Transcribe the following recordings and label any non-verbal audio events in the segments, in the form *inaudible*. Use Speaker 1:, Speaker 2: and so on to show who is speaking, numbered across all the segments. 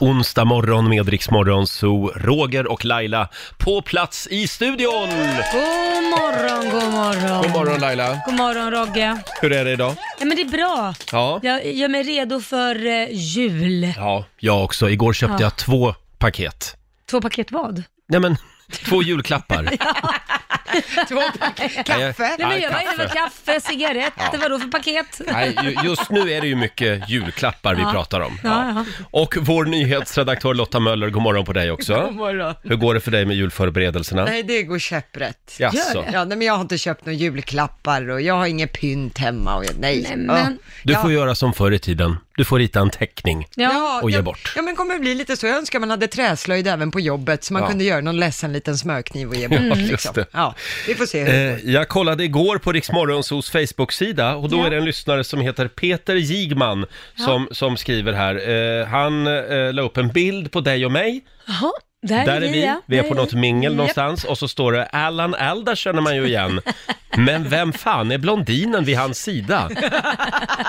Speaker 1: Onsdag morgon med Rix Morgon Zoo, Roger och Laila på plats i studion!
Speaker 2: God morgon, god morgon.
Speaker 1: God morgon Laila,
Speaker 2: God morgon, Rogge.
Speaker 1: hur är det idag?
Speaker 2: Ja, men det är bra.
Speaker 1: Ja,
Speaker 2: Jag gör mig redo för eh, jul.
Speaker 1: ja jag också. Igår köpte
Speaker 2: Ja.
Speaker 1: jag två paket.
Speaker 2: Två paket vad?
Speaker 1: Nej *laughs* men, två julklappar.
Speaker 3: *laughs* Två pack kaffe.
Speaker 2: Nej, men jag,
Speaker 1: kaffe.
Speaker 2: kaffe. Var kaffe, cigarett,
Speaker 1: Ja.
Speaker 2: vadå för paket?
Speaker 1: Nej, ju- just
Speaker 2: *laughs*
Speaker 1: nu är det ju mycket julklappar vi
Speaker 2: Ja.
Speaker 1: pratar om. Ja.
Speaker 2: Ja,
Speaker 1: Och vår nyhetsredaktör Lotta Möller, god morgon på dig också.
Speaker 3: God morgon.
Speaker 1: Hur går det för dig med julförberedelserna?
Speaker 3: Nej, det går käpprätt.
Speaker 1: Jaså?
Speaker 3: Ja, nej, men jag har inte köpt några julklappar och jag har inget pynt hemma och jag, nej.
Speaker 2: Nej, men-
Speaker 3: Ja.
Speaker 1: Du
Speaker 3: ja.
Speaker 1: får göra som förr i tiden. Du får rita en teckning.
Speaker 2: Ja.
Speaker 1: Och ge
Speaker 3: ja,
Speaker 1: bort.
Speaker 3: Ja, men kommer det bli lite så. Jag önskar man hade träslöjd även på jobbet så man
Speaker 1: Ja.
Speaker 3: kunde göra någon ledsen liten smörkniv och ge bort.
Speaker 1: Ja, just
Speaker 3: liksom.
Speaker 1: det.
Speaker 3: ja, vi får se. hur-
Speaker 1: Eh, jag kollade igår på Riksmorgonsos Facebook-sida och då
Speaker 2: Ja.
Speaker 1: är det en lyssnare som heter Peter Jigman som, som skriver här. Eh, han eh, la upp en bild på dig och mig.
Speaker 2: Jaha, där,
Speaker 1: Där är vi.
Speaker 2: ja.
Speaker 1: Vi är
Speaker 2: Där
Speaker 1: på något
Speaker 2: vi.
Speaker 1: mingel
Speaker 2: Japp.
Speaker 1: någonstans och så står det Allan Elder känner man ju
Speaker 2: *laughs*
Speaker 1: igen. Men vem fan är blondinen vid hans
Speaker 2: *laughs*
Speaker 1: sida?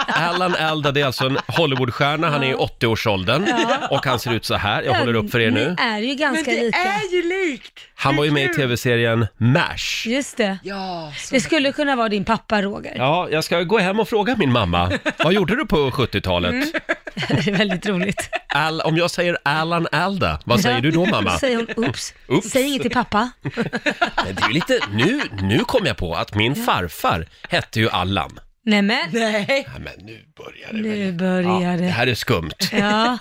Speaker 1: Allan Elder, det är alltså en Hollywoodstjärna. Han är i 80-årsåldern och han ser ut så här. Jag håller upp för er
Speaker 2: Ni
Speaker 1: nu.
Speaker 2: är ju
Speaker 3: men
Speaker 2: ganska
Speaker 3: det
Speaker 2: lika.
Speaker 3: är ju likt!
Speaker 1: Han var ju med i tv-serien MASH.
Speaker 2: Just det.
Speaker 3: Ja, så...
Speaker 2: Det skulle kunna vara din pappa, Roger.
Speaker 1: Ja, jag ska gå hem och fråga min mamma. Vad gjorde du på 70-talet?
Speaker 2: Mm. *laughs* Det är väldigt roligt.
Speaker 1: Al, om jag säger Alan Alda, vad säger du då mamma?
Speaker 2: *laughs* Säger hon, oops.
Speaker 1: Oops.
Speaker 2: Säg inget till pappa.
Speaker 1: Men Det är ju lite, nu, nu kom jag på att min farfar hette ju Allan.
Speaker 2: Nej men,
Speaker 3: *laughs* Nej,
Speaker 1: Nej, men nu börjar det väl.
Speaker 2: nu
Speaker 1: Ja,
Speaker 2: börjar
Speaker 1: det
Speaker 2: det.
Speaker 1: här är skumt.
Speaker 2: Ja,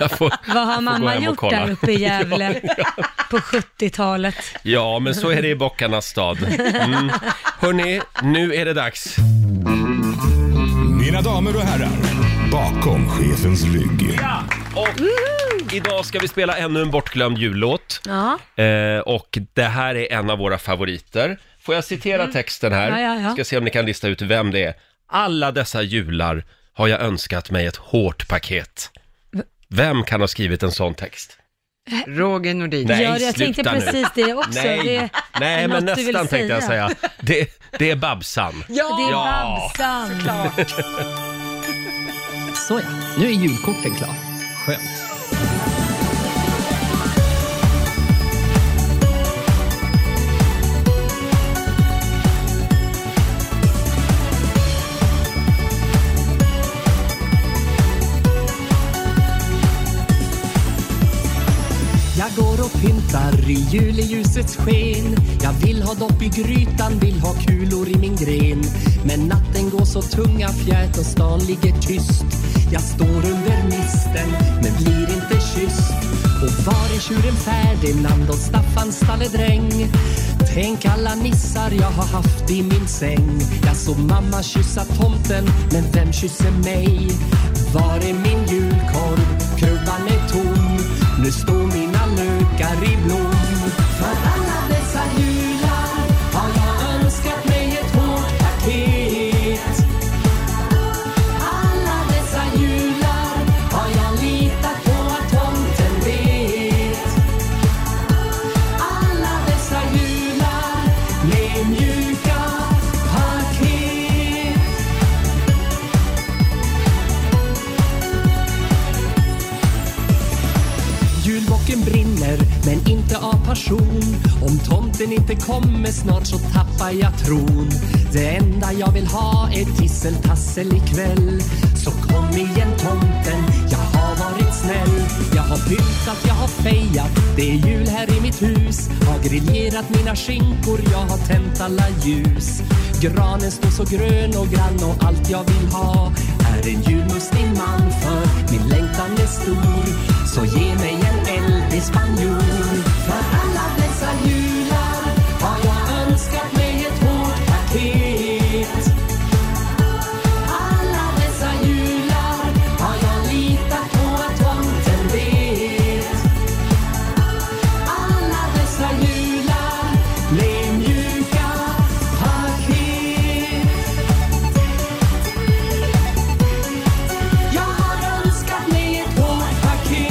Speaker 1: Jag får,
Speaker 2: vad
Speaker 1: jag
Speaker 2: har
Speaker 1: får gå
Speaker 2: mamma
Speaker 1: hem och
Speaker 2: gjort
Speaker 1: kolla.
Speaker 2: där uppe i
Speaker 1: *laughs*
Speaker 2: Gävle på 70-talet?
Speaker 1: Ja, men så är det i bockarnas stad. Mm. Hörni, nu är det dags.
Speaker 4: Mina damer och herrar, bakom chefens rygg.
Speaker 1: Och idag ska vi spela ännu en bortglömd jullåt.
Speaker 2: Ja.
Speaker 1: Eh, och det här är en av våra favoriter. Får jag citera texten här?
Speaker 2: Mm. Ja, ja, ja.
Speaker 1: Ska se om ni kan lista ut vem det är. Alla dessa jular har jag önskat mig ett hårt paket. Vem kan ha skrivit en sån text?
Speaker 3: Roger Nordin.
Speaker 1: Nej,
Speaker 2: ja, jag tänkte
Speaker 1: sluta nu.
Speaker 2: precis det också.
Speaker 1: Nej,
Speaker 2: Det,
Speaker 1: Nej men
Speaker 2: något du vill
Speaker 1: nästan tänkte jag
Speaker 2: säga.
Speaker 1: säga. Det, det är Babsan.
Speaker 2: det är
Speaker 3: Ja,
Speaker 1: Ja.
Speaker 2: Babsan.
Speaker 5: *laughs* Såja, nu är julkorten klar. Skönt. Jag går och pyntar i juleljusets sken Jag vill ha dopp i grytan, vill ha kulor i min gren Men natten går så tunga fjät och stan ligger tyst Jag står under misten, men blir inte kysst Och var är tjuren Ferdinand och Staffans stalledräng? Tänk alla nissar jag har haft i min säng Jag såg mamma kyssa tomten, men vem kysser mig? Var är min julkorv? Krubban är tom Nu står mina lökar i blom För alla dessa jular har jag önskat mig ett hårt paket Alla dessa jular har jag litat på att tomten vet Alla dessa jular med mjuka paket Julbocken brinner, men inte av passion. Om tomten inte kommer snart så tappar jag tron. Det enda jag vill ha är tisseltassel ikväll. Så kom igen tomten, jag har varit snäll. Jag har pyntat, jag har fejat, det är jul här i mitt hus. Har griljerat mina skinkor, jag har tänt alla ljus. Granen står så grön och grann och allt jag vill ha är en julmustig man för min längtan är stor. Så ge mig en eld i spanjor. För alla dessa jular har jag önskat mig ett hårt paket. Alla dessa jular har jag litat på att tomten vet. Alla dessa jular blev mjuka paket. Jag har önskat mig ett hårt paket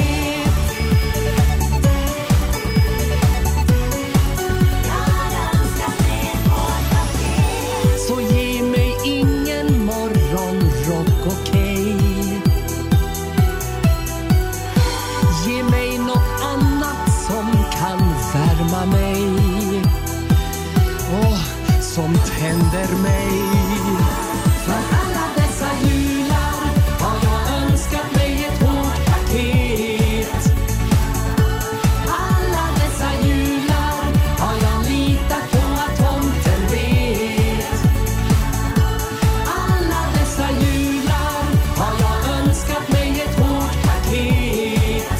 Speaker 6: vänder mig. För alla dessa jular har jag önskat mig ett hårt paket. Alla dessa jular har jag litat på att tomten vet. Alla dessa jular har jag önskat mig ett hårt paket.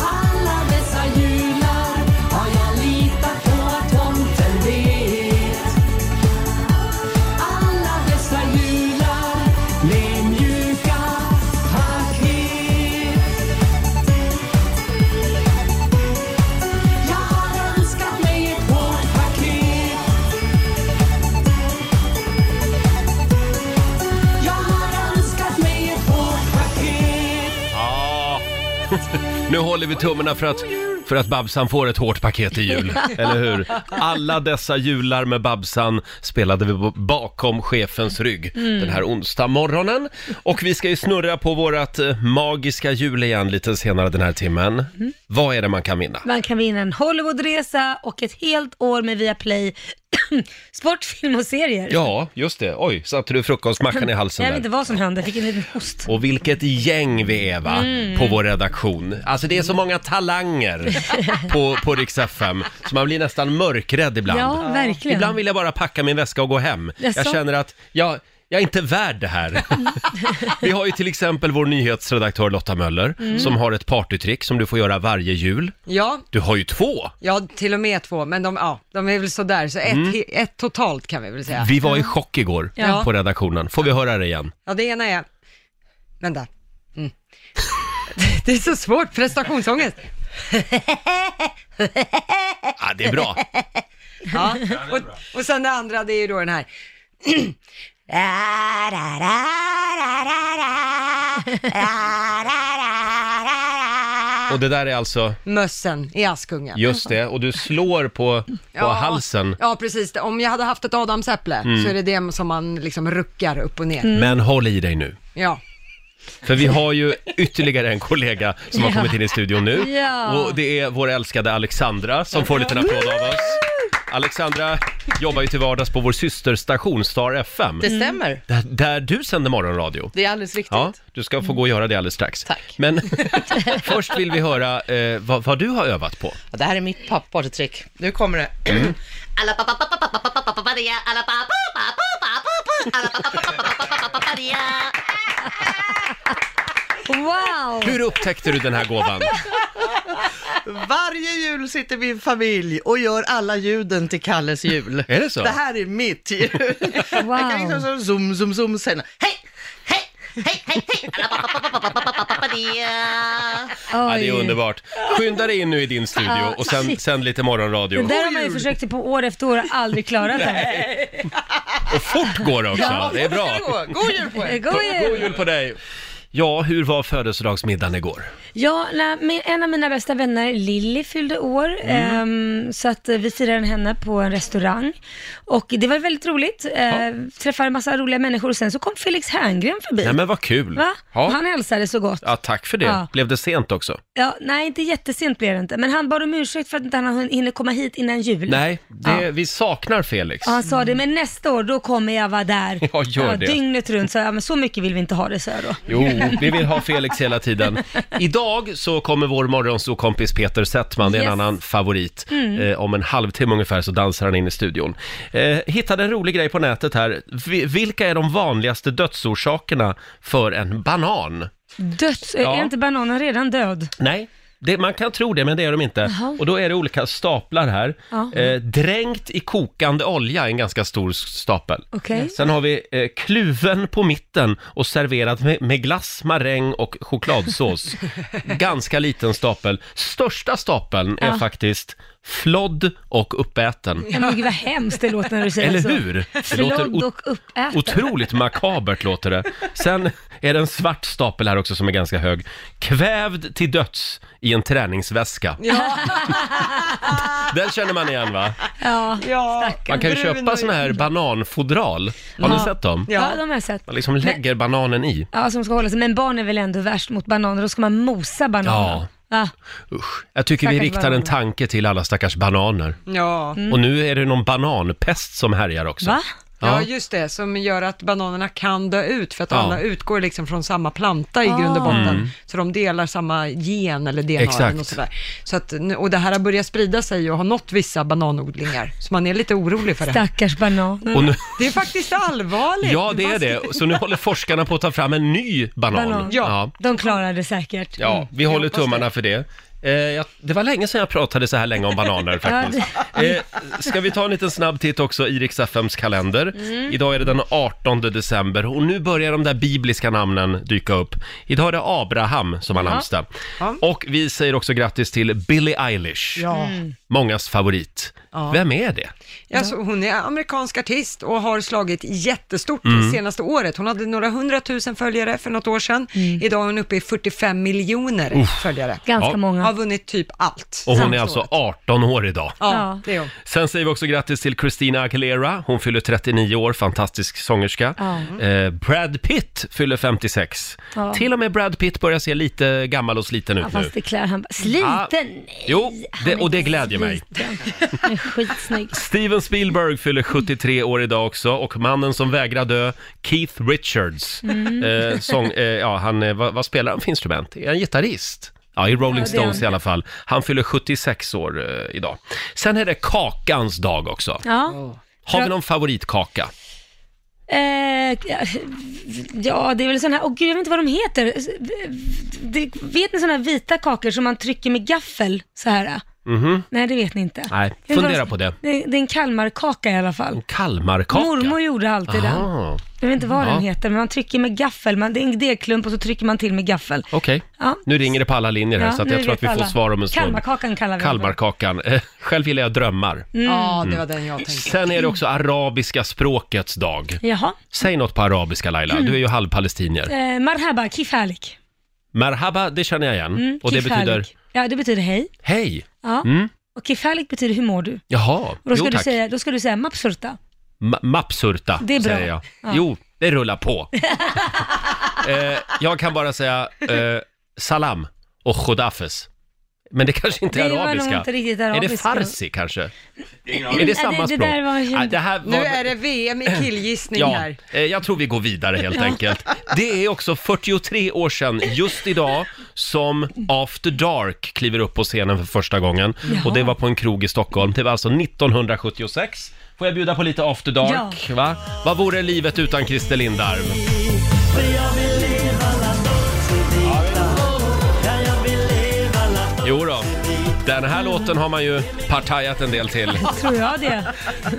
Speaker 6: Alla dessa jular har jag litat på att tomten vet. Alla dessa jular med mjuka paket. Jag har önskat mig ett hårt paket. Jag har önskat mig ett hårt
Speaker 1: Ja.
Speaker 6: paket.
Speaker 1: *laughs* Nu håller vi tummarna för att, för att Babsan får ett hårt paket i jul, eller hur? Alla dessa jular med Babsan spelade vi b- bakom chefens rygg den här onsdag morgonen. Och vi ska ju snurra på vårat eh, magiska hjul igen lite senare den här timmen. Vad är det man kan vinna?
Speaker 2: Man kan vinna en Hollywoodresa och ett helt år med Viaplay *clears throat* sport, film och serier.
Speaker 1: Ja, just det. Oj, satte du frukostmackan i halsen
Speaker 2: Jag vet
Speaker 1: där?
Speaker 2: inte vad som hände, jag fick en liten host.
Speaker 1: Och vilket gäng vi är va, på vår redaktion. Alltså det är så många talanger på, på Rix FM, så man blir nästan mörkrädd ibland.
Speaker 2: Ja, verkligen.
Speaker 1: Ibland vill jag bara packa min väska och gå hem.
Speaker 2: Jaså?
Speaker 1: Jag känner att jag, jag är inte värd det
Speaker 2: *laughs*
Speaker 1: här. vi har ju till exempel vår nyhetsredaktör Lotta Möller,
Speaker 2: Mm.
Speaker 1: som har ett partytrick som du får göra varje jul.
Speaker 3: Ja,
Speaker 1: Du har ju två!
Speaker 3: ja, till och med två, men de, ja, de är väl sådär, så ett, he- ett totalt kan vi väl säga.
Speaker 1: Mm. Vi var i chock igår
Speaker 2: Ja.
Speaker 1: på redaktionen. Får vi höra det igen?
Speaker 3: Ja, det ena är... Vänta. Mm. Det är så svårt, prestationsångest.
Speaker 1: Ah, det är bra.
Speaker 3: Ja. Och, och sen det andra, det är ju då den här. *clears throat*
Speaker 1: Och det där är alltså,
Speaker 3: Mössen i Askungen.
Speaker 1: just det, och du slår på, på halsen. Mm.
Speaker 3: Ja, precis. Om jag hade haft ett adamsäpple så är det det som man liksom ruckar upp och ner.
Speaker 2: Mm.
Speaker 1: Men håll i dig nu.
Speaker 3: Ja.
Speaker 1: För vi har ju ytterligare en kollega som har kommit in i studion nu.
Speaker 2: Ja.
Speaker 1: Och det är vår älskade Alexandra som får en liten applåd av oss. Alexandra jobbar ju till vardags på vår systerstation Star FM.
Speaker 7: Det stämmer.
Speaker 1: Där, där du sänder morgonradio.
Speaker 7: Det är alldeles riktigt.
Speaker 1: Ja, du ska få gå och göra det alldeles strax.
Speaker 7: Tack.
Speaker 1: Men *laughs* först vill vi höra eh, vad, vad du har övat på.
Speaker 7: Ja, Det här är mitt pappartrick. Nu kommer det.
Speaker 2: Mm.
Speaker 8: Alla pappa pappa pappa pappa pappa paria. Alla pappa pappa pappa pappa. Alla pappa pappa pappa pappa pappa paria.
Speaker 2: Wow!
Speaker 1: Hur upptäckte du den här gåvan?
Speaker 7: Varje jul sitter min familj och gör alla ljuden till Kalles jul.
Speaker 1: Är det så?
Speaker 7: Det här är
Speaker 4: *laughs*
Speaker 7: mitt ljud. Jag kan liksom så zoom, zoom, zoom sen. Hej!
Speaker 8: Hej, hej, hej, hej. Alla pappa pappa pappa pappa pappa paria.
Speaker 1: *laughs* Ja, det är underbart. Skynda dig in nu i din studio
Speaker 2: Ja,
Speaker 1: och sen,
Speaker 2: shit.
Speaker 1: sen lite
Speaker 2: Det
Speaker 1: morgonradio.
Speaker 2: där har man ju försökt på år efter år och aldrig klarat det.
Speaker 1: Och fort går det också. Det är bra.
Speaker 7: God jul på er!
Speaker 2: *laughs* God jul!
Speaker 1: God jul på dig! Ja, hur var födelsedagsmiddagen igår?
Speaker 2: Ja, nej, men en av mina bästa vänner, Lilly, fyllde år.
Speaker 1: Mm.
Speaker 2: ehm, så att eh, vi firade henne på en restaurang. Och det var väldigt roligt. Uh, Träffade en massa roliga människor och sen så kom Felix Herngren förbi.
Speaker 1: Nej men vad kul!
Speaker 2: Va? Och
Speaker 1: Ja.
Speaker 2: Han hälsade så gott.
Speaker 1: ja, tack för det.
Speaker 2: Ja.
Speaker 1: Blev det sent också?
Speaker 2: Ja, nej, inte jättesent blev det inte. Men han bad om ursäkt för att inte han inte hinner komma hit innan jul.
Speaker 1: Nej, det,
Speaker 2: Ja.
Speaker 1: vi saknar Felix. *laughs*
Speaker 2: Ja, han sa det, men nästa år då kommer jag vara där.
Speaker 1: Ja, *laughs* gör det.
Speaker 2: Dygnet runt, så jag, men så mycket vill vi inte ha det, så jag då.
Speaker 1: Jo, vi vill ha Felix hela tiden. Idag så kommer vår morgonsåkompis Peter Settman, det är en
Speaker 2: Yes. Mm.
Speaker 1: annan favorit. Eh, om en halvtimme ungefär så dansar han in i studion. Eh, hittade en rolig grej på nätet här. Vi, vilka är de vanligaste dödsorsakerna för en banan?
Speaker 2: *laughs* Döds...
Speaker 1: Ja.
Speaker 2: Är inte bananen redan död?
Speaker 1: Nej, det, man kan tro det, men det är de inte.
Speaker 2: Jaha.
Speaker 1: Och då är det olika staplar här.
Speaker 2: Ja.
Speaker 1: Eh, dränkt i kokande olja är en ganska stor stapel.
Speaker 2: Okej.
Speaker 1: Sen har vi eh, kluven på mitten och serverat med, med glass, maräng och
Speaker 2: *laughs*
Speaker 1: chokladsås. ganska liten stapel. Största stapeln är
Speaker 2: Ja.
Speaker 1: faktiskt flodd och uppäten.
Speaker 2: Ja, men gud vad hemskt det låter när du säger
Speaker 1: Eller
Speaker 2: så.
Speaker 1: hur? Det låter
Speaker 2: Flodd och uppäten.
Speaker 1: Otroligt makabert låter det. Sen är det en svart stapel här också som är ganska hög. Kvävd till döds i en träningsväska. Den känner man igen va?
Speaker 2: Ja.
Speaker 3: Ja.
Speaker 1: Man kan ju
Speaker 3: Brun
Speaker 1: köpa
Speaker 3: och-
Speaker 1: såna här bananfodral. Har ni
Speaker 2: Ja.
Speaker 1: sett dem?
Speaker 2: Ja. de har jag sett.
Speaker 1: Man liksom lägger bananen i.
Speaker 2: Ja, som ska hålla sig. Men barn är väl ändå värst mot bananer, då ska man mosa bananen.
Speaker 1: Ja,
Speaker 2: Ja, Ja.
Speaker 1: Usch. Jag tycker vi
Speaker 2: Stackars
Speaker 1: riktar en
Speaker 2: bananer.
Speaker 1: tanke till alla stackars bananer.
Speaker 3: Ja.
Speaker 1: Och nu är det någon bananpest som härjar också.
Speaker 2: Va?
Speaker 3: Ja,
Speaker 1: Ja.
Speaker 3: just det, som gör att bananerna kan dö ut, för att
Speaker 1: Ja. Mm.
Speaker 3: alla utgår liksom från samma planta i
Speaker 2: Ah.
Speaker 3: grund och botten, så de delar samma gen eller DNA
Speaker 1: Exakt.
Speaker 3: och sådär. Så att, nu- och det här har börjat sprida sig och har nått vissa bananodlingar, så man är lite orolig för det här.
Speaker 2: Stackars bananer.
Speaker 1: Och nu,
Speaker 3: Det är faktiskt allvarligt.
Speaker 1: ja, det är
Speaker 3: Man-
Speaker 1: det. Så nu håller forskarna på att ta fram en ny banan.
Speaker 2: Banan.
Speaker 1: Ja. Mm.
Speaker 2: De klarar det säkert.
Speaker 1: Ja, vi
Speaker 2: Mm.
Speaker 1: håller tummarna för det. Eh, jag, det var länge sedan jag pratade så här länge om bananer faktiskt. Eh, ska vi ta en liten snabb titt också i Rix FMs kalender?
Speaker 2: Mm.
Speaker 1: Idag är det den 18 december och nu börjar de där bibliska namnen dyka upp. Idag är det Abraham som har namnsdag. Och vi säger också grattis till Billie Eilish,
Speaker 3: Ja.
Speaker 1: mångas favorit. Vem är det?
Speaker 3: Alltså, hon är amerikansk artist och har slagit jättestort
Speaker 1: Mm.
Speaker 3: det senaste året. Hon hade några hundratusen följare för något år sedan. Idag är hon uppe i 45 miljoner följare.
Speaker 2: Ganska
Speaker 1: Mm. Ja.
Speaker 2: många.
Speaker 3: Har vunnit typ allt.
Speaker 1: Och hon
Speaker 3: senaste
Speaker 1: är alltså
Speaker 3: året.
Speaker 1: 18 år idag.
Speaker 3: Ja,
Speaker 2: Ja.
Speaker 3: det är hon.
Speaker 1: Sen säger vi också grattis till Christina Aguilera. Hon fyller 39 år, fantastisk sångerska.
Speaker 2: Ja.
Speaker 1: Eh, Brad Pitt fyller 56.
Speaker 2: Ja.
Speaker 1: Till och med Brad Pitt börjar se lite gammal och sliten ut
Speaker 2: Ja,
Speaker 1: nu. Ah,
Speaker 2: fast det klär han bara. Sliten?
Speaker 1: Ja.
Speaker 2: Nej.
Speaker 1: Jo, det-
Speaker 2: han är
Speaker 1: och det
Speaker 2: inte
Speaker 1: glädjer mig.
Speaker 2: *laughs* sliten. Han är skitsnygg.
Speaker 1: Steven Spielberg fyller 73 år idag också och mannen som vägrar dö, Keith Richards.
Speaker 2: Mm.
Speaker 1: Eh, sång, eh, ja, han, eh, vad, vad spelar han för instrument? Är han gitarrist? Ja, i Rolling
Speaker 2: Ja, det är
Speaker 1: Stones
Speaker 2: han.
Speaker 1: i alla fall. Han fyller 76 år eh, idag. Sen är det kakans dag också.
Speaker 2: Ja.
Speaker 1: Har vi någon favoritkaka?
Speaker 2: Eh, ja, det är väl sån här, åh gud jag vet inte vad de heter. Det, vet ni såna här vita kakor som man trycker med gaffel så här?
Speaker 1: Mhm.
Speaker 2: Nej, det vet ni inte.
Speaker 1: Nej,
Speaker 2: Jag vet inte vad de-
Speaker 1: fundera på det.
Speaker 2: det. Det är en Kalmarkaka i alla fall.
Speaker 1: Kalmarkaka?
Speaker 2: Mormor gjorde alltid den.
Speaker 1: Aha,
Speaker 2: Jag vet inte vad
Speaker 1: Ja.
Speaker 2: den heter, men man trycker med gaffel. Man, det är en degklump och så trycker man till med gaffel.
Speaker 1: Okej,
Speaker 2: Ja.
Speaker 1: nu ringer det på alla linjer här
Speaker 2: Ja,
Speaker 1: så att
Speaker 2: nu
Speaker 1: jag tror
Speaker 2: vet
Speaker 1: att vi får
Speaker 2: alla.
Speaker 1: svar om en stund.
Speaker 2: Kalmarkakan kallar vi den.
Speaker 1: Kalmarkakan. Eh, Själv gillar jag drömmar.
Speaker 2: Mm.
Speaker 1: Mm.
Speaker 3: Ja, det var den jag tänkte.
Speaker 1: Sen är det också arabiska språkets dag.
Speaker 2: Jaha.
Speaker 1: Säg något på arabiska Laila, du är ju halvpalestinier.
Speaker 2: Eh, marhaba, kif halik.
Speaker 1: Merhaba, det känner jag igen.
Speaker 2: Mm,
Speaker 1: Och det
Speaker 2: kif
Speaker 1: betyder
Speaker 2: halik. Ja, det betyder hej.
Speaker 1: hej.
Speaker 2: Ja.
Speaker 1: Mm.
Speaker 2: Och kif halik betyder hur mår du?
Speaker 1: Jaha,
Speaker 2: Och då ska,
Speaker 1: jo
Speaker 2: du
Speaker 1: tack.
Speaker 2: säga, då ska du säga mapsurta.
Speaker 1: Ma- Mapsurta,
Speaker 2: Det är bra.
Speaker 1: säger jag. Jo, det rullar
Speaker 2: *laughs*
Speaker 1: på. eh, jag kan bara säga eh, salam och khudafes. Men det kanske inte är
Speaker 2: Det var nog
Speaker 1: arabiska.
Speaker 2: inte riktigt
Speaker 1: Är det
Speaker 2: arabiska. Mm.
Speaker 1: farsi kanske? Är det samma
Speaker 2: det- det
Speaker 1: språk?
Speaker 2: där var ju-
Speaker 1: Ja, det här var...
Speaker 3: Nu är det VM i killgissning
Speaker 1: Ja,
Speaker 3: här.
Speaker 1: eh, jag tror vi går vidare helt enkelt. Det är också 43 år sedan just idag som After Dark kliver upp på scenen för första gången. Och det var på en krog i Stockholm. Det var alltså 1976. Får jag bjuda på lite After Dark? Va? Vad vore livet utan Christer Lindarw? Jo då. Den här låten har man ju partajat en del till.
Speaker 2: Tror *laughs*
Speaker 1: *laughs*
Speaker 2: jag det.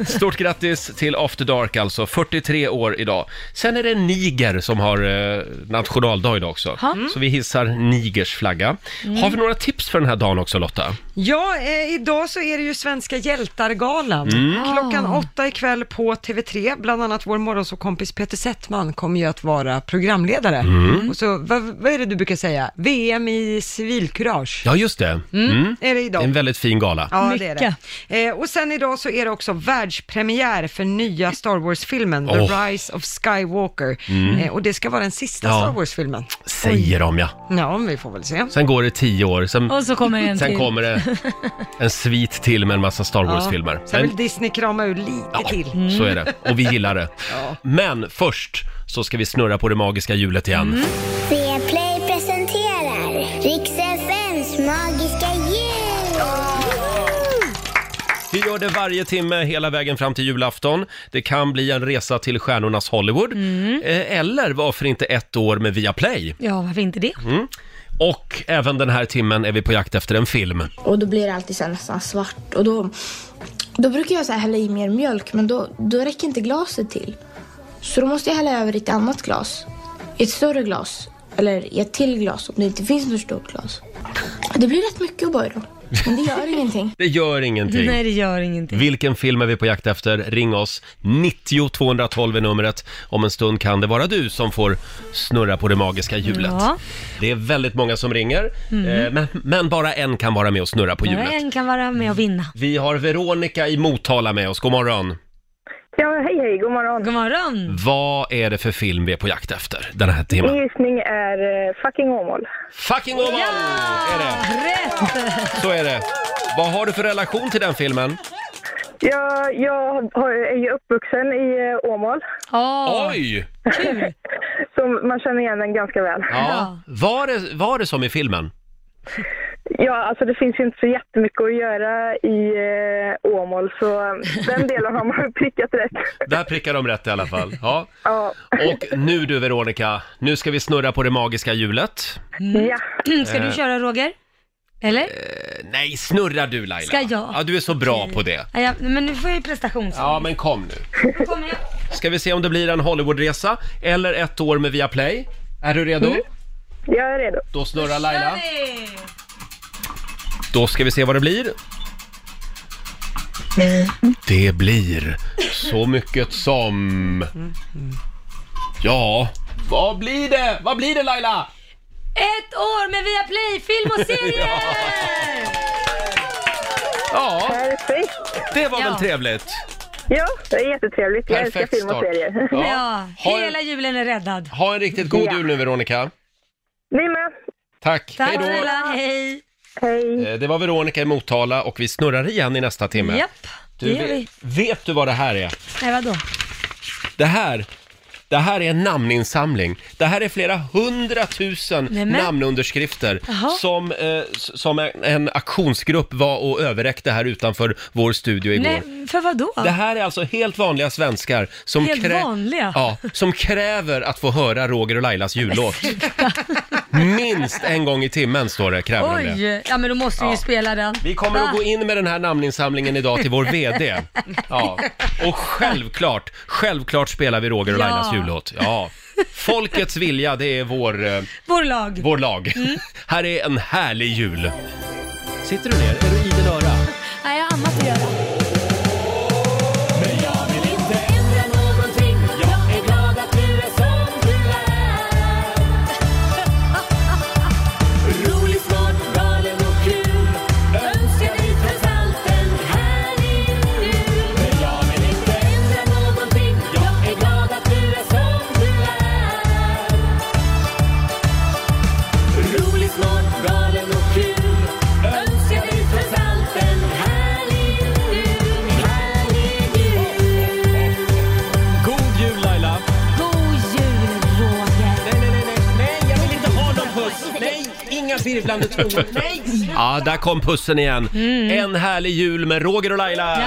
Speaker 1: Stort grattis till After Dark alltså, 43 år idag. Sen är det Niger som har eh, nationaldag idag också.
Speaker 2: Ha.
Speaker 1: Så vi hissar Nigers flagga.
Speaker 3: Mm.
Speaker 1: Har vi några tips för den här dagen också Lotta?
Speaker 3: Ja, eh, idag så är det ju Svenska hjältar-galan.
Speaker 1: Mm. Ah.
Speaker 3: Klockan åtta ikväll på TV3. Bland annat vår morgonsåkompis Peter Settman kommer ju att vara programledare.
Speaker 1: Mm.
Speaker 3: Och så, vad, vad är det du brukar säga? VM i civilkurage.
Speaker 1: Ja, just det. Mm.
Speaker 3: Är det
Speaker 1: Det
Speaker 3: idag?
Speaker 1: är en väldigt fin gala.
Speaker 3: Ja, det är det. Eh, och sen idag så är det också världspremiär för nya Star Wars-filmen, The
Speaker 1: Åh. Mm.
Speaker 3: Rise of Skywalker. Eh, och det ska vara den sista
Speaker 1: Ja.
Speaker 3: Star Wars-filmen.
Speaker 1: Säger de ja.
Speaker 3: Ja, men vi får väl se.
Speaker 1: Sen går det 10 år, sen,
Speaker 2: Och så kommer en
Speaker 1: sen
Speaker 2: till.
Speaker 1: kommer det en svit till med en massa Star Wars-filmer.
Speaker 3: Ja. Sen
Speaker 1: Men-
Speaker 3: vill Disney krama ur lite till. Mm.
Speaker 1: Ja, så är det. Och vi
Speaker 3: *laughs*
Speaker 1: gillar det. Men först så ska vi snurra på det magiska hjulet igen.
Speaker 3: Mm.
Speaker 9: Play presenterar Rix FMs magiska jul!
Speaker 1: Vi gör det varje timme hela vägen fram till julafton. Det kan bli en resa till stjärnornas Hollywood.
Speaker 2: Mm.
Speaker 1: Eh, Eller varför inte ett år med Viaplay? Mm.
Speaker 2: Ja, varför inte det?
Speaker 1: Och även den här timmen är vi på jakt efter en film.
Speaker 10: Och då blir det alltid så här nästan svart. Och då, då brukar jag så här hälla i mer mjölk, men då, då räcker inte glaset till. Så då måste jag hälla över i ett annat glas. I ett större glas. Eller i ett till glas om det inte finns något stort glas. Det blir rätt mycket O'boy då. Men det gör ingenting.
Speaker 1: Det gör ingenting.
Speaker 2: Nej, det gör ingenting.
Speaker 1: Vilken film är vi på jakt efter? Ring oss. 90 212 är numret. Om en stund kan det vara du som får snurra på det magiska hjulet.
Speaker 2: Ja. Mm.
Speaker 1: Det är väldigt många som ringer, eh, men, men bara en kan vara med och snurra på hjulet.
Speaker 2: En kan vara med och vinna.
Speaker 1: Vi har Veronica i Motala med oss. God morgon.
Speaker 7: Ja, hej hej, god morgon.
Speaker 2: God morgon.
Speaker 1: Vad är det för film vi är på jakt efter den här timmen?
Speaker 7: Min gissning är eh, Fucking Åmål.
Speaker 1: Fucking Åmål är det. Så är det. Vad har du för relation till den filmen?
Speaker 7: Jag, jag har, är ju uppvuxen i eh, Åmål.
Speaker 1: Oj!
Speaker 7: *laughs*
Speaker 2: Kul!
Speaker 7: Så man känner igen den ganska väl.
Speaker 1: Ja. Var det, var det som i filmen?
Speaker 7: Ja, alltså det finns ju inte så jättemycket att göra i eh, Åmål, så den delen har man *laughs* prickat rätt.
Speaker 1: Där prickar de rätt i alla fall. Ja.
Speaker 7: Ja.
Speaker 2: *laughs*
Speaker 1: Och nu du Veronica, nu ska vi snurra på det magiska hjulet.
Speaker 2: Ja. Mm. *clears throat* Ska du
Speaker 1: Eh.
Speaker 2: köra Roger? Eller?
Speaker 1: Nej, snurra du Laila.
Speaker 2: Ska jag?
Speaker 1: Ja, du är så bra på det.
Speaker 2: Ja, ja, men nu får jag ju prestation.
Speaker 1: Ja, men kom nu.
Speaker 2: Då kommer jag.
Speaker 1: Ska vi se om det blir en Hollywoodresa eller ett år med Viaplay. Är du redo?
Speaker 7: Mm. Jag är redo.
Speaker 1: Då snurrar Laila.
Speaker 2: Kör vi!
Speaker 1: Då ska vi se vad det blir. Det blir så mycket som... Ja, vad blir det? Vad blir det Laila?
Speaker 2: Ett år med Viaplay, film
Speaker 1: *laughs*
Speaker 2: och serier!
Speaker 1: Ja,
Speaker 7: Perfekt.
Speaker 1: det var väl
Speaker 2: Ja.
Speaker 1: trevligt?
Speaker 7: Ja, det är jättetrevligt. Jag älskar
Speaker 1: Perfekt
Speaker 7: film och
Speaker 1: start.
Speaker 7: serier.
Speaker 1: Ja.
Speaker 2: Ja,
Speaker 1: Ha en-
Speaker 2: hela julen är räddad.
Speaker 1: Ha en riktigt god jul nu Veronica.
Speaker 7: Ni med.
Speaker 1: Tack,
Speaker 2: Tack
Speaker 1: hej då.
Speaker 2: snälla, hej!
Speaker 7: Hej.
Speaker 1: Eh, Det var Veronica i Motala och vi snurrar igen i nästa timme.
Speaker 2: Japp, det
Speaker 1: Du,
Speaker 2: gör vi.
Speaker 1: vet, vet du vad det här är?
Speaker 2: Nej, vadå?
Speaker 1: Det här, det här är en namninsamling. Det här är flera hundratusen
Speaker 2: Nämen.
Speaker 1: namnunderskrifter
Speaker 2: Jaha.
Speaker 1: som, eh, s- som en, en aktionsgrupp var och överräckte här utanför vår studio igår.
Speaker 2: Nej, för vadå?
Speaker 1: Det här är alltså helt vanliga svenskar som,
Speaker 2: Helt vanliga?
Speaker 1: Ja, som kräver att få höra Roger och Lailas
Speaker 2: *laughs*
Speaker 1: jullåt. Minst en gång i timmen står det, kräver de det.
Speaker 2: Oj, ja men då måste vi ju
Speaker 1: Ja.
Speaker 2: spela den. Ah.
Speaker 1: Vi kommer att gå in med den här namninsamlingen idag till vår VD. Ja. Och självklart, självklart spelar vi Roger och
Speaker 2: Ja.
Speaker 1: Lailas jullåt. Ja. Folkets vilja, det är vår, eh,
Speaker 2: *laughs* Vår lag.
Speaker 1: vår lag. Här är en härlig jul. Sitter du ner? Är du idel öra?
Speaker 2: Nej, jag har annat att göra.
Speaker 6: *laughs*
Speaker 11: God jul Laila!
Speaker 2: God jul Roger!
Speaker 11: Nej, nej, nej, nej, nej, jag vill inte ha någon puss! Nej, inga virvlande tungor! Nej!
Speaker 1: Ja, där kom pussen igen. En härlig jul med Roger och Laila.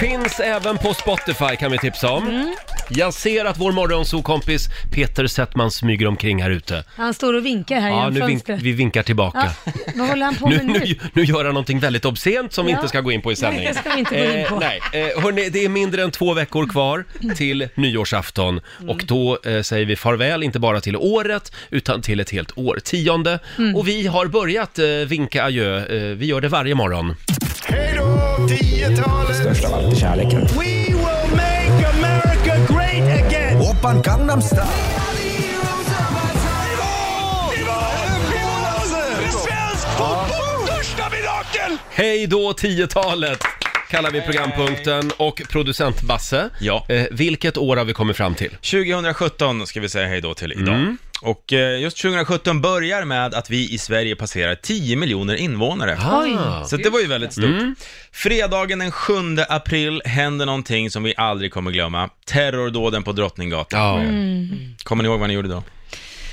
Speaker 1: Finns även på Spotify kan vi tipsa om. Jag ser att vår morgonsokompis Peter Settman smyger omkring här ute.
Speaker 2: Han står och vinkar här
Speaker 1: Ja,
Speaker 2: genom
Speaker 1: nu vink,
Speaker 2: fönstret.
Speaker 1: vi vinkar tillbaka.
Speaker 2: Ja, vad håller han på
Speaker 1: Nu,
Speaker 2: med nu?
Speaker 1: nu, nu gör han någonting väldigt obscent som vi
Speaker 2: Ja.
Speaker 1: inte ska gå in på i sändningen.
Speaker 2: Nej, det ska vi inte gå in på.
Speaker 1: Eh, nej. Eh, hörni, det är mindre än två veckor kvar till nyårsafton
Speaker 2: Mm.
Speaker 1: och då eh, säger vi farväl, inte bara till året, utan till ett helt årtionde.
Speaker 4: Mm.
Speaker 1: Och vi har börjat eh, vinka adjö, eh, vi gör det varje morgon.
Speaker 4: Störst av allt är kärleken. We will make America great again! Oppan Gangnam Style.
Speaker 1: Hej då 10-talet! Kallar vi programpunkten och producent Basse.
Speaker 12: Ja.
Speaker 1: Eh, vilket år har vi kommit fram till?
Speaker 12: 2017 ska vi säga hej då till idag.
Speaker 1: Mm.
Speaker 12: Och eh, just 2017 börjar med att vi i Sverige passerar 10 miljoner invånare.
Speaker 1: Ah. Mm.
Speaker 12: Så det var ju väldigt stort. Fredagen den 7 april händer någonting som vi aldrig kommer glömma. Terrordåden på Drottninggatan. Kommer ni ihåg vad ni gjorde då?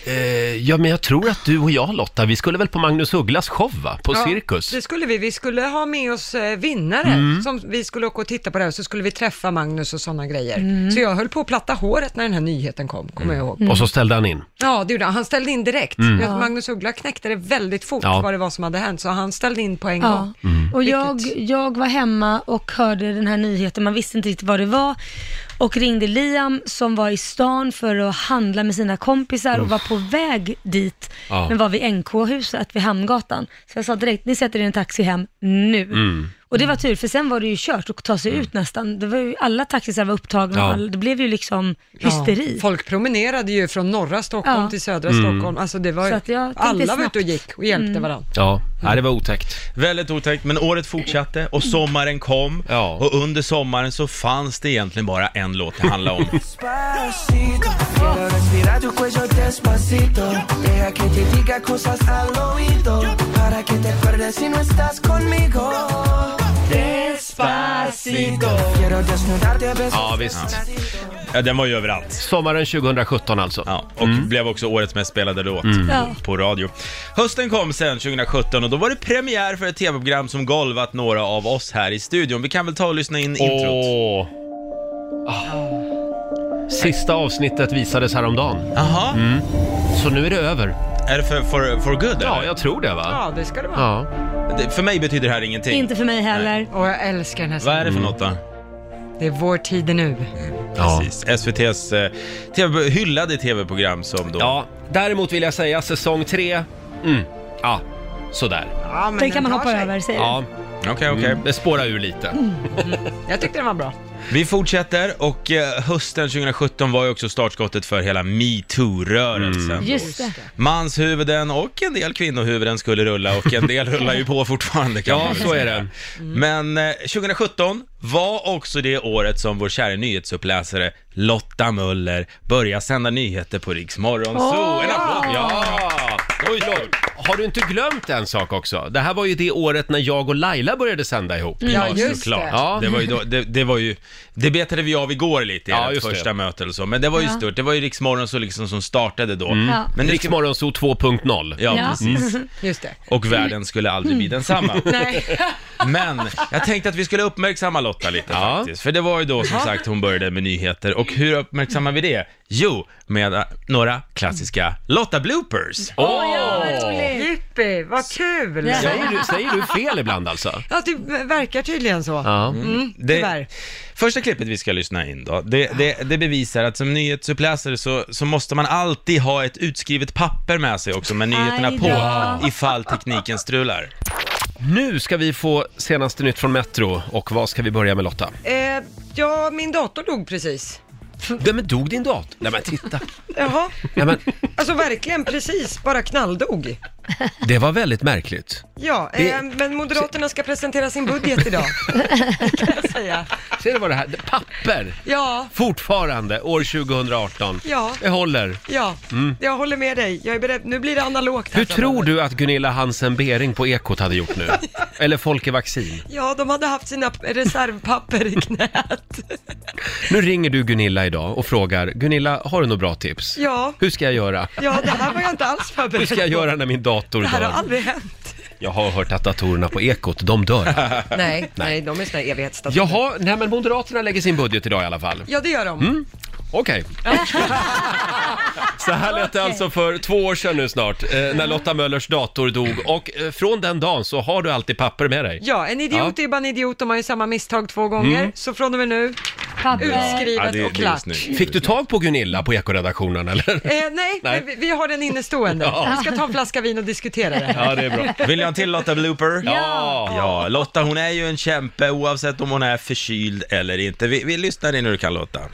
Speaker 1: Eh, ja, men jag tror att du och jag Lotta, vi skulle väl på Magnus Ugglas show va? På
Speaker 3: Ja,
Speaker 1: Cirkus?
Speaker 3: Det skulle vi. Vi skulle ha med oss eh, vinnare
Speaker 1: Mm.
Speaker 3: som vi skulle åka och titta på det här så skulle vi träffa Magnus och sådana grejer.
Speaker 2: Mm.
Speaker 3: Så jag höll på att platta håret när den här nyheten kom, kommer jag ihåg.
Speaker 1: Mm.
Speaker 3: Mm.
Speaker 1: Och så ställde han in.
Speaker 3: Ja, det gjorde han. Han ställde in direkt.
Speaker 1: Mm.
Speaker 3: Jag-
Speaker 1: Ja.
Speaker 3: Magnus Uggla knäckte det väldigt fort
Speaker 1: Ja.
Speaker 3: vad det var som hade hänt, så han ställde in på en
Speaker 2: Ja.
Speaker 3: gång.
Speaker 12: Mm.
Speaker 2: Och jag, jag var hemma och hörde den här nyheten, man visste inte riktigt vad det var. Och ringde Liam som var i stan för att handla med sina kompisar och var på väg dit.
Speaker 1: Ja.
Speaker 2: Men var vid NK-huset vid Hamngatan. Så jag sa direkt, ni sätter er i en taxi hem nu.
Speaker 1: Mm.
Speaker 2: Och det var tur, för sen var det ju kört att ta sig
Speaker 12: Mm.
Speaker 2: ut nästan. Det var ju, alla taxisar var upptagna,
Speaker 3: Ja.
Speaker 2: och all, det blev ju liksom hysteri.
Speaker 3: Ja, folk promenerade ju från norra Stockholm
Speaker 2: Ja.
Speaker 3: till södra
Speaker 1: Mm.
Speaker 3: Stockholm. Alltså det var
Speaker 2: Så
Speaker 3: ju,
Speaker 2: att jag tänkte
Speaker 3: alla var
Speaker 2: snabbt.
Speaker 3: ute och gick och hjälpte
Speaker 2: Mm.
Speaker 3: varandra.
Speaker 1: Ja, ja, det var otäckt.
Speaker 12: Väldigt otäckt, men året fortsatte och sommaren kom. Och under sommaren så fanns det egentligen bara en låt det handlade om.
Speaker 4: Despacito, quiero respirar tu cuello despacito. Deja que te diga cosas al oído para que te acuerdes si no estás conmigo. Despacito, quiero desnudarte a besos.
Speaker 12: Ja, visst. Ja, den var ju överallt.
Speaker 1: Sommaren 2017 alltså.
Speaker 12: Ja, och blev också årets mest spelade låt
Speaker 1: Mm.
Speaker 12: på,
Speaker 1: Ja.
Speaker 12: på radio. Hösten kom sen 2017 och då var det premiär för ett tv-program som golvat några av oss här i studion. Vi kan väl ta och lyssna in introt.
Speaker 1: Åh. Sista avsnittet visades häromdagen.
Speaker 12: Jaha.
Speaker 1: Mm. Så nu är det över.
Speaker 12: Är det för, for, for good eller?
Speaker 1: Ja, jag tror det va?
Speaker 3: Ja, det ska det vara.
Speaker 1: Ja.
Speaker 12: Det- För mig betyder det här ingenting.
Speaker 2: Inte för mig heller.
Speaker 3: Och jag älskar den här
Speaker 12: Vad är det för
Speaker 1: Mm.
Speaker 3: sången.
Speaker 12: något då?
Speaker 3: Det är vår tid är nu.
Speaker 12: Precis. SVT's eh, TV, hyllade tv-program som då...
Speaker 1: Ja, däremot vill jag säga säsong tre, mm, ja, sådär.
Speaker 3: Ja, men
Speaker 2: Den kan man
Speaker 3: tar
Speaker 2: hoppa
Speaker 3: sig.
Speaker 2: över, säger
Speaker 1: Ja.
Speaker 12: Okej, okej.
Speaker 1: Mm, det spårar ur lite.
Speaker 3: Jag tyckte den var bra.
Speaker 12: Vi fortsätter och eh, hösten 2017 var ju också startskottet för hela metoo-rörelsen.
Speaker 1: Mm.
Speaker 2: du. Just det.
Speaker 12: Manshuvuden och en del kvinnohuvuden skulle rulla och en del rullar ju på fortfarande kan
Speaker 1: Ja,
Speaker 12: man väl
Speaker 1: så är Mm.
Speaker 12: säga. Men eh, 2017 var också det året som vår kära nyhetsuppläsare Lotta Möller började sända nyheter på Riks Morgonzoo. En applåd!
Speaker 1: Ja! Oj, oj. Har du inte glömt en sak också? Det här var ju det året när jag och Laila började sända ihop.
Speaker 12: Ja, just det.
Speaker 1: Ja.
Speaker 12: Det, var ju då, det, det var ju, det betade vi av igår lite i
Speaker 1: Ja,
Speaker 12: ert
Speaker 1: just det.
Speaker 12: första möte eller så, men det var ju
Speaker 1: Ja.
Speaker 12: stort. Det var ju Rix så liksom som startade då.
Speaker 1: Mm.
Speaker 2: Ja.
Speaker 12: Men det-
Speaker 1: Rix Morgonzoo 2.0.
Speaker 12: Ja,
Speaker 3: *laughs*
Speaker 12: precis.
Speaker 3: Just det.
Speaker 12: Och världen skulle aldrig bli densamma.
Speaker 3: Nej.
Speaker 12: *laughs* Men jag tänkte att vi skulle uppmärksamma Lotta lite faktiskt. För det var ju då som
Speaker 3: Ja.
Speaker 12: sagt hon började med nyheter. Och hur uppmärksammar vi det? Jo, med eh, några klassiska Lotta-bloopers.
Speaker 3: Jippi, vad kul!
Speaker 12: Säger du-
Speaker 1: säger du fel ibland alltså?
Speaker 3: Ja, det verkar tydligen så. Mm,
Speaker 12: det,
Speaker 3: tyvärr.
Speaker 12: första klippet vi ska lyssna in då, det, det, det bevisar att som nyhetsuppläsare så, så måste man alltid ha ett utskrivet papper med sig också med nyheterna
Speaker 1: Aj
Speaker 12: på
Speaker 1: då.
Speaker 12: ifall tekniken strular.
Speaker 1: Nu ska vi få senaste nytt från Metro och vad ska vi börja med Lotta?
Speaker 3: Eh, ja, min dator dog precis.
Speaker 1: Nej men dog din dator? Nej men titta.
Speaker 3: Jaha,
Speaker 1: Nej, men,
Speaker 3: alltså verkligen precis, bara knalldog.
Speaker 1: det var väldigt märkligt.
Speaker 3: Ja,
Speaker 1: Det-
Speaker 3: eh, men Moderaterna ska presentera sin
Speaker 1: *laughs*
Speaker 3: budget idag. kan jag säga.
Speaker 1: Ser du vad det här, det är papper!
Speaker 3: Ja,
Speaker 1: Fortfarande, år 2018.
Speaker 3: Ja.
Speaker 1: Det håller.
Speaker 3: ja,
Speaker 1: Mm.
Speaker 3: jag håller med dig. Jag är beredd. Nu blir det analogt. här
Speaker 1: Hur
Speaker 3: framöver.
Speaker 1: tror du att Gunilla Hansen Bering på Ekot hade gjort nu? Eller Folke Vaccin?
Speaker 3: Ja, de hade haft sina p- reservpapper i knät.
Speaker 1: Nu ringer du Gunilla idag och frågar, Gunilla, har du några bra tips?
Speaker 3: Ja,
Speaker 1: Hur ska jag göra?
Speaker 3: ja, det här var jag inte alls förberedd
Speaker 1: Hur ska jag
Speaker 3: på.
Speaker 1: göra när min dator
Speaker 3: Det här har
Speaker 1: dör?
Speaker 3: aldrig hänt.
Speaker 1: Jag har hört att datorerna på Ekot, de dör.
Speaker 3: *laughs* Nej, nej, de är såna evighetsstatuer.
Speaker 1: Jaha, nej men Moderaterna lägger sin budget idag i alla fall.
Speaker 3: Ja, det gör de.
Speaker 1: Mm. Okej. *laughs* Så här lät det alltså för två år sedan nu snart, eh, när Lotta Möllers dator dog. Och eh, från den dagen så har du alltid papper med dig.
Speaker 3: Ja, en idiot är bara en idiot, de har ju samma misstag två gånger.
Speaker 1: Mm.
Speaker 3: Så från och med nu, utskrivet och klart.
Speaker 1: Fick du tag på Gunilla på Ekoredaktionen eller?
Speaker 3: Eh, nej,
Speaker 1: Nej.
Speaker 3: Men vi, vi har den innestående.
Speaker 1: Ja.
Speaker 3: Vi ska ta en flaska vin och diskutera det.
Speaker 12: Vill jag ha en till Lotta Blooper?
Speaker 3: Ja.
Speaker 12: ja! Lotta hon är ju en kämpe oavsett om hon är förkyld eller inte. Vi, vi lyssnar in hur du kan Lotta.
Speaker 1: *laughs*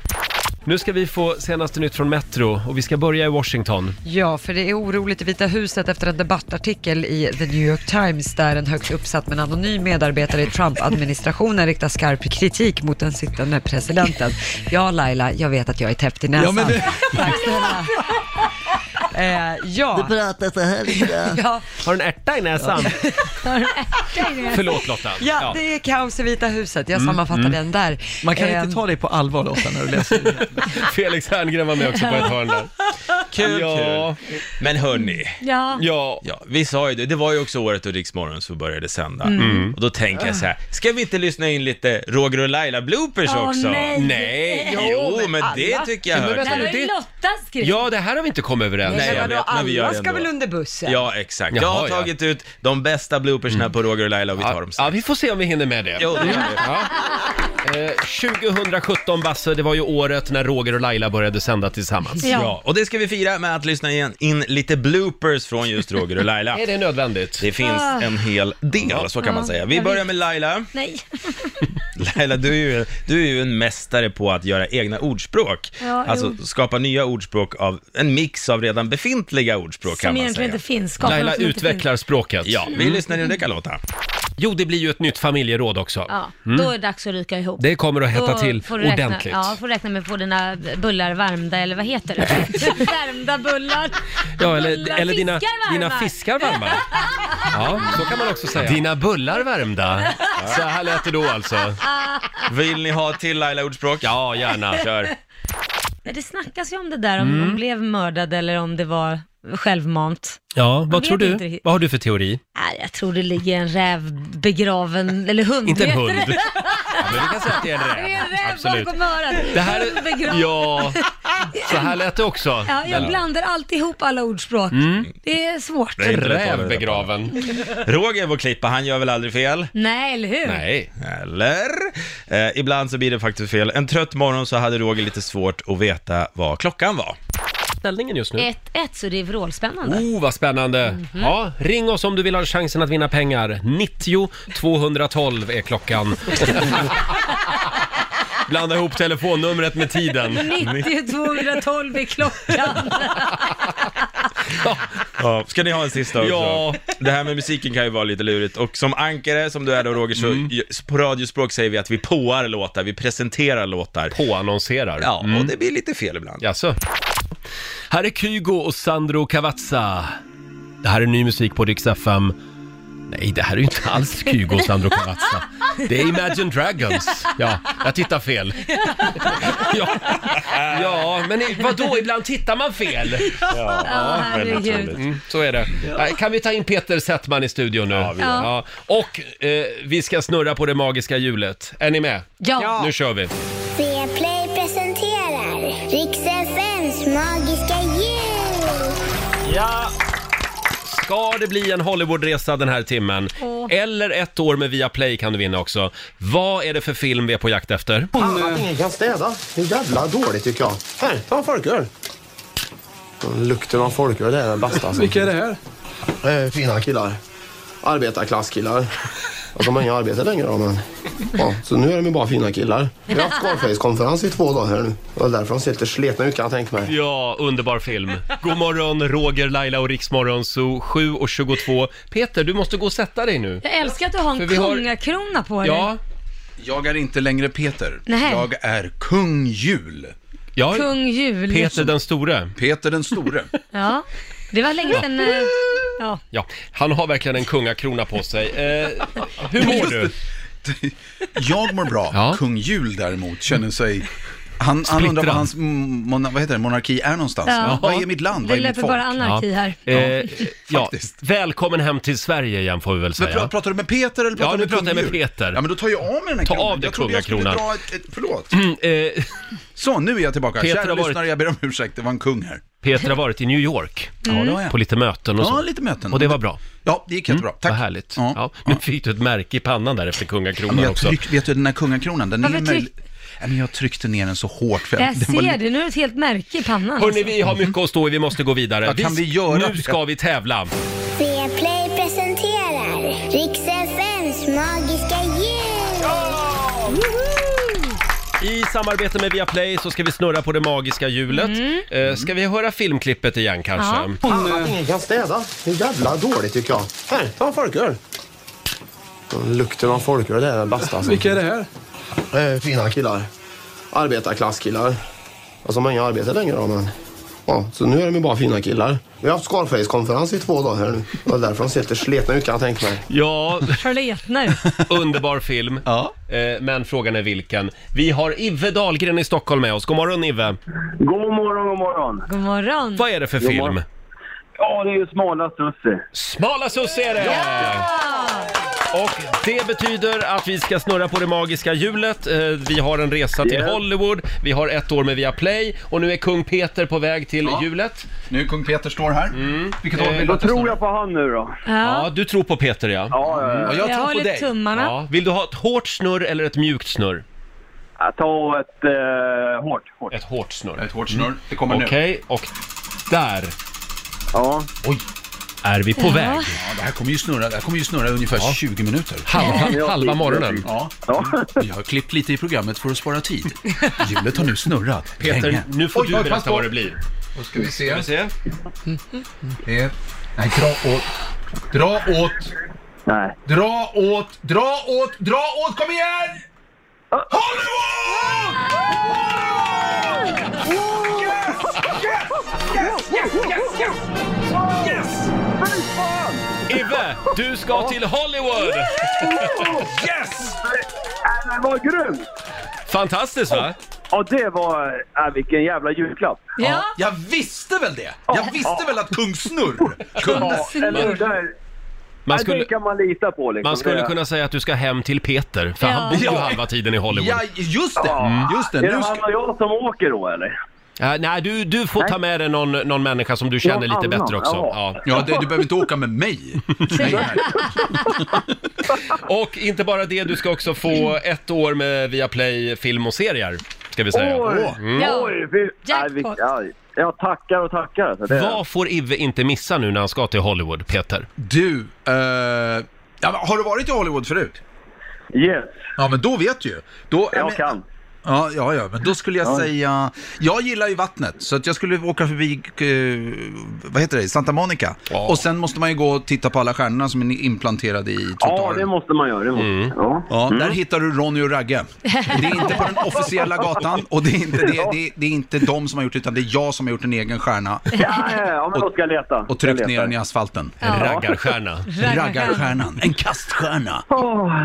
Speaker 1: Nu ska vi få senaste nytt från Metro och vi ska börja i Washington.
Speaker 3: Ja, för det är oroligt i Vita huset efter en debattartikel i The New York Times där en högt uppsatt men anonym medarbetare i Trump-administrationen riktar skarp kritik mot den sittande presidenten. Ja, Laila, jag vet att jag är täppt i näsan.
Speaker 4: Ja, men det-
Speaker 3: Tack snälla. Eh,
Speaker 13: *laughs*
Speaker 3: ja.
Speaker 4: Du pratar så här
Speaker 3: *laughs* ja.
Speaker 1: Har du en ärta i näsan? Förlåt Lotta.
Speaker 3: *laughs* Ja, det är kaos i Vita huset. Jag
Speaker 1: Mm,
Speaker 3: sammanfattar
Speaker 1: mm.
Speaker 3: den där.
Speaker 1: Man kan
Speaker 3: Eh,
Speaker 1: inte
Speaker 13: Ta dig på allvar Lotta när du läser det.
Speaker 1: Felix Herngren var med också på ett hörn där.
Speaker 12: Kul,
Speaker 1: Ja.
Speaker 12: kul. Men hörni.
Speaker 2: Ja.
Speaker 1: Ja.
Speaker 12: ja, vi sa ju det. Det var ju också året då Riksmorgon så började sända.
Speaker 1: Mm.
Speaker 12: Och då tänker jag så här, ska vi inte lyssna in lite Roger och Laila bloopers
Speaker 2: Åh,
Speaker 12: också?
Speaker 2: nej.
Speaker 12: jo, men, det tycker jag
Speaker 1: Men
Speaker 12: hör
Speaker 1: vänta nu,
Speaker 12: till.
Speaker 1: det-
Speaker 2: Lottas grej.
Speaker 1: Ja, det här har vi inte kommit överens
Speaker 12: Nej, jag
Speaker 1: om.
Speaker 12: vet, men vi gör det ändå.
Speaker 3: under bussen?
Speaker 12: Ja, exakt. jag
Speaker 1: Jaha,
Speaker 12: har
Speaker 1: ja. Mm.
Speaker 12: tagit ut de bästa bloopersna på Roger och Laila och vi tar dem sen.
Speaker 1: Ja, vi får se om vi hinner med det.
Speaker 12: Jo, det gör vi.
Speaker 1: Ja. Eh, 2017 Basse, det var ju året när Roger och Laila började sända tillsammans.
Speaker 12: Ja. Ja, och det ska vi fira med att lyssna igen, in lite bloopers från just Roger och Laila.
Speaker 1: Är det nödvändigt?
Speaker 12: Det finns
Speaker 2: Ah.
Speaker 12: en hel del, så kan man
Speaker 2: Ja,
Speaker 12: säga. Vi
Speaker 2: jag
Speaker 12: börjar
Speaker 2: vet.
Speaker 12: med Laila.
Speaker 2: Nej.
Speaker 12: *laughs* Laila, du är, ju, du är ju en mästare på att göra egna ordspråk.
Speaker 2: Ja,
Speaker 12: alltså
Speaker 2: jo.
Speaker 12: skapa nya ordspråk av en mix av redan befintliga ordspråk
Speaker 2: Som
Speaker 12: kan man
Speaker 2: egentligen
Speaker 12: säga.
Speaker 2: inte finns. Skapar något som inte finns.
Speaker 1: språket.
Speaker 12: Ja, vi
Speaker 1: Mm.
Speaker 12: lyssnar in det kan låta.
Speaker 1: Jo, det blir ju ett nytt familjeråd också.
Speaker 2: Ja,
Speaker 1: Mm.
Speaker 2: då är det dags att ryka ihop.
Speaker 1: Det kommer att hetta
Speaker 2: Då
Speaker 1: till
Speaker 2: får du räkna,
Speaker 1: ordentligt.
Speaker 2: Ja, får räkna med att få dina bullar varmda, eller vad
Speaker 1: *laughs*
Speaker 2: heter det? Värmda bullar.
Speaker 1: Ja, eller,
Speaker 2: Bullar,
Speaker 1: eller dina,
Speaker 2: fiskar
Speaker 1: dina
Speaker 2: varma.
Speaker 1: fiskar varma. Ja, så kan man också säga. Dina bullar värmda. Så här lät det då alltså.
Speaker 2: Ah.
Speaker 12: Vill ni ha till Laila-ordspråk?
Speaker 1: Ja, gärna.
Speaker 12: Kör.
Speaker 2: Nej, Det snackas ju om det där, om
Speaker 1: Mm.
Speaker 2: de blev mördade eller om det var självmant.
Speaker 1: Ja,
Speaker 2: Man
Speaker 1: vad
Speaker 2: vet
Speaker 1: tror
Speaker 2: inte
Speaker 1: du?
Speaker 2: riktigt.
Speaker 1: Vad har du för teori?
Speaker 2: Nej, jag tror det ligger en räv begraven, eller hund.
Speaker 1: Inte en
Speaker 2: heter
Speaker 1: hund.
Speaker 2: det.
Speaker 1: Ja, men vi kan säga att det är en räv.
Speaker 2: Det är en räv
Speaker 1: Absolut.
Speaker 2: bakom örat.
Speaker 1: Det här
Speaker 2: Hund
Speaker 1: är...
Speaker 2: begraven.
Speaker 1: Ja, så här lät det också.
Speaker 2: Ja, jag blandar alltid ihop alla ordspråk.
Speaker 1: Mm.
Speaker 2: Det är svårt.
Speaker 12: Det är inte lätt att hålla reda på.
Speaker 1: begraven.
Speaker 12: Roger, vår klippa, han gör väl aldrig fel?
Speaker 2: Nej, eller hur?
Speaker 1: Nej.
Speaker 12: Eller? Eh, ibland så blir det faktiskt fel. En trött morgon så hade Roger lite svårt att veta vad klockan var.
Speaker 1: Ställningen just nu.
Speaker 2: 1-1, så det är vrålspännande.
Speaker 1: Oh, vad spännande!
Speaker 2: Mhm.
Speaker 1: Ja, ring oss om du vill ha chansen att vinna pengar. 90 212 är
Speaker 2: *laughs*
Speaker 1: klockan. Blanda ihop telefonnumret med tiden.
Speaker 2: 90 212 är klockan.
Speaker 12: Ja, *laughs* ska ni ha en sista också?
Speaker 1: Ja.
Speaker 12: Det här med musiken kan ju vara lite lurigt och som ankare, som du är då Roger, så
Speaker 1: Mm.
Speaker 12: på radiospråk säger vi att vi påar låtar, vi presenterar låtar.
Speaker 1: Påannonserar? Mm.
Speaker 12: Ja, och det blir lite fel ibland.
Speaker 1: Jaså? Här är Kygo och Sandro Cavazza. Det här är ny musik på Rix FM. Nej, det här är ju inte alls Kygo och Sandro Cavazza. Det är Imagine Dragons. Ja, jag tittar fel. Ja, ja men i- vadå, ibland tittar man fel. Ja,
Speaker 2: Ja, herregud. väldigt roligt.
Speaker 1: Mm, så är det. Nej, Kan vi ta in Peter Settman i studion nu? Ja,
Speaker 2: vi gör det.
Speaker 1: Och eh, vi ska snurra på det magiska hjulet. Är ni med?
Speaker 9: Ja.
Speaker 1: Nu kör vi.
Speaker 9: Viaplay presenterar Riks FMs magiska jul.
Speaker 1: Ja! Ska det bli en Hollywoodresa den här timmen?
Speaker 9: Åh.
Speaker 1: Eller ett år med Viaplay kan du vinna också. Vad är det för film vi är på jakt efter?
Speaker 14: Fan att ingen kan städa. Det är jävla dåligt tycker jag. Här, ta en folköl. *laughs* Lukten av folköl är den bästa. Alltså.
Speaker 6: Vilka är
Speaker 14: det här? Eh, fina killar. Arbetarklasskillar. Och de har inga arbete längre då, men... Ja, så nu är de ju bara fina killar. Vi har haft Scarface-konferens i två dagar här nu. Det var därför de ser lite sletna ut kan jag tänka mig.
Speaker 1: Ja, underbar film. God morgon, Roger, Laila och Riksmorgon, så 7 och 22. Peter, du måste gå och sätta dig nu.
Speaker 2: Jag älskar att du har
Speaker 1: För
Speaker 2: en
Speaker 1: vi har-
Speaker 2: kungakrona på dig.
Speaker 1: Ja.
Speaker 13: Jag är inte längre Peter.
Speaker 2: Nähä.
Speaker 13: Jag är kung Jul.
Speaker 2: Kung Jul.
Speaker 1: den store.
Speaker 13: Peter den store.
Speaker 2: Ja, det var länge sedan... eh, Ja.
Speaker 1: Ja, han har verkligen en kungakrona på sig. Eh, hur mår du?
Speaker 13: *laughs* Jag mår bra. Kung Jul däremot känner sig... Han, han undrar
Speaker 1: Splittrad.
Speaker 13: vad hans mm, mona, vad heter det, monarki är någonstans.
Speaker 2: Ja.
Speaker 13: Vad är mitt land?
Speaker 2: Det
Speaker 13: Vad är mitt
Speaker 2: löper
Speaker 13: folk?
Speaker 2: bara anarki här.
Speaker 1: Eh,
Speaker 13: *laughs*
Speaker 1: ja, välkommen hem till Sverige igen får vi väl
Speaker 13: Men
Speaker 1: säga.
Speaker 13: pra- pratar du med Peter eller
Speaker 1: Ja,
Speaker 13: pratar du
Speaker 1: nu
Speaker 13: med kung
Speaker 1: pratar jag med
Speaker 13: Jul?
Speaker 1: Peter.
Speaker 13: Ja, men då tar jag av mig den här
Speaker 1: Ta
Speaker 13: kronan. Mm, eh.
Speaker 1: av dig
Speaker 13: jag trodde jag skulle
Speaker 1: kungakronan.
Speaker 13: dra ett, ett, förlåt.
Speaker 1: Så,
Speaker 13: nu är jag tillbaka.
Speaker 1: Peter
Speaker 13: Kära
Speaker 1: har varit-
Speaker 13: lyssnare, jag ber om ursäkt. Det var en kung här.
Speaker 1: Peter har varit i New York.
Speaker 13: Ja, det har jag.
Speaker 1: På lite möten och
Speaker 13: Ja,
Speaker 1: så.
Speaker 13: lite möten.
Speaker 1: Och det var bra. Mm,
Speaker 13: Ja, det gick jättebra. Tack.
Speaker 1: Vad härligt. Ja. Nu fick du ett märke i pannan där efter
Speaker 13: Ja, men
Speaker 1: kungakronan
Speaker 13: jag
Speaker 1: också.
Speaker 13: tryck, vet du, den här kungakronan, den
Speaker 2: Varför
Speaker 13: är möjlig... Nej, men jag tryckte ner den så hårt. För
Speaker 2: Jag
Speaker 13: den var
Speaker 2: ser det, nu är det ett helt märke i pannan.
Speaker 1: Hörni,
Speaker 2: alltså.
Speaker 1: vi har mycket att stå i, vi måste gå vidare.
Speaker 13: Vad kan vi göra?
Speaker 1: Nu ska vi tävla.
Speaker 9: Viaplay presenterar Riks FMs magiska jul.
Speaker 1: I samarbete med Viaplay så ska vi snurra på det magiska hjulet. Eh, ska vi höra filmklippet igen kanske?
Speaker 14: Fan att ingen kan städa. Det är jävla dåligt tycker jag. Här, ta en folköl. Lukten av folköl är den bästa. Alltså.
Speaker 6: Vilka är det
Speaker 14: här? Eh, fina killar. Arbetarklasskillar. Och som har inga arbete längre då, men... Ja, så nu är de ju bara fina killar. Vi har haft Scarface-konferens i två dagar här nu. Det var därför de ser lite sletna ut kan jag tänka mig.
Speaker 1: Ja,
Speaker 2: Förletna ut.
Speaker 1: *laughs* underbar film. Eh, men frågan är vilken. Vi har Ive Dahlgren i Stockholm med oss. God morgon Ive.
Speaker 15: God morgon, god morgon.
Speaker 2: God morgon.
Speaker 1: Vad är det för
Speaker 15: God
Speaker 1: film?
Speaker 15: morgon. Ja, det är ju smala Sussie.
Speaker 1: Smala Sussie är det! Och det betyder att vi ska snurra på det magiska hjulet. Eh, Vi har en resa till
Speaker 13: Yes.
Speaker 1: Hollywood, vi har ett år med Viaplay och nu är kung Peter på väg till hjulet.
Speaker 13: Nu kung Peter står här. Vilket
Speaker 1: år vill du
Speaker 15: Eh, Då
Speaker 1: att jag
Speaker 15: tror jag på han nu då.
Speaker 1: Ja.
Speaker 2: Ja.
Speaker 1: du tror på Peter ja.
Speaker 15: ja, ja.
Speaker 2: Jag Jag tror på håller dig. tummarna.
Speaker 1: Ja. Vill du ha ett hårt snurr eller ett mjukt snurr?
Speaker 15: Ja, Ta ett eh, hårt, hårt.
Speaker 1: Ett hårt snurr.
Speaker 13: Ett hårt snurr. Det kommer nu.
Speaker 1: Okej, och där.
Speaker 15: Ja.
Speaker 1: Oj, är vi på
Speaker 13: Ja.
Speaker 1: väg?
Speaker 13: Ja, det här kommer ju snurra, det här kommer ju snurra i ungefär 20 minuter.
Speaker 1: Halva- Ja. halva morgonen.
Speaker 13: Ja. Vi har klippt lite i programmet för att
Speaker 1: *laughs*
Speaker 13: spara tid. Hjulet har nu snurrat
Speaker 1: Peter,
Speaker 13: länge.
Speaker 1: nu får du berätta
Speaker 13: pass på.
Speaker 1: vad det blir.
Speaker 13: Då ska vi se. Ska vi se? Eh, nej, dra åt. Dra åt.
Speaker 15: Nej.
Speaker 13: Dra åt, dra åt, dra åt, kom igen!
Speaker 4: Yes, yes, yes, yes! Yes! Fy fan!
Speaker 1: Ibbe, du ska till Hollywood!
Speaker 15: Yes! Äh, men vad grymt!
Speaker 1: Fantastiskt va?
Speaker 15: Ja, det var... Äh, vilken jävla julklapp.
Speaker 13: Ja. Jag visste väl det! Jag visste väl att kung Snurr kunde...
Speaker 15: Ja, eller hur? Där- Ja,
Speaker 1: Man skulle-
Speaker 15: Det kan man lita på liksom.
Speaker 1: Man skulle
Speaker 15: Det-
Speaker 1: kunna säga att du ska hem till Peter, för han
Speaker 15: Ja.
Speaker 1: bor ju
Speaker 15: Ja.
Speaker 1: halva tiden i Hollywood.
Speaker 15: Ja, det,
Speaker 13: just just
Speaker 15: Är det han och jag som åker då eller?
Speaker 1: Äh, nej, du, du får ta med dig någon, någon människa som du känner
Speaker 15: Någon
Speaker 1: lite
Speaker 15: annan,
Speaker 1: bättre också.
Speaker 15: ja.
Speaker 13: Ja, det- du behöver inte åka
Speaker 1: *laughs*
Speaker 13: med mig.
Speaker 1: och inte bara det, du ska också få ett år med Viaplay film och serier, ska vi säga.
Speaker 15: Oj!
Speaker 1: Mm.
Speaker 15: Oj! Fy... Nej, vi... ja, jag tackar och tackar. Så det...
Speaker 1: Vad får Ive inte missa nu när han ska till Hollywood, Peter?
Speaker 13: Du, eh, ja, men har du varit i Hollywood förut?
Speaker 15: Yes.
Speaker 13: Ja, men då vet du ju. Då,
Speaker 15: Jag
Speaker 13: men-
Speaker 15: kan.
Speaker 13: Ja, ja, ja, men då skulle jag
Speaker 15: Ja.
Speaker 13: säga... Jag gillar ju vattnet, så att jag skulle åka förbi, eh, vad heter det, Santa Monica. Och sen måste man ju gå och titta på alla stjärnorna som är inplanterade i
Speaker 15: Ja,
Speaker 13: trottoaren.
Speaker 15: det måste man göra. Det måste... man. Ja.
Speaker 13: Ja, där
Speaker 15: Mm.
Speaker 13: hittar du Ronny och Ragge. Det är inte på den officiella gatan och det är inte, det, är- det, är- det är inte de som har gjort det, utan det är jag som har gjort en egen stjärna
Speaker 15: Ja, ja, ja, men då ska jag leta.
Speaker 13: och tryckt
Speaker 15: Jag
Speaker 13: ner
Speaker 15: letar.
Speaker 13: den i asfalten.
Speaker 15: Ja. Raggarstjärna.
Speaker 13: Raggarstjärnan. En kaststjärna.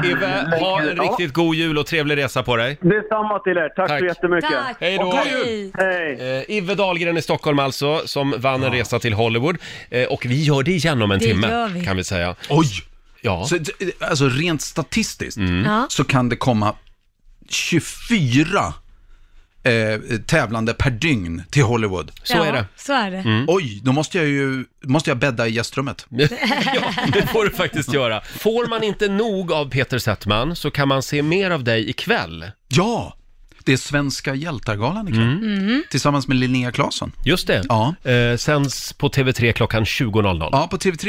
Speaker 1: Ive, ha en
Speaker 15: Ja.
Speaker 1: riktigt god jul och trevlig resa på dig.
Speaker 15: Detsamma till er. Tack, så jättemycket.
Speaker 1: Hej då! Eh, Ive Dahlgren i Stockholm alltså, som vann en resa till Hollywood. Eh, och vi gör det igen om en
Speaker 13: Det
Speaker 1: timme,
Speaker 13: gör vi.
Speaker 1: kan vi säga.
Speaker 13: Oj!
Speaker 1: Ja.
Speaker 13: Så, d- alltså rent statistiskt
Speaker 2: Mm.
Speaker 1: Ja.
Speaker 13: så kan det komma 24 eh, tävlande per dygn till Hollywood.
Speaker 2: ja, Så är det. Mm.
Speaker 1: Mm.
Speaker 13: Oj, då måste jag ju måste jag bädda
Speaker 1: *laughs*
Speaker 13: i gästrummet.
Speaker 1: Det får du faktiskt göra. Får man inte nog av Peter Settman så kan man se mer av dig ikväll.
Speaker 13: Ja, det är Svenska hjältargalan ikväll.
Speaker 2: Mm.
Speaker 13: Tillsammans med Linnea Claesson.
Speaker 1: Just det.
Speaker 13: Ja.
Speaker 1: Eh, sänds på TV3 klockan 20.00.
Speaker 13: Ja, på TV3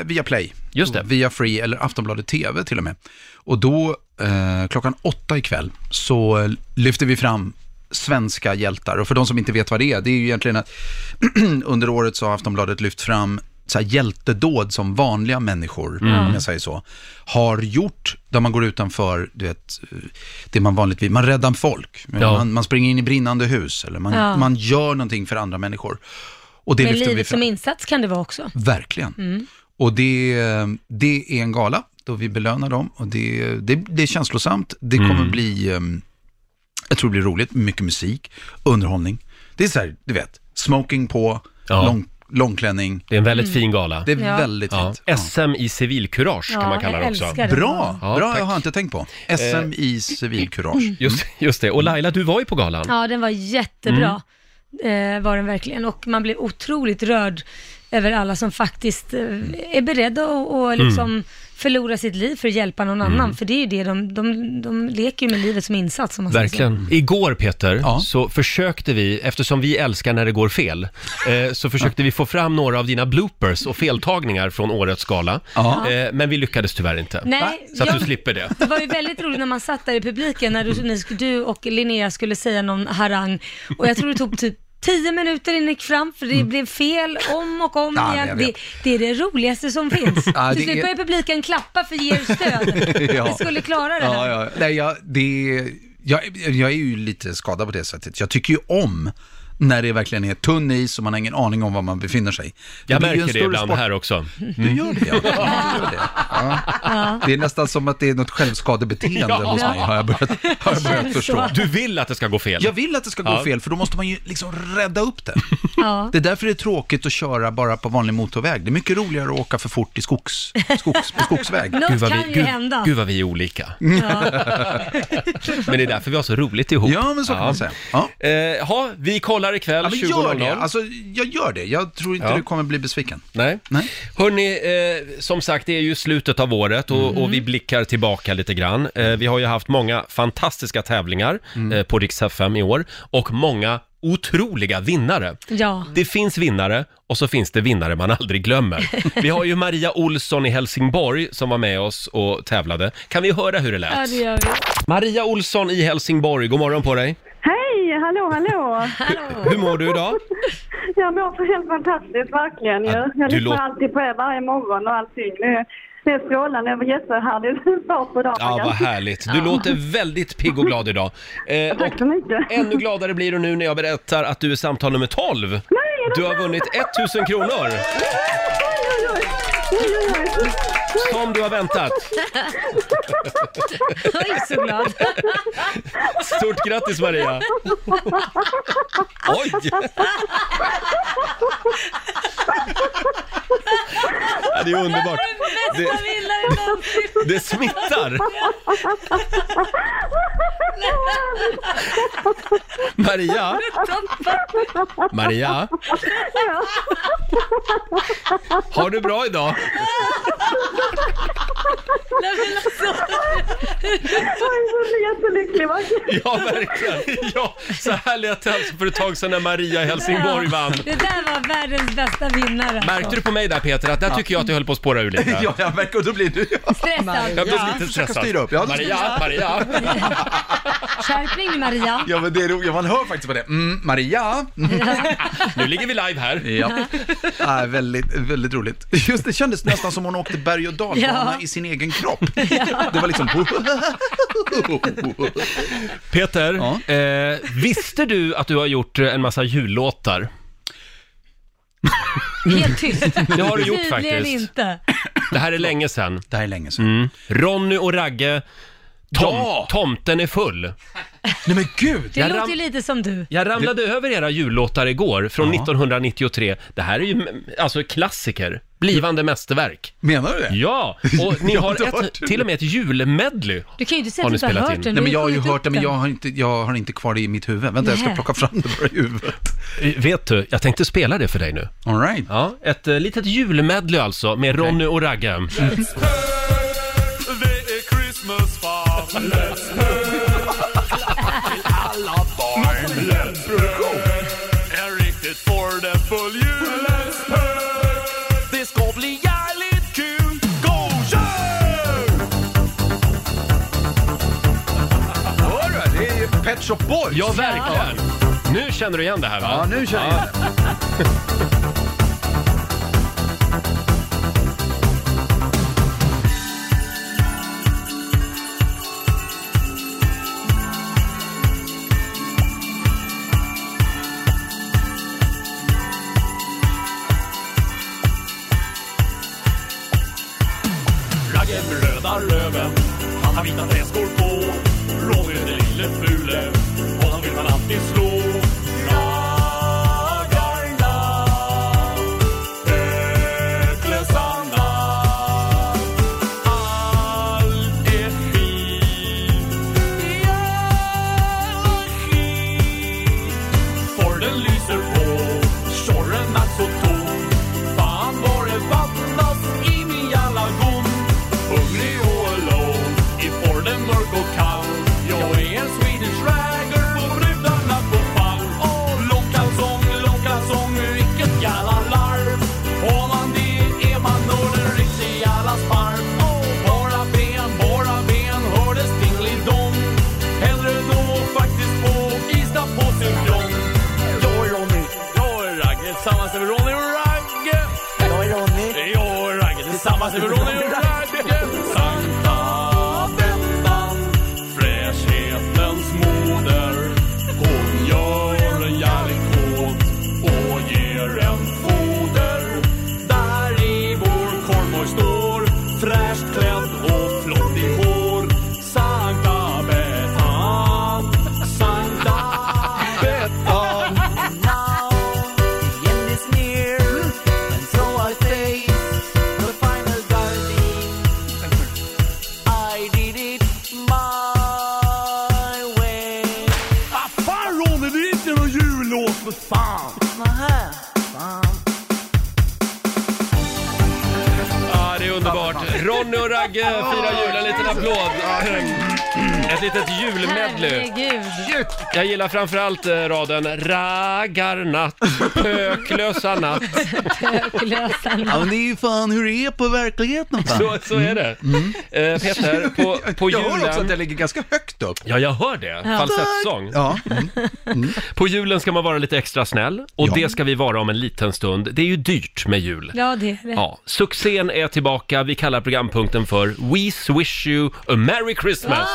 Speaker 13: eh, via Play. Just det. Via Free eller Aftonbladet TV till och med. Och då, eh, klockan åtta ikväll, så eh, lyfter vi fram svenska hjältar. Och för de som inte vet vad det är, det är ju egentligen att *clears throat* under året så har Aftonbladet lyft fram så här hjältedåd som vanliga människor,
Speaker 6: Mm.
Speaker 13: om jag säger så, har gjort, där man går utanför du vet, det man vanligtvis, man räddar folk,
Speaker 6: Ja.
Speaker 13: man, man springer in i brinnande hus, eller man,
Speaker 2: Ja.
Speaker 13: man gör någonting för andra människor. Och det
Speaker 2: Med
Speaker 13: lyfter vi
Speaker 2: livet
Speaker 13: fram.
Speaker 2: som insats kan det vara också.
Speaker 13: Verkligen.
Speaker 2: Mm.
Speaker 13: Och det, det är en gala då vi belönar dem och det, det, det är känslosamt. Det kommer
Speaker 1: Mm.
Speaker 13: bli, ehm, jag tror det blir roligt, mycket musik, underhållning. Det är så här, du vet, smoking på, lång, långklänning.
Speaker 1: Det är en väldigt fin gala.
Speaker 13: Det är väldigt fint.
Speaker 1: SM i civilkurage kan man kalla det också.
Speaker 13: Bra,
Speaker 1: Ja,
Speaker 13: bra,
Speaker 1: tack.
Speaker 13: jag har inte tänkt på.
Speaker 1: Eh. *laughs*
Speaker 13: SM i civilkurage. Mm.
Speaker 1: Just, just det, och Laila du var ju på galan.
Speaker 2: Ja, den var jättebra.
Speaker 13: Mm.
Speaker 2: Eh, var den verkligen. Och man blev otroligt rörd över alla som faktiskt eh, är beredda att och
Speaker 13: Mm.
Speaker 2: liksom förlora sitt liv för att hjälpa någon annan. För det är ju det, de, de, de leker ju med livet som insats. Om man säger så.
Speaker 1: Verkligen. Igår Peter, så försökte vi, eftersom vi älskar när det går fel, eh, så försökte vi få fram några av dina bloopers och feltagningar från årets gala.
Speaker 2: Ja.
Speaker 1: Eh, men vi lyckades tyvärr inte.
Speaker 2: Nej,
Speaker 1: så att
Speaker 2: jag-
Speaker 1: du slipper det.
Speaker 2: Det var ju väldigt roligt när man satt där i publiken när
Speaker 13: Mm.
Speaker 2: du, ni, du och Linnea skulle säga någon harang och jag tror det tog typ tio minuter innan ni gick fram för det blev fel om och om
Speaker 13: Mm. Ja, men jag
Speaker 2: igen. Det,
Speaker 13: vet.
Speaker 2: det är det roligaste som finns.
Speaker 13: Ja,
Speaker 2: Till
Speaker 13: det
Speaker 2: slut
Speaker 13: är-
Speaker 2: började publiken klappa för er
Speaker 13: *laughs*
Speaker 2: stöd.
Speaker 13: Ja.
Speaker 2: Ni skulle klara det
Speaker 13: Ja,
Speaker 2: här.
Speaker 13: ja. Nej, jag, det, jag, jag är ju lite skadad på det sättet. Jag tycker ju om när det verkligen är tunn is och man har ingen aning om var man befinner sig.
Speaker 1: Jag
Speaker 13: blir ju en
Speaker 1: märker det
Speaker 13: större
Speaker 1: ibland
Speaker 13: sport- Mm.
Speaker 1: här också. Mm.
Speaker 13: Du gör det, ja. Du gör
Speaker 12: *laughs*
Speaker 13: det. Ja. Det är nästan som att det är något självskadebeteende
Speaker 1: Ja.
Speaker 13: hos mig, har jag börjat, har jag börjat
Speaker 1: Känns
Speaker 13: förstå.
Speaker 1: så. Du vill att det ska gå fel.
Speaker 13: Jag vill att det ska gå
Speaker 1: Ja.
Speaker 13: fel, för då måste man ju liksom rädda upp det.
Speaker 2: Ja.
Speaker 13: Det är därför det är tråkigt att köra bara på vanlig motorväg. Det är mycket roligare att åka för fort i skogs, skogs, på skogsväg.
Speaker 2: Något Gud, vad vi- kan ju gud- hända.
Speaker 1: Gud vad vi är olika. Men det är därför vi har så roligt ihop.
Speaker 13: Ja, men så kan man säga.
Speaker 1: Ja. Eh, ha, vi kollar Målar ikväll,
Speaker 13: Ja, men gör
Speaker 1: 20.00.
Speaker 13: det. Alltså, jag gör det. Jag tror inte du kommer bli besviken.
Speaker 1: Nej. Nej. Hörni, eh, som sagt, det är ju slutet av året och, och
Speaker 6: Mm.
Speaker 1: vi blickar tillbaka lite grann. Eh, vi har ju haft många fantastiska tävlingar
Speaker 6: Mm.
Speaker 1: eh, på Rix FM i år och många otroliga vinnare.
Speaker 2: Ja.
Speaker 1: Det finns vinnare och så finns det vinnare man aldrig glömmer. Vi har ju Maria Olsson i Helsingborg som var med oss och tävlade. Kan vi höra hur det lät?
Speaker 6: Ja, det gör vi.
Speaker 1: Maria Olsson i Helsingborg, god morgon på dig.
Speaker 6: Hej, hallå, hallå! *laughs*
Speaker 1: Hur mår du idag?
Speaker 6: Jag mår så helt fantastiskt, verkligen ju. Jag
Speaker 1: du
Speaker 6: lyssnar
Speaker 1: låter-
Speaker 6: alltid på er varje morgon och allting. Nu- Det är strålande, det var jättehärligt *laughs* start på dagen.
Speaker 1: Ja, vad härligt. Du
Speaker 6: Ja.
Speaker 1: låter väldigt pigg och glad idag. Eh,
Speaker 6: *laughs* Tack så mycket.
Speaker 1: Ännu gladare blir du nu när jag berättar att du är samtal nummer 12. Du har vunnit 1000 kronor, som du har väntat.
Speaker 2: *laughs* Jag är så glad.
Speaker 1: Stort grattis Maria! Oj! Ja, det är underbart. Det, det
Speaker 2: *laughs*
Speaker 1: smittar. Maria, Maria? har du bra idag? *laughs*
Speaker 6: Nej men alltså! Jag är jättelycklig verkligen.
Speaker 1: Ja, verkligen. Ja, så här lät det alltså för ett tag sedan när Maria i Helsingborg vann.
Speaker 2: Det där var världens bästa vinnare. alltså.
Speaker 1: Märkte du på mig där Peter att där tycker jag att jag höll på att spåra ur lite?
Speaker 13: *laughs* Ja, jag märker och då blir du...
Speaker 2: Stressad.
Speaker 1: Jag blev lite stressad.
Speaker 13: styra upp. Ja,
Speaker 1: Maria, Maria.
Speaker 2: Skärpning nu Maria.
Speaker 13: Ja, men det är roligt. Man hör faktiskt på det. Mm, Maria.
Speaker 1: Nu ligger vi live här.
Speaker 13: Ja. Ja, väldigt, väldigt roligt. Just det kändes nästan som hon åkte berg och dalbana
Speaker 1: Ja.
Speaker 13: i sin egen kropp. Det var liksom...
Speaker 1: Peter, eh, visste du att du har gjort eh, en massa jullåtar?
Speaker 2: Helt tyst.
Speaker 1: *laughs* Det har du gjort
Speaker 2: Tydligen
Speaker 1: faktiskt.
Speaker 2: inte.
Speaker 1: Det här är länge sedan.
Speaker 13: Det här är länge sedan.
Speaker 1: Mm. Ronny och Ragge, tom, tomten är full.
Speaker 13: Nej men gud!
Speaker 2: Det låter ju lite som du.
Speaker 1: Jag ramlade över era jullåtar igår från 1993. Det här är ju mm, alltså klassiker, blivande mästerverk.
Speaker 13: Menar du det?
Speaker 1: Ja, och ni
Speaker 13: Jag har
Speaker 1: har
Speaker 13: inte hört
Speaker 1: ett,
Speaker 13: det.
Speaker 1: till och med ett julmedley.
Speaker 2: Du kan ju inte säga
Speaker 1: Har
Speaker 2: att du
Speaker 1: ni
Speaker 2: inte har
Speaker 1: spelat
Speaker 2: hört
Speaker 1: in?
Speaker 2: den.
Speaker 13: Nej, men jag har ju
Speaker 2: Du
Speaker 13: hört det, men
Speaker 2: ju
Speaker 13: jag har, inte, jag har inte kvar det i mitt huvud. Vänta, jag ska
Speaker 2: Nej. *laughs*
Speaker 13: plocka *laughs* fram det bara i huvudet.
Speaker 1: Vet du, jag tänkte spela det för dig nu.
Speaker 13: All right.
Speaker 1: Ja, ett eh, litet julmedley alltså med Ronny och Ragge.
Speaker 6: Det är Christmas farm, let's alla barn. Let's En riktigt för jul, let's Det ska bli jävligt kul, go kör!
Speaker 13: Hör du? Det är ju Pet Shop Boys!
Speaker 1: Ja, verkligen! Nu känner du igen det här va?
Speaker 13: Ja, nu känner jag igen
Speaker 6: Raggen röda röven, han har vita träskor på. Ronny den lille fule, och han vill man alltid slå. Raggarna, ödlösarna. Allt är fint, jävla skit. Forden lyser på, Tjorren är så tom. Fan var det vattnas in i alla gon. Hungrig och alone, i Forden mörk och kall. Jag är en Swedish ragger på brudarna på fall. Åh, lockalsång, lockalsång, vilket jävla larv. Har man det är man nog en riktig jävla sparv. Åh, bara ben, bara ben, hördes tingelidong. Hellre då faktiskt på Ystad på sin kron. Jag är Ronny. Jag är Ragge. Tillsammans är vi Ronny och Ragge. Jag är Ronny. Jag är Ragge. Tillsammans är vi Ronny och Ragge. Santa väntan, fräschhetens moder. Hon gör en jävligt kåt och ger en foder. Där i vår korvborg står fräscht klädd och flott i hår. Sankta Bettan, Sankta Bettan.
Speaker 1: Underbart! Ronny och Ragge firar jul, en liten applåd! Ett litet julmedley.
Speaker 2: Herregud.
Speaker 1: Jag gillar framförallt eh, raden Raggarnatt, pöklösa natt.
Speaker 2: Pöklösarna.
Speaker 13: men det är ju fan hur det är på verkligheten. Fan.
Speaker 1: Så, så är det. Eh, Peter, på, på
Speaker 13: Mm. jag
Speaker 1: julen...
Speaker 13: hör också att jag ligger ganska högt upp.
Speaker 1: Ja, jag hör det.
Speaker 13: Ja.
Speaker 1: Falsettsång. På julen ska man vara lite extra snäll och det ska vi vara om en liten stund. Det är ju dyrt med jul.
Speaker 2: Ja, det är det.
Speaker 1: Ja, succén är tillbaka. Vi kallar programpunkten för We Swish You a Merry Christmas.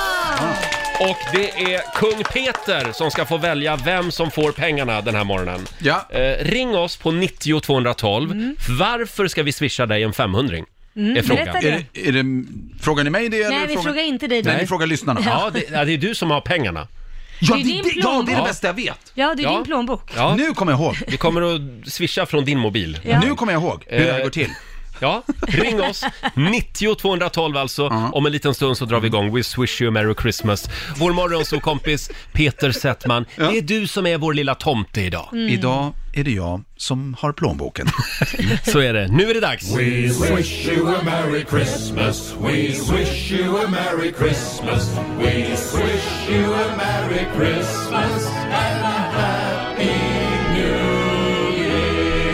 Speaker 1: Och det är kung Peter som ska få välja vem som får pengarna den här morgonen. Eh, ring oss på 90 212. Varför ska vi swisha dig en 500
Speaker 2: Mm,
Speaker 1: är frågan.
Speaker 2: berätta det. Är
Speaker 1: det, frågar ni mig det?
Speaker 2: eller Nej, vi frågar- frågar inte dig det. Nej, vi frågar lyssnarna.
Speaker 1: Ja, det, ja, det är du som har pengarna.
Speaker 2: Ja, Det är det- din ja, det är det plånbok. bästa
Speaker 1: jag vet.
Speaker 2: Ja, det är din plånbok.
Speaker 1: Nu kommer jag ihåg. Vi kommer att swisha från din mobil.
Speaker 2: Ja. Nu
Speaker 1: kommer jag ihåg
Speaker 13: hur det här går
Speaker 1: till. Ja, ring oss. 90 212 alltså. Om en liten stund så drar vi igång We Swish You a Merry Christmas. Vår morgonsåkompis Peter Settman, det är du som är vår lilla tomte idag.
Speaker 13: Mm. Idag
Speaker 1: är det jag som har plånboken. *laughs* så är det. Nu är det dags.
Speaker 6: We wish you a Merry Christmas. We wish you a Merry Christmas. We wish you a Merry Christmas and a Happy New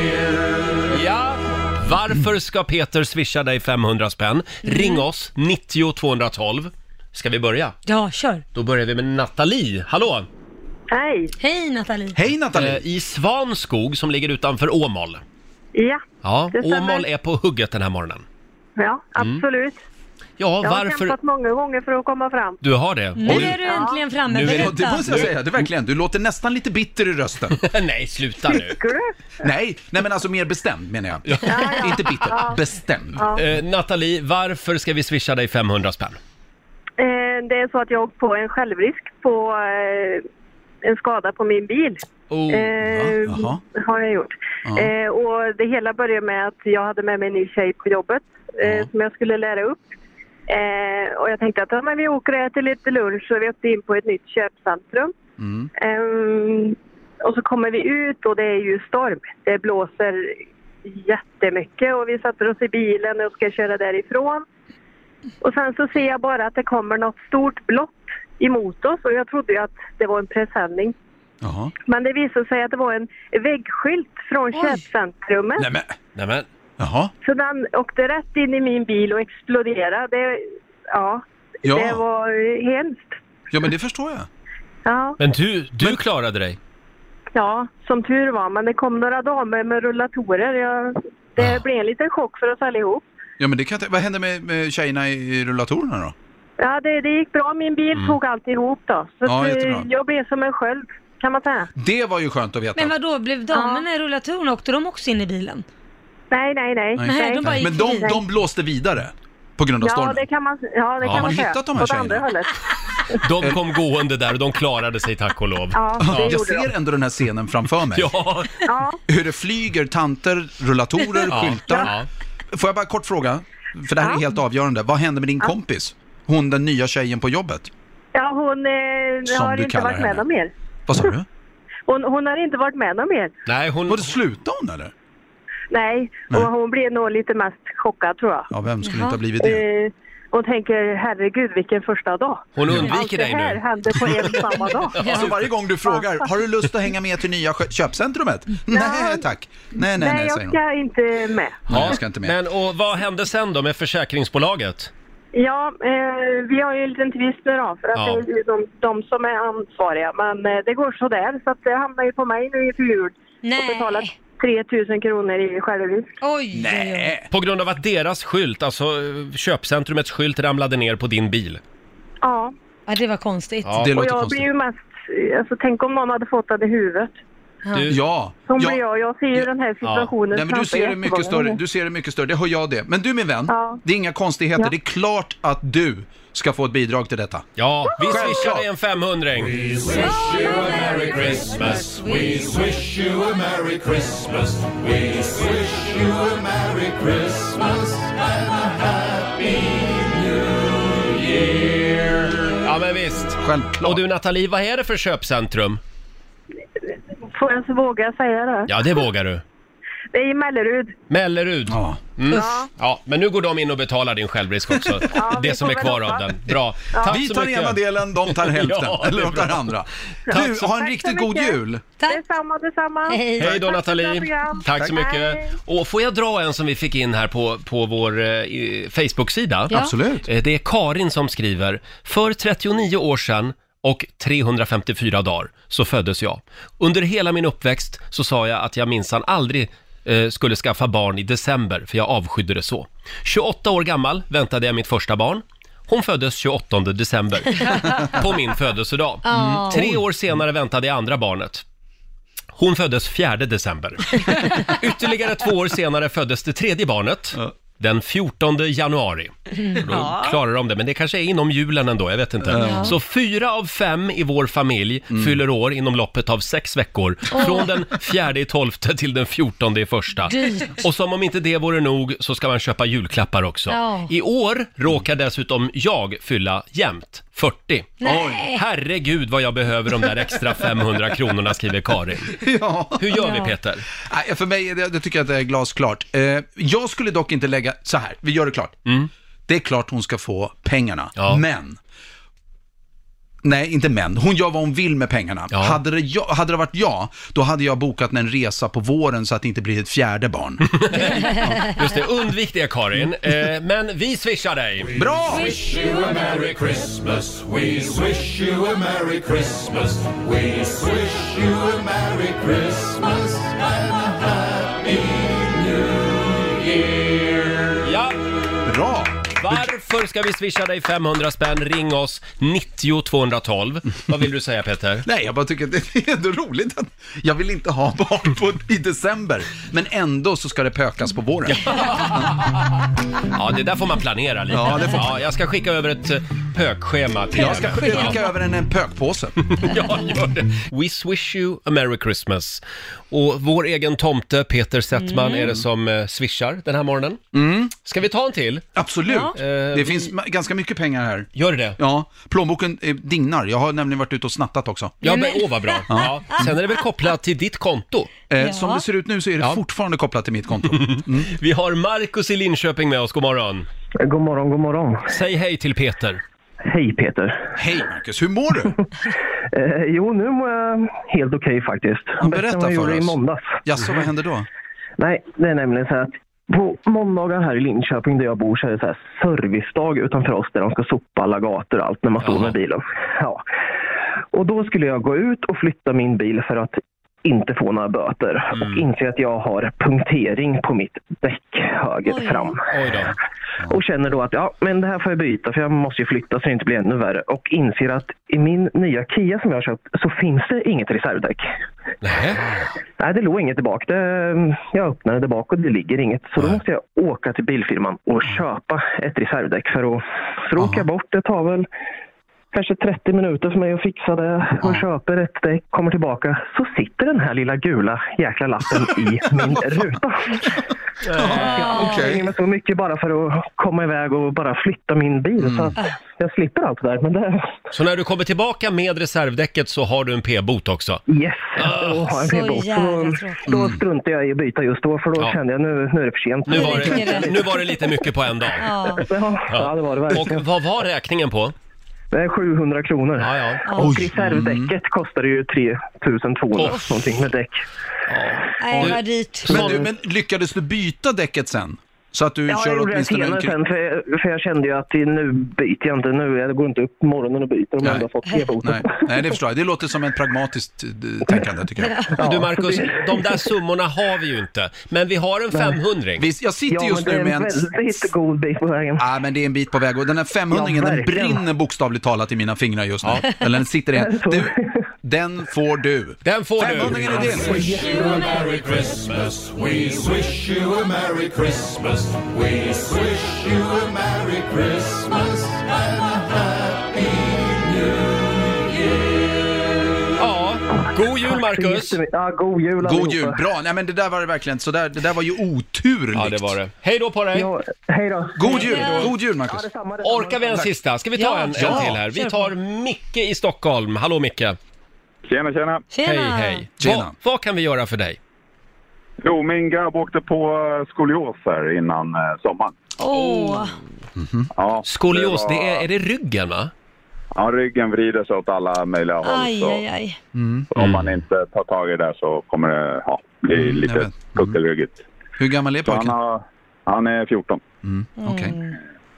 Speaker 6: Year.
Speaker 1: Ja. Varför ska Peter swisha dig 500 spänn? Ring oss, 90 212. Ska vi börja?
Speaker 2: Ja, kör.
Speaker 1: Då börjar vi med Nathalie. Hallå!
Speaker 2: Hej. Hej Nathalie.
Speaker 1: Hej
Speaker 7: Eh,
Speaker 1: Nathalie! I Svanskog som ligger utanför Åmål.
Speaker 7: Ja,
Speaker 1: Ja,
Speaker 7: Det stämmer.
Speaker 1: Åmål är på hugget den här morgonen.
Speaker 7: ja
Speaker 1: Mm.
Speaker 7: absolut.
Speaker 1: Ja,
Speaker 7: jag har
Speaker 1: varför...
Speaker 7: kämpat många gånger för att komma fram.
Speaker 1: Du har det?
Speaker 2: Nu
Speaker 1: Och
Speaker 2: är du äntligen framme,
Speaker 13: Nu är det,
Speaker 2: berätta.
Speaker 13: det måste jag säga, det är verkligen. Du låter nästan lite bitter i rösten.
Speaker 1: *laughs* nej, sluta nu.
Speaker 13: *laughs* Nej, nej men alltså mer bestämd menar jag. Inte bitter,
Speaker 7: Ja.
Speaker 13: bestämd.
Speaker 7: Ja.
Speaker 1: Eh, Nathalie, varför ska vi swisha dig 500 spänn?
Speaker 7: Eh, Det är så att jag åkt på en självrisk på eh, en skada på min bil.
Speaker 1: Oh,
Speaker 7: eh,
Speaker 1: va?
Speaker 7: har jag gjort.
Speaker 1: Ja.
Speaker 7: Eh, och det hela började med att jag hade med mig en ny tjej på jobbet eh, som jag skulle lära upp. Eh, och jag tänkte att ja, men vi åker och äter lite lunch och vi åkte in på ett nytt köpcentrum.
Speaker 13: Mm.
Speaker 7: Ehm, och så kommer vi ut och det är ju storm. Det blåser jättemycket och vi sätter oss i bilen och ska köra därifrån. Och sen så ser jag bara att det kommer något stort blått emot oss och jag trodde ju att det var en presenning. Men det visade sig att det var en väggskylt från köpcentrumet.
Speaker 1: Nämen! Nämen!
Speaker 13: Jaha.
Speaker 7: Så den åkte rätt in i min bil och exploderade. Det, ja,
Speaker 1: Ja.
Speaker 7: det var hemskt.
Speaker 1: Ja, men det förstår jag.
Speaker 7: Ja.
Speaker 1: Men du, du klarade dig.
Speaker 7: Ja, som tur var. Men det kom några damer med rullatorer. Jag,
Speaker 13: Ah.
Speaker 7: det blev en liten chock för oss allihop.
Speaker 13: Ja men det kan inte, vad hände med, med tjejerna i i rullatorerna då?
Speaker 7: Ja, det, det gick bra. Min bil
Speaker 13: Mm.
Speaker 7: tog alltihop då. Så
Speaker 13: Ja,
Speaker 7: att, eh,
Speaker 13: jättebra.
Speaker 7: jag blev som en sköld, kan man säga.
Speaker 13: Det var ju skönt att veta.
Speaker 2: Men vad då blev damerna i rullatorn, åkte de också in i bilen?
Speaker 7: Nej, nej, nej.
Speaker 13: Nej.
Speaker 2: Nej, de bara gick
Speaker 13: men de,
Speaker 2: förbi.
Speaker 13: de blåste vidare på grund av
Speaker 7: Ja,
Speaker 13: stormen.
Speaker 7: det kan man, ja, det
Speaker 1: Ja.
Speaker 7: kan
Speaker 1: Har
Speaker 7: man
Speaker 1: ni
Speaker 7: säga.
Speaker 1: hittat de här
Speaker 7: Åt andra
Speaker 1: tjejerna?
Speaker 7: hållet.
Speaker 1: De kom gående där och de klarade sig tack och lov.
Speaker 7: Ja, det gjorde
Speaker 13: Eh. Jag
Speaker 7: de.
Speaker 13: ser ändå den här scenen framför mig.
Speaker 1: Ja.
Speaker 7: Ja.
Speaker 13: Hur det flyger tanter, *laughs* rullatorer,
Speaker 1: Ja.
Speaker 13: skyltar. Får jag bara kort fråga? För det här är helt avgörande. Vad hände med din kompis? Hon den nya tjejen på jobbet?
Speaker 7: Ja, hon eh,
Speaker 13: Som
Speaker 7: har
Speaker 13: du
Speaker 7: inte
Speaker 13: kallar
Speaker 7: varit med
Speaker 13: henne.
Speaker 7: om mer.
Speaker 13: Vad sa du?
Speaker 7: Hon, hon har inte varit med om mer.
Speaker 1: Nej, hon...
Speaker 13: Var det slutade hon eller?
Speaker 7: Nej,
Speaker 13: Nej.
Speaker 7: och hon blev nog lite mest chockad tror jag.
Speaker 13: Ja, vem skulle inte ha blivit det?
Speaker 7: Eh, och tänker, herregud vilken första dag.
Speaker 13: Hon undviker
Speaker 7: Allt
Speaker 13: dig
Speaker 7: det
Speaker 13: nu.
Speaker 7: här hände på en och samma dag.
Speaker 13: *laughs* Så Alltså, varje gång du frågar, har du lust att hänga med till nya kö- köpcentrumet? Nej tack. Nej, nej, nej,
Speaker 7: jag
Speaker 13: säger hon.
Speaker 7: ska inte med.
Speaker 1: Ja, Men och vad hände sen då med försäkringsbolaget?
Speaker 7: Ja, eh, vi har ju en liten tvist nu då, för att
Speaker 1: Ja.
Speaker 7: det är ju de, de som är ansvariga. Men eh, det går sådär, så att det hamnar ju på mig nu inför jul. Och betalar 3 000 kronor i självrisk.
Speaker 2: Oj!
Speaker 1: På grund av att deras skylt, alltså eh, köpcentrumets skylt ramlade ner på din bil.
Speaker 7: Ja.
Speaker 2: Ja, det var konstigt.
Speaker 1: Ja, det
Speaker 7: och
Speaker 1: låter
Speaker 7: jag
Speaker 1: konstigt.
Speaker 7: blir ju mest, alltså tänk om någon hade fått den i huvudet.
Speaker 13: Du- Ja.
Speaker 7: Som
Speaker 13: ja.
Speaker 7: blir jag, jag ser ju den här situationen
Speaker 13: Nej, men du
Speaker 7: framför
Speaker 13: ser det mycket
Speaker 7: jättemånga
Speaker 13: större,
Speaker 7: gånger.
Speaker 13: du ser det mycket större, det hör jag det. Men du min vän,
Speaker 7: Ja.
Speaker 13: det är inga konstigheter,
Speaker 7: Ja.
Speaker 13: det är klart att du ska få ett bidrag till detta.
Speaker 1: Ja, vi
Speaker 13: Självklart.
Speaker 1: swishar dig en 500
Speaker 6: Wish you a Merry Christmas. We wish you a Merry Christmas. We wish you a Merry Christmas and a Happy New Year.
Speaker 1: Ja, men visst.
Speaker 13: Självklart.
Speaker 1: Och du Nathalie, vad är det för köpcentrum?
Speaker 7: Får jag ens våga säga det?
Speaker 1: Ja, det vågar du.
Speaker 7: Det är i Mellerud.
Speaker 1: Mellerud. Ja. Mm.
Speaker 7: Ja.
Speaker 1: ja. Men nu går de in och betalar din självrisk också.
Speaker 7: *laughs* Ja, vi
Speaker 1: det som
Speaker 7: får
Speaker 1: är
Speaker 7: väl
Speaker 1: kvar av
Speaker 7: hoppas.
Speaker 1: den. Bra.
Speaker 7: Ja.
Speaker 1: Tack
Speaker 13: Vi
Speaker 1: så
Speaker 13: tar
Speaker 1: mycket.
Speaker 13: ena delen,
Speaker 1: *laughs*
Speaker 13: de tar hälften.
Speaker 1: det är
Speaker 13: Eller de tar
Speaker 1: bra.
Speaker 13: andra.
Speaker 1: Tack
Speaker 13: Du,
Speaker 1: så-
Speaker 13: ha en riktigt god jul.
Speaker 7: Tack. Detsamma, detsamma.
Speaker 1: Hej då Nathalie! Tack så mycket!
Speaker 7: Hej.
Speaker 1: Och får jag dra en som vi fick in här på, på vår eh, i- Facebook-sida?
Speaker 12: Ja. Absolut.
Speaker 1: Eh, Det är Karin som skriver, för 39 år sedan och 354 dagar så föddes jag. Under hela min uppväxt så sa jag att jag minsann aldrig eh, skulle skaffa barn i december, för jag avskydde det så. 28 år gammal väntade jag mitt första barn. Hon föddes 28 december, på min födelsedag.
Speaker 6: Ja.
Speaker 1: Mm. Tre år senare väntade jag andra barnet. Hon föddes 4 december. Ytterligare två år senare föddes det tredje barnet. Den 14 januari.
Speaker 2: Mm.
Speaker 1: Och Då klarar de det, men det kanske är inom julen ändå, jag vet inte.
Speaker 6: Ja.
Speaker 1: Så fyra av fem i vår familj fyller år inom loppet av sex veckor.
Speaker 6: Åh.
Speaker 1: Från den 4 i 12 till den 14 i första.
Speaker 6: Dyrt.
Speaker 1: Och som om inte det vore nog så ska man köpa julklappar också.
Speaker 6: Ja.
Speaker 1: I år råkar dessutom jag fylla jämnt, 40.
Speaker 6: Nej.
Speaker 1: Oj. Herregud vad jag behöver de där extra 500 kronorna, skriver Karin. Hur gör vi
Speaker 13: Ja.
Speaker 1: Peter?
Speaker 13: Nej, för mig, det, det tycker jag att det är glasklart. Eh, jag skulle dock inte lägga, så här, vi gör det klart.
Speaker 1: Mm.
Speaker 13: Det är klart hon ska få pengarna, men Nej, inte men. Hon gör vad hon vill med pengarna. Hade, det jag, hade det varit jag, då hade jag bokat en resa på våren så att det inte blir ett
Speaker 1: *laughs*
Speaker 13: fjärde barn.
Speaker 1: Just det, undvik det Karin. Eh, men vi swishar dig.
Speaker 13: Bra!
Speaker 6: Wish you a merry Christmas. We wish you a merry Christmas. We wish you a merry Christmas and a happy new year.
Speaker 1: Ja.
Speaker 13: Bra!
Speaker 1: Varför ska vi swisha dig 500 spänn? Ring oss, 90 212. Vad vill du säga Peter?
Speaker 13: *laughs* Nej, jag bara tycker att det är ändå roligt att jag vill inte ha barn på, i december, men ändå så ska det pökas på våren.
Speaker 1: Ja, det där får man planera lite.
Speaker 13: Ja, det får man.
Speaker 1: ja, jag ska skicka över ett eh, pökschema till
Speaker 13: Jag ska
Speaker 1: er.
Speaker 13: skicka
Speaker 1: Ja.
Speaker 13: över en, en pökpåse.
Speaker 1: *laughs* ja, gör det. We swish you a merry Christmas. Och vår egen tomte Peter Settman
Speaker 13: Mm.
Speaker 1: är det som eh, swishar den här morgonen. Ska vi ta en till?
Speaker 13: Absolut.
Speaker 1: Ja.
Speaker 13: Det
Speaker 1: Eh,
Speaker 13: finns ma- ganska mycket pengar här.
Speaker 1: Gör det?
Speaker 13: Ja. Plånboken eh, dignar. Jag har nämligen varit ute och snattat också.
Speaker 1: Ja, men åh vad bra. Ja. Sen är det väl kopplat till ditt konto?
Speaker 13: Eh, Som det ser ut nu så är det fortfarande kopplat till
Speaker 1: *laughs*
Speaker 13: mitt konto. Mm.
Speaker 1: Vi har Markus i Linköping med oss, god morgon.
Speaker 16: God morgon, god morgon.
Speaker 1: Säg hej till Peter.
Speaker 16: Hej Peter.
Speaker 13: Hej Marcus, hur mår du?
Speaker 16: *laughs* Eh, jo, nu mår jag helt okej faktiskt.
Speaker 13: Ja,
Speaker 16: Bättre än
Speaker 13: Berätta
Speaker 16: vad jag
Speaker 13: för
Speaker 16: gjorde
Speaker 13: oss.
Speaker 16: i måndags.
Speaker 13: Jaså, vad hände då?
Speaker 16: Nej, det är nämligen så här att på måndagar här i Linköping där jag bor så är det så här servicedag utanför oss där de ska sopa alla gator och allt när man står med bilen. Ja. Och då skulle jag gå ut och flytta min bil för att inte få några böter och inse att jag har punktering på mitt däck höger fram. *laughs* Och känner då att ja, men det här får jag byta för jag måste ju flytta så det inte blir ännu värre. Och inser att i min nya Kia som jag har köpt så finns det inget reservdäck. Nej, det låg inget tillbaka. Det, mm, jag öppnade det bak och det ligger inget. Så då måste jag åka till bilfirman och köpa ett reservdäck för att... Så då åker jag bort. Det tar väl kanske 30 minuter för mig att fixa det. Och köper ett däck, kommer tillbaka. Så sitter den här lilla gula jäkla lappen i
Speaker 1: *laughs*
Speaker 16: min ruta. Jag anstränger mig så mycket bara för att komma iväg och bara flytta min bil. Så
Speaker 1: Mm.
Speaker 16: att jag slipper allt det där. Men det...
Speaker 1: Så när du kommer tillbaka med reservdäcket så har du en p-bot också?
Speaker 16: Yes, då har jag en
Speaker 1: Ah, så
Speaker 16: p-bot.
Speaker 1: jävla
Speaker 16: Då,
Speaker 1: tråkigt. Mm.
Speaker 16: då struntade jag i att byta just då, för då kände jag nu, nu är det för sent.
Speaker 1: Nu var, det, nu var det lite mycket på en dag.
Speaker 16: Ja. det var det verkligen.
Speaker 1: Och vad var räkningen på?
Speaker 16: Det är 700 kronor.
Speaker 1: ja.
Speaker 16: Och
Speaker 1: Oj. Mm.
Speaker 16: reservdäcket kostar ju 3200
Speaker 1: Åh.
Speaker 16: någonting med däck.
Speaker 2: Nej,
Speaker 13: Du-
Speaker 2: vad dyrt.
Speaker 13: Men, du, men lyckades du byta däcket sen? Så att du
Speaker 16: Ja, jag
Speaker 13: kör
Speaker 16: gjorde det
Speaker 13: åtminstone
Speaker 16: senare
Speaker 13: en
Speaker 16: sen, för jag, för jag kände ju att det- nu byter jag inte. Nu, jag går inte upp på morgonen och byter om jag ändå har fått
Speaker 13: Nej.
Speaker 16: e-boten.
Speaker 13: Nej, det förstår jag. Det låter som ett pragmatiskt eh, tänkande tycker jag.
Speaker 1: Du Markus, de där summorna har vi ju inte. Men vi har en 500
Speaker 13: Visst, jag sitter just nu med en...
Speaker 16: väldigt god bit på vägen.
Speaker 13: Ja, men det är en bit på väg. Och den här 500
Speaker 16: Ja,
Speaker 13: den
Speaker 16: verkligen.
Speaker 13: brinner bokstavligt talat i mina fingrar just nu. Eller den sitter i...
Speaker 16: *laughs*
Speaker 13: Du, den får du.
Speaker 1: Den får
Speaker 13: du. 500 är din.
Speaker 6: Wish you a merry Christmas. We wish you a merry Christmas. We wish you a merry Christmas and a happy new year.
Speaker 1: Ja, god jul Marcus!
Speaker 16: Ja, god jul
Speaker 13: God jul, bra. Nej men det där var det verkligen, så där, det där var ju oturligt. Ja, det
Speaker 1: var det. Hej då på dig!
Speaker 16: Ja, hej då!
Speaker 13: God jul, god jul Marcus!
Speaker 1: Orkar vi en sista? Ska vi ta
Speaker 13: Ja,
Speaker 1: en, en
Speaker 13: ja,
Speaker 1: till här? Vi
Speaker 13: kör på.
Speaker 1: tar Micke i Stockholm. Hallå Micke!
Speaker 17: Tjena, tjena.
Speaker 1: Hej, hej!
Speaker 17: Tjena.
Speaker 1: Vad, vad kan vi göra för dig?
Speaker 17: Jo, min grabb åkte på eh, skolios här innan eh, sommaren.
Speaker 7: Oh.
Speaker 2: Åh!
Speaker 17: Ja,
Speaker 1: Mhm. Skolios,
Speaker 17: var-
Speaker 1: det är, är det ryggen va?
Speaker 17: Ja, ryggen vrider sig åt alla möjliga håll.
Speaker 2: Aj,
Speaker 7: Alltså.
Speaker 17: så
Speaker 2: aj, aj.
Speaker 13: Mm.
Speaker 17: Om man
Speaker 1: Mm.
Speaker 17: inte tar tag i det så kommer det ja, bli lite puckelryggigt.
Speaker 13: Hur gammal är pojken?
Speaker 17: Han, har, han är 14.
Speaker 1: Mm.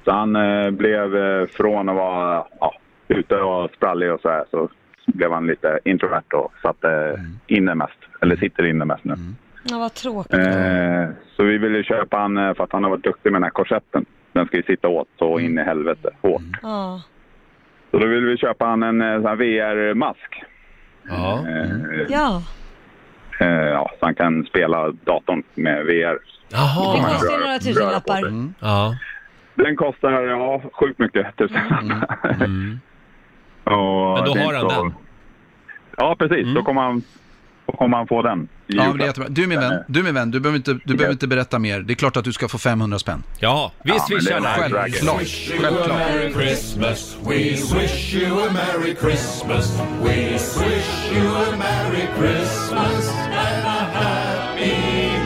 Speaker 17: Så han eh, blev eh, från att vara ja, ute och sprallig och så här så blev han lite introvert och satt eh,
Speaker 1: Mm.
Speaker 17: inne mest, eller sitter inne mest nu.
Speaker 2: Ja, vad tråkigt.
Speaker 17: Eh, så vi ville köpa han eh, för att han har varit duktig med den här korsetten. Den ska ju sitta åt
Speaker 1: Mm.
Speaker 17: så in i helvete hårt.
Speaker 2: Ja.
Speaker 17: Så då ville vi köpa han en eh, sån här VR-mask.
Speaker 1: Ja.
Speaker 17: Eh,
Speaker 2: ja.
Speaker 17: eh, ja, så han kan spela datorn med VR.
Speaker 1: Jaha.
Speaker 17: Då kan
Speaker 2: Det
Speaker 17: han
Speaker 2: kostar ju
Speaker 17: röra-
Speaker 2: några
Speaker 17: röra på
Speaker 2: tusenlappar.
Speaker 17: sig.
Speaker 13: Mm.
Speaker 1: Ja.
Speaker 17: Den kostar, ja, sjukt mycket. Tusen. *laughs* Och
Speaker 1: Mm. Men då
Speaker 17: det är
Speaker 1: har
Speaker 17: inte
Speaker 1: han
Speaker 17: så-
Speaker 1: den. Mm.
Speaker 17: Ja, precis. Då, kommer han, då kommer han få den. i
Speaker 13: Ja, men det är
Speaker 17: julklapp.
Speaker 13: jättebra. Du min vän, du min vän, du behöver, inte, du behöver inte berätta mer. Det är klart att du ska få 500 spänn.
Speaker 1: Ja,
Speaker 13: vi Ja, men swishar det är där. väl
Speaker 1: Självklart.
Speaker 6: You a Merry Christmas. We wish you a Merry Christmas. We wish you a Merry Christmas and a Happy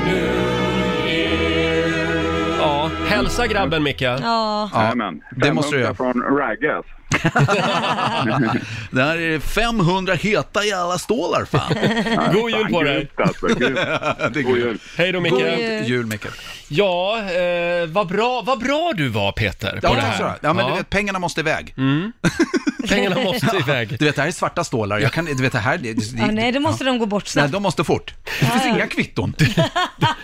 Speaker 6: New Year.
Speaker 1: Ja, hälsa grabben Micke.
Speaker 2: Ja.
Speaker 17: Jajamän.
Speaker 13: det måste du göra.
Speaker 17: 500 från Raggas.
Speaker 13: Där är *laughs* det 500 heta jävla stålar fan.
Speaker 1: *laughs* God jul på dig.
Speaker 17: alltså.
Speaker 13: *laughs*
Speaker 17: God jul.
Speaker 1: Hej då Micke.
Speaker 13: God jul Micke.
Speaker 1: Ja, eh, vad, bra, vad bra du var Peter på
Speaker 13: Ja,
Speaker 1: det
Speaker 13: det är
Speaker 1: här.
Speaker 13: så
Speaker 1: Mm.
Speaker 13: här. ja, men du vet, pengarna måste iväg.
Speaker 1: Pengarna
Speaker 2: *laughs*
Speaker 1: måste iväg.
Speaker 13: Du vet, det här är svarta stålar. Jag kan, du vet, det här... Det, det,
Speaker 2: Ja, nej, då måste de gå bort
Speaker 13: Nej,
Speaker 2: snabbt.
Speaker 13: de måste fort. Det finns inga kvitton.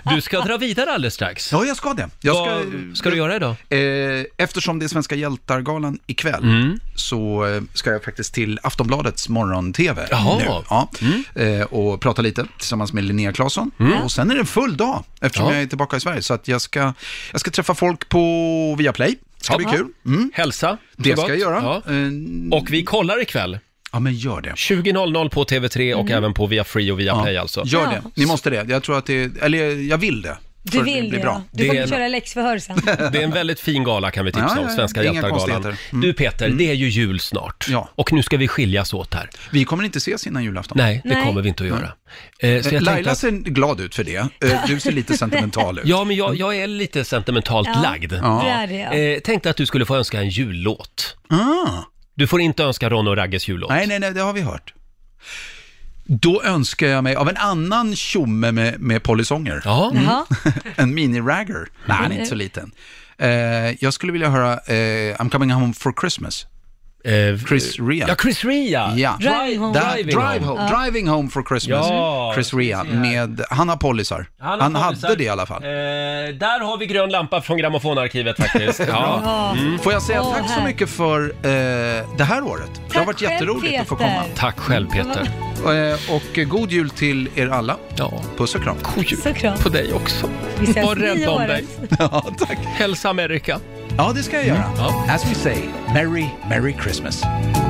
Speaker 1: Du ska dra vidare alldeles strax.
Speaker 13: Ja, jag ska det. Jag ska,
Speaker 1: Vad ska du göra idag?
Speaker 13: Eh, eftersom det är Svenska hjältar-galan ikväll
Speaker 1: Mm.
Speaker 13: så eh, ska jag faktiskt till Aftonbladets morgon-tv
Speaker 1: Jaha. Mm.
Speaker 13: nu. Ja. Eh, och prata lite tillsammans med Linnea Claesson. Och sen är det en full dag eftersom
Speaker 1: Ja.
Speaker 13: jag är tillbaka i Sverige. Så att jag, ska, jag ska träffa folk på Viaplay. ska bli kul. Mm.
Speaker 1: Hälsa.
Speaker 13: Det
Speaker 1: så
Speaker 13: ska jag
Speaker 1: gott.
Speaker 13: göra. Eh,
Speaker 1: Ja. Och vi kollar ikväll.
Speaker 13: Ja, men gör det.
Speaker 1: 20.00 på TV3 och
Speaker 13: Mm.
Speaker 1: även på Viafree och Viaplay alltså.
Speaker 13: Gör det. Ni måste det. Jag tror att det, eller jag vill det.
Speaker 2: Du
Speaker 13: För
Speaker 2: vill det,
Speaker 13: blir
Speaker 2: ja.
Speaker 13: bra.
Speaker 2: Du
Speaker 1: Det
Speaker 2: kommer
Speaker 1: är-
Speaker 2: köra läxförhör sen.
Speaker 1: Det är en väldigt fin gala kan vi tipsa
Speaker 13: Ja, ja,
Speaker 1: om,
Speaker 13: ja.
Speaker 1: Svenska
Speaker 13: Inga
Speaker 1: hjältar-galan.
Speaker 13: konstigheter. Mm.
Speaker 1: Du Peter, det är ju jul snart.
Speaker 13: Ja.
Speaker 1: Och nu ska vi skiljas åt här.
Speaker 13: Vi kommer inte ses innan julafton.
Speaker 1: Nej, det
Speaker 13: Nej.
Speaker 1: kommer vi inte att
Speaker 13: Nej.
Speaker 1: göra. Eh, så jag tänkte
Speaker 13: Laila
Speaker 1: att-
Speaker 13: ser glad ut för det. Eh, Du ser lite sentimental
Speaker 1: *laughs*
Speaker 13: ut.
Speaker 1: Ja, men jag, jag är lite sentimentalt
Speaker 2: Ja,
Speaker 1: lagd.
Speaker 2: du är det, ja.
Speaker 1: Eh, tänkte att du skulle få önska en jullåt. Du får inte önska Ron och Ragges jullåt.
Speaker 13: Ah. Nej, nej, nej, det har vi hört. Då önskar jag mig av en annan tjomme med, med polisonger.
Speaker 1: Mm.
Speaker 13: Mm.
Speaker 2: Jaha.
Speaker 13: *laughs* en mini-ragger. Nej, han är inte så liten. Eh, jag skulle vilja höra eh, I'm coming home for Christmas. Chris Ria.
Speaker 1: Eh, Ja, Chris Ria!
Speaker 13: Ja.
Speaker 1: Drive home.
Speaker 13: Där-
Speaker 1: Driving home.
Speaker 13: drive home.
Speaker 1: Ja.
Speaker 13: Driving home for Christmas.
Speaker 1: Ja,
Speaker 13: Chris Ria. Med, han har polisar. Han, hade det i alla fall.
Speaker 1: Eh, där har vi grön lampa från grammofonarkivet
Speaker 13: *laughs*
Speaker 1: faktiskt.
Speaker 13: Bra. Mm. Får jag säga
Speaker 2: Åh,
Speaker 13: tack så
Speaker 2: här.
Speaker 13: mycket för eh, det här året. det har varit
Speaker 2: själv,
Speaker 13: jätteroligt att få komma.
Speaker 2: Peter. Mm.
Speaker 1: Tack själv Peter.
Speaker 13: Eh, och eh, god jul till er alla.
Speaker 1: Ja.
Speaker 13: Puss och kram.
Speaker 1: God jul
Speaker 2: Så kram.
Speaker 1: på dig också.
Speaker 2: Vi ses
Speaker 1: Var rädd om
Speaker 2: nyåret.
Speaker 1: dig.
Speaker 13: *laughs* ja, tack.
Speaker 1: Hälsa Amerika. Mm.
Speaker 13: Ja, det ska jag göra. As we say, Merry, Merry Christmas.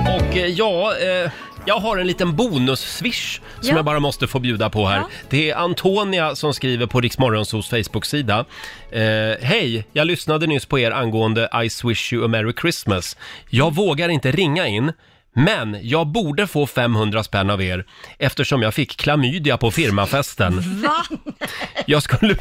Speaker 1: Och eh, ja, eh, jag har en liten bonus-swish som
Speaker 2: Ja.
Speaker 1: jag bara måste få bjuda på här.
Speaker 2: Ja.
Speaker 1: Det är Antonia som skriver på Riksmorgonsos Facebook-sida. Eh, Hej, jag lyssnade nyss på er angående I swish you a merry Christmas. Jag vågar inte ringa in. Men jag borde få 500 spänn av er eftersom jag fick klamydia på firmafesten.
Speaker 2: Va?
Speaker 1: Jag skulle,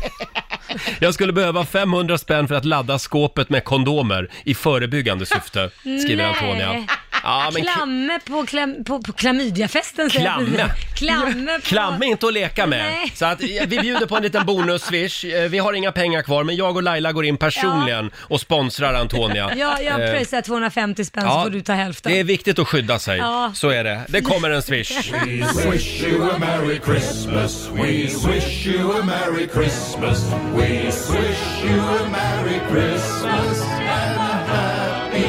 Speaker 1: *laughs* jag skulle behöva 500 spänn för att ladda skåpet med kondomer i förebyggande syfte, skriver
Speaker 2: Nej.
Speaker 1: Antonia. *laughs* Ja, men k-
Speaker 2: Klamme på, klam, på, på klamydiafesten säger jag
Speaker 1: Klamme.
Speaker 2: precis. Klamme på...
Speaker 1: Klamme är inte att leka med.
Speaker 2: Nej.
Speaker 1: Så att, eh, vi bjuder på en liten bonus-swish. Eh, Vi har inga pengar kvar, men jag och Laila går in personligen och sponsrar Antonia.
Speaker 2: *laughs* Ja, jag
Speaker 1: Eh,
Speaker 2: pröjsar 250 spänn så
Speaker 1: ja,
Speaker 2: får du ta hälften.
Speaker 1: Det är viktigt att skydda sig.
Speaker 2: Ja.
Speaker 1: Så är det. Det kommer en
Speaker 2: *laughs*
Speaker 1: swish.
Speaker 6: We wish you a Merry Christmas. We wish you a Merry Christmas. We wish you a Merry Christmas and a Happy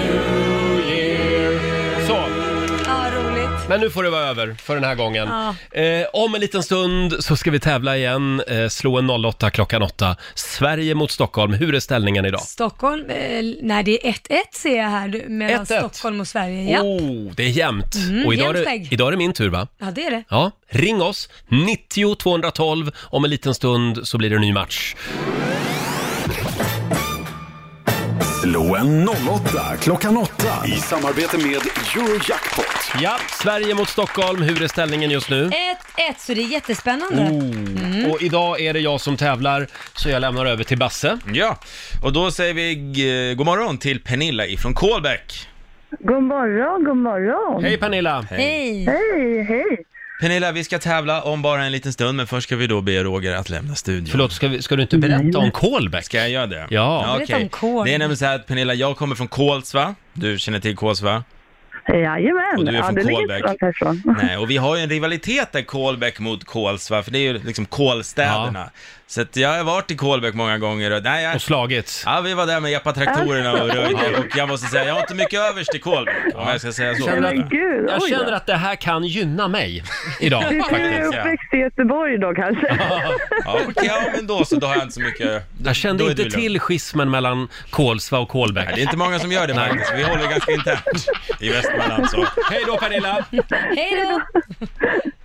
Speaker 6: New Year.
Speaker 1: Så.
Speaker 2: Ja, roligt.
Speaker 1: Men nu får det vara över för den här gången.
Speaker 2: Ja.
Speaker 1: Eh, om en liten stund så ska vi tävla igen. Eh, slå en 08 klockan 8. Sverige mot Stockholm. Hur är ställningen idag?
Speaker 2: Stockholm, eh, nej det är 1-1 ser jag här nu, mellan
Speaker 1: 1-1.
Speaker 2: Stockholm och Sverige. Ja.
Speaker 1: Oh, det är jämnt.
Speaker 2: Mm,
Speaker 1: och idag
Speaker 2: jämnt
Speaker 1: är, det-
Speaker 2: steg.
Speaker 1: idag är det min tur va?
Speaker 2: ja, det är det.
Speaker 1: Ja, ring oss. 90 212. Om en liten stund så blir det en ny match.
Speaker 18: Loen 08 klockan 8 i samarbete med Eurojackpot.
Speaker 1: Ja, Sverige mot Stockholm. Hur är ställningen just
Speaker 2: Eh,
Speaker 1: nu?
Speaker 2: 1-1, så det är jättespännande. Mm.
Speaker 1: Oh. Och idag är det jag som tävlar, så jag lämnar över till Basse.
Speaker 12: Ja, och då säger vi g- god morgon till Pernilla ifrån Kolbäck.
Speaker 19: God morgon, god morgon.
Speaker 12: Hej, Pernilla.
Speaker 19: Hej. Hej, hej.
Speaker 12: Pernilla, vi ska tävla om bara en liten stund, men först ska vi då be Roger att lämna studion.
Speaker 1: Förlåt, ska, vi, ska du inte berätta om Kolbäck?
Speaker 12: Ska jag göra det?
Speaker 1: Ja.
Speaker 12: okej.
Speaker 19: Berätta om Kol.
Speaker 12: Det är nämligen så här att Pernilla, jag kommer från Kolsva. Du känner till Kolsva?
Speaker 19: Jajamän.
Speaker 12: Och du är
Speaker 19: ja,
Speaker 12: från
Speaker 19: det ligger
Speaker 12: Kolbäck.
Speaker 19: inte långt härifrån.
Speaker 12: Nej, och vi har ju en rivalitet där Kolbäck mot Kolsva, för det är ju liksom kolstäderna. Så att jag har varit i Kolbäck många gånger och... Nej, jag... Och
Speaker 1: slagits?
Speaker 12: Ja, vi var där med Jappa-traktorerna och
Speaker 1: Alltså,
Speaker 12: röjde
Speaker 1: oj.
Speaker 12: och jag måste säga, jag har inte mycket övers till Kolbäck, om jag ska säga så.
Speaker 1: Känner att-
Speaker 19: gud,
Speaker 1: jag
Speaker 19: oj då.
Speaker 1: känner att det här kan gynna mig idag
Speaker 19: *laughs* du du är
Speaker 1: faktiskt.
Speaker 19: uppväxt i Göteborg då kanske?
Speaker 12: Ja, okej, ja, men då så, då har jag inte så mycket...
Speaker 1: Jag kände
Speaker 12: Då är
Speaker 1: inte
Speaker 12: du lugn.
Speaker 1: till schismen mellan Kolsva och Kolbäck.
Speaker 12: Det är inte många som gör det
Speaker 1: Nej.
Speaker 12: faktiskt, vi håller ganska
Speaker 1: *laughs*
Speaker 12: internt i Västmanland så. Hej då Pernilla!
Speaker 2: Hej då!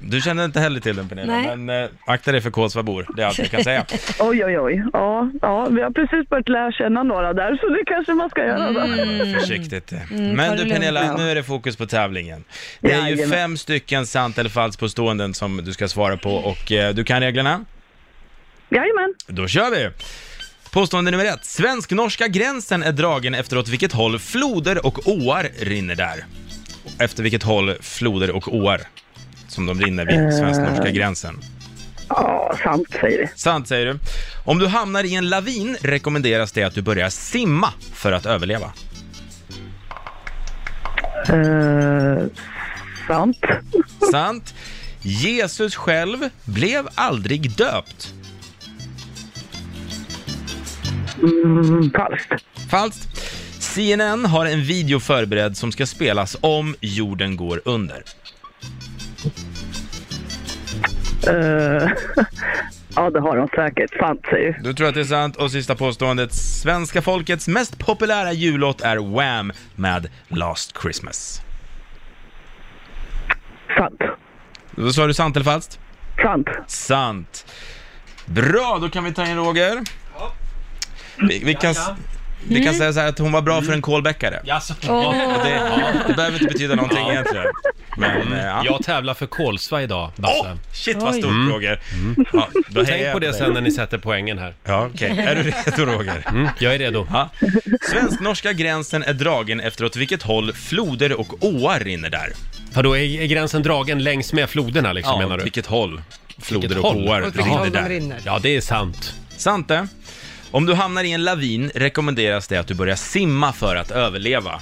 Speaker 12: Du känner inte heller till den Pernilla,
Speaker 19: Nej.
Speaker 12: men eh, akta dig för Kolsvabor, det är allt jag
Speaker 19: *laughs*
Speaker 12: kan säga.
Speaker 19: oj, oj, oj. Ja, ja, vi har precis börjat lära känna några där, så det kanske man ska göra. Då.
Speaker 2: Mm.
Speaker 12: Försiktigt.
Speaker 19: Mm, ta
Speaker 12: Men
Speaker 19: det
Speaker 12: du
Speaker 19: lugnt.
Speaker 12: Pernilla,
Speaker 19: Ja.
Speaker 12: nu är det fokus på tävlingen. Det är ju
Speaker 19: Jajamän.
Speaker 12: fem stycken sant eller falskt påståenden som du ska svara på och eh, du kan reglerna?
Speaker 19: Jajamän.
Speaker 12: Då kör vi! Påstående nummer ett. Svensk-norska gränsen är dragen efter åt vilket håll floder och åar rinner där. Efter vilket håll floder och åar som de rinner vid
Speaker 19: Eh.
Speaker 12: svensk-norska gränsen.
Speaker 19: Ja, sant säger vi.
Speaker 12: Sant säger du. Om du hamnar i en lavin rekommenderas det att du börjar simma för att överleva.
Speaker 19: Eh, sant.
Speaker 12: Sant. Jesus själv blev aldrig döpt.
Speaker 19: Mm, falskt.
Speaker 12: Falskt. CNN har en video förberedd som ska spelas om jorden går under.
Speaker 19: Eh, *laughs* ja, det har de säkert. Sant säger vi.
Speaker 12: Du tror att det är sant. Och sista påståendet. Svenska folkets mest populära jullåt är Wham! med Last Christmas.
Speaker 19: Sant.
Speaker 12: Då sa du sant eller falskt?
Speaker 19: Sant.
Speaker 12: Sant. Bra, då kan vi ta in Roger. Vi, vi kan, s- vi
Speaker 19: Mm.
Speaker 12: kan säga så här att hon var bra för en kolbäckare.
Speaker 1: Jaså?
Speaker 12: Ja, och det, det behöver inte betyda någonting
Speaker 1: Ja. Mm.
Speaker 12: egentligen. Men, eh, ja.
Speaker 1: Jag tävlar för Kolsva idag, Basse.
Speaker 12: Åh, shit vad stort
Speaker 1: Mm.
Speaker 12: Roger.
Speaker 1: Mm.
Speaker 12: Ja, då hejar
Speaker 1: Tänk
Speaker 12: jag
Speaker 1: på det
Speaker 12: dig.
Speaker 1: sen när ni sätter poängen här.
Speaker 12: Ja, okej. Är du redo Roger?
Speaker 1: *laughs* Mm, jag är redo.
Speaker 12: Ja. Svensk-norska gränsen är dragen efter åt vilket håll floder och åar rinner där.
Speaker 1: Vadå, är, är gränsen dragen längs med floderna liksom
Speaker 12: Ja,
Speaker 1: menar
Speaker 12: åt
Speaker 1: du?
Speaker 12: vilket håll floder
Speaker 1: Vilket
Speaker 12: och
Speaker 1: håll?
Speaker 12: åar
Speaker 1: Åt vilket
Speaker 12: rinner
Speaker 1: håll de
Speaker 12: där.
Speaker 1: rinner.
Speaker 12: Ja,
Speaker 1: det är sant.
Speaker 12: Sant det. Om du hamnar i en lavin rekommenderas det att du börjar simma för att överleva.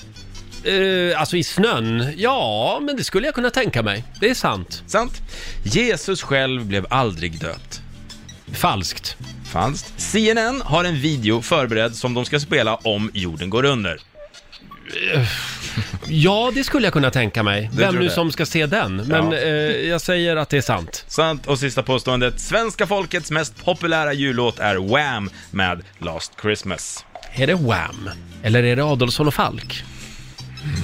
Speaker 1: Eh, alltså i snön? Ja, men det skulle jag kunna tänka mig. Det är sant.
Speaker 12: Sant. Jesus själv blev aldrig döpt.
Speaker 1: Falskt.
Speaker 12: Falskt. CNN har en video förberedd som de ska spela om jorden går under.
Speaker 1: *laughs* Ja, det skulle jag kunna tänka mig.
Speaker 12: Du
Speaker 1: Vem
Speaker 12: tror
Speaker 1: nu
Speaker 12: det?
Speaker 1: som ska se den. Men eh, jag säger att det är sant.
Speaker 12: Sant. Och sista påståendet. Svenska folkets mest populära jullåt är Wham! med Last Christmas.
Speaker 1: är det Wham? Eller är det Adolfsson och Falk?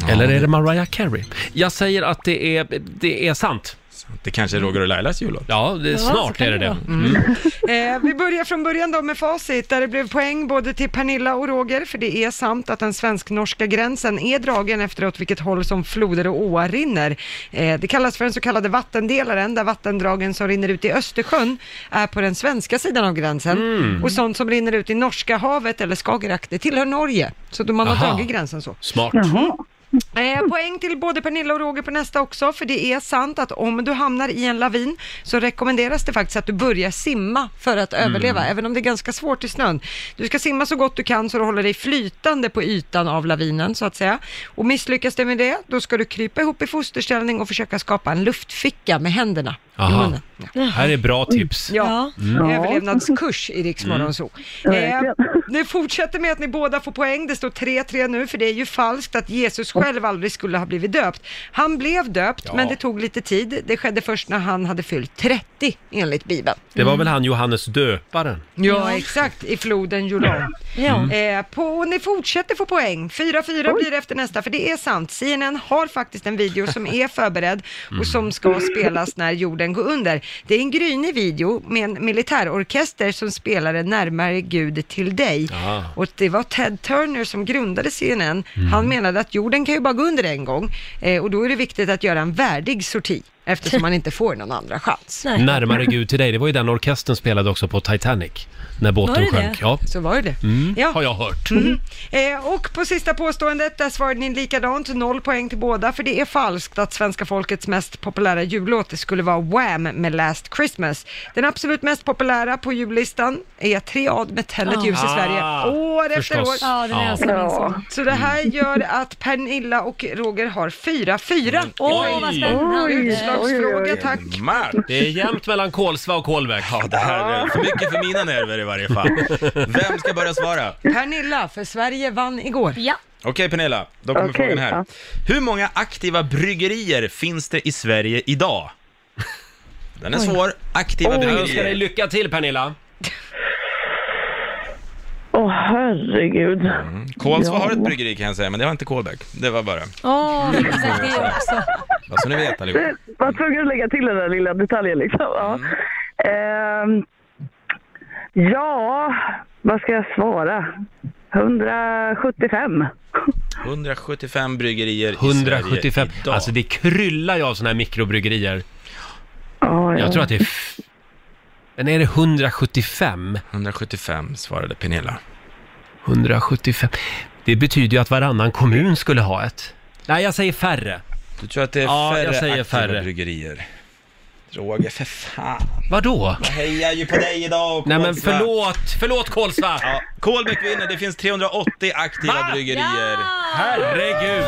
Speaker 1: eh, Eller är det Mariah Carey? Jag säger att det är, det är sant.
Speaker 12: Det kanske är Roger och Lailas jullåt?
Speaker 1: Ja, det,
Speaker 3: Ja, så
Speaker 1: snart
Speaker 3: kan
Speaker 1: är det
Speaker 3: det
Speaker 1: det.
Speaker 3: vara. *laughs* Eh, vi börjar från början då med facit där det blev poäng både till Pernilla och Roger för det är sant att den svensk-norska gränsen är dragen efter åt vilket håll som floder och åar rinner. Eh, det kallas för den så kallade vattendelaren där vattendragen som rinner ut i Östersjön är på den svenska sidan av gränsen
Speaker 1: Mm.
Speaker 3: och sånt som rinner ut i Norska havet eller Skagerrak det tillhör Norge. Så då man
Speaker 1: Aha.
Speaker 3: har dragit gränsen så.
Speaker 1: Smart.
Speaker 3: Eh, poäng till både Pernilla och Roger på nästa också, för det är sant att om du hamnar i en lavin så rekommenderas det faktiskt att du börjar simma för att
Speaker 20: Mm.
Speaker 3: överleva, även om det är ganska svårt i snön. Du ska simma så gott du kan så du håller dig flytande på ytan av lavinen så att säga. Och misslyckas det med det, då ska du krypa ihop i fosterställning och försöka skapa en luftficka med händerna i
Speaker 1: Aha.
Speaker 3: munnen.
Speaker 1: Här är bra tips.
Speaker 3: Ja,
Speaker 1: Mm.
Speaker 3: överlevnadskurs i Rix
Speaker 1: Mm.
Speaker 3: mm. så. Eh,
Speaker 1: Verkligen.
Speaker 3: nu fortsätter med att ni båda får poäng. Det står 3-3 nu, för det är ju falskt att Jesus själv aldrig skulle ha blivit döpt. Han blev döpt,
Speaker 1: Ja.
Speaker 3: men det tog lite tid. Det skedde först när han hade fyllt 30, enligt Bibeln.
Speaker 1: Det var väl han Johannes döparen?
Speaker 3: Ja, exakt, i floden Jordan.
Speaker 1: Ja. Mm.
Speaker 3: Eh, på, och ni fortsätter få poäng. 4-4 blir det efter nästa, för
Speaker 1: Mm.
Speaker 3: det är sant. CNN har faktiskt en video som är förberedd och som ska spelas när jorden jorden gå under. Det är en grynig video med en militärorkester som spelade Närmare Gud till dig. Och det var Ted Turner som grundade CNN.
Speaker 20: Mm.
Speaker 3: Han menade att jorden kan ju bara gå under en gång eh, och då är det viktigt att göra en värdig sorti
Speaker 1: *laughs*
Speaker 3: eftersom man inte får någon andra chans.
Speaker 1: Närmare Gud till dig, det var ju den orkestern spelade också på Titanic. När båten
Speaker 3: Var det
Speaker 1: sjönk.
Speaker 3: det? Så var det.
Speaker 1: Mm,
Speaker 3: Ja.
Speaker 1: Har jag hört.
Speaker 3: Mm. Eh, och på sista påståendet, där svarade ni likadant, noll poäng till båda, för det är falskt att svenska folkets mest populära jullåt skulle vara Wham! med Last Christmas. Den absolut mest populära på jullistan är Triad med Tänd ett
Speaker 20: Ja.
Speaker 3: ljus i Sverige,
Speaker 20: Ah,
Speaker 3: år efter
Speaker 20: förstås.
Speaker 3: år.
Speaker 20: Ja, den Ja. älskar min son.
Speaker 3: Så det här
Speaker 20: Mm.
Speaker 3: gör att Pernilla och Roger har 4-4.
Speaker 20: Mm. Åh, vad spännande. Oj.
Speaker 3: Utslagsfråga,
Speaker 20: Oj,
Speaker 3: tack.
Speaker 1: Det är jämnt mellan Kolsva och Kolbäck.
Speaker 12: Ja, det här är för mycket för mina nerver i varje fall. Vem ska börja svara?
Speaker 3: Pernilla, för Sverige vann igår.
Speaker 2: Ja.
Speaker 12: Okej Pernilla, då kommer
Speaker 3: Okej,
Speaker 12: frågan här.
Speaker 3: ja.
Speaker 12: Hur många aktiva bryggerier finns det i Sverige idag? Den är
Speaker 1: Oj.
Speaker 12: svår. Aktiva
Speaker 1: Oj.
Speaker 12: bryggerier.
Speaker 1: Jag önskar dig lycka till Pernilla.
Speaker 19: Åh herregud. Mm.
Speaker 12: Kolsva har ett bryggeri kan jag säga, men det har inte Kolbäck. Det var bara.
Speaker 2: Åh, vi fick sagt det också.
Speaker 12: Bara så ni vet allihop.
Speaker 19: Det var tvungen att lägga till den där lilla detaljen liksom. Ja. Ehm, ja, vad ska jag svara? 175.
Speaker 12: 175 bryggerier i
Speaker 1: 175.
Speaker 12: Sverige.
Speaker 1: Alltså det kryllar ju av såna här mikrobryggerier. Jag tror att det är... f- Men är det 175?
Speaker 12: 175 svarade Pernilla.
Speaker 1: 175. Det betyder ju att varannan kommun skulle ha ett. Nej, jag säger färre.
Speaker 12: Du tror att det är
Speaker 1: ja,
Speaker 12: färre
Speaker 1: jag säger
Speaker 12: aktiva
Speaker 1: färre.
Speaker 12: bryggerier? Roger, för fan.
Speaker 1: Vadå?
Speaker 12: Jag hejar ju på dig idag och
Speaker 1: Nej, men
Speaker 12: Kolsva.
Speaker 1: förlåt, förlåt Kolsva!
Speaker 12: Ja, Kolbäck vinner, det finns 380 aktiva bryggerier.
Speaker 1: Herregud!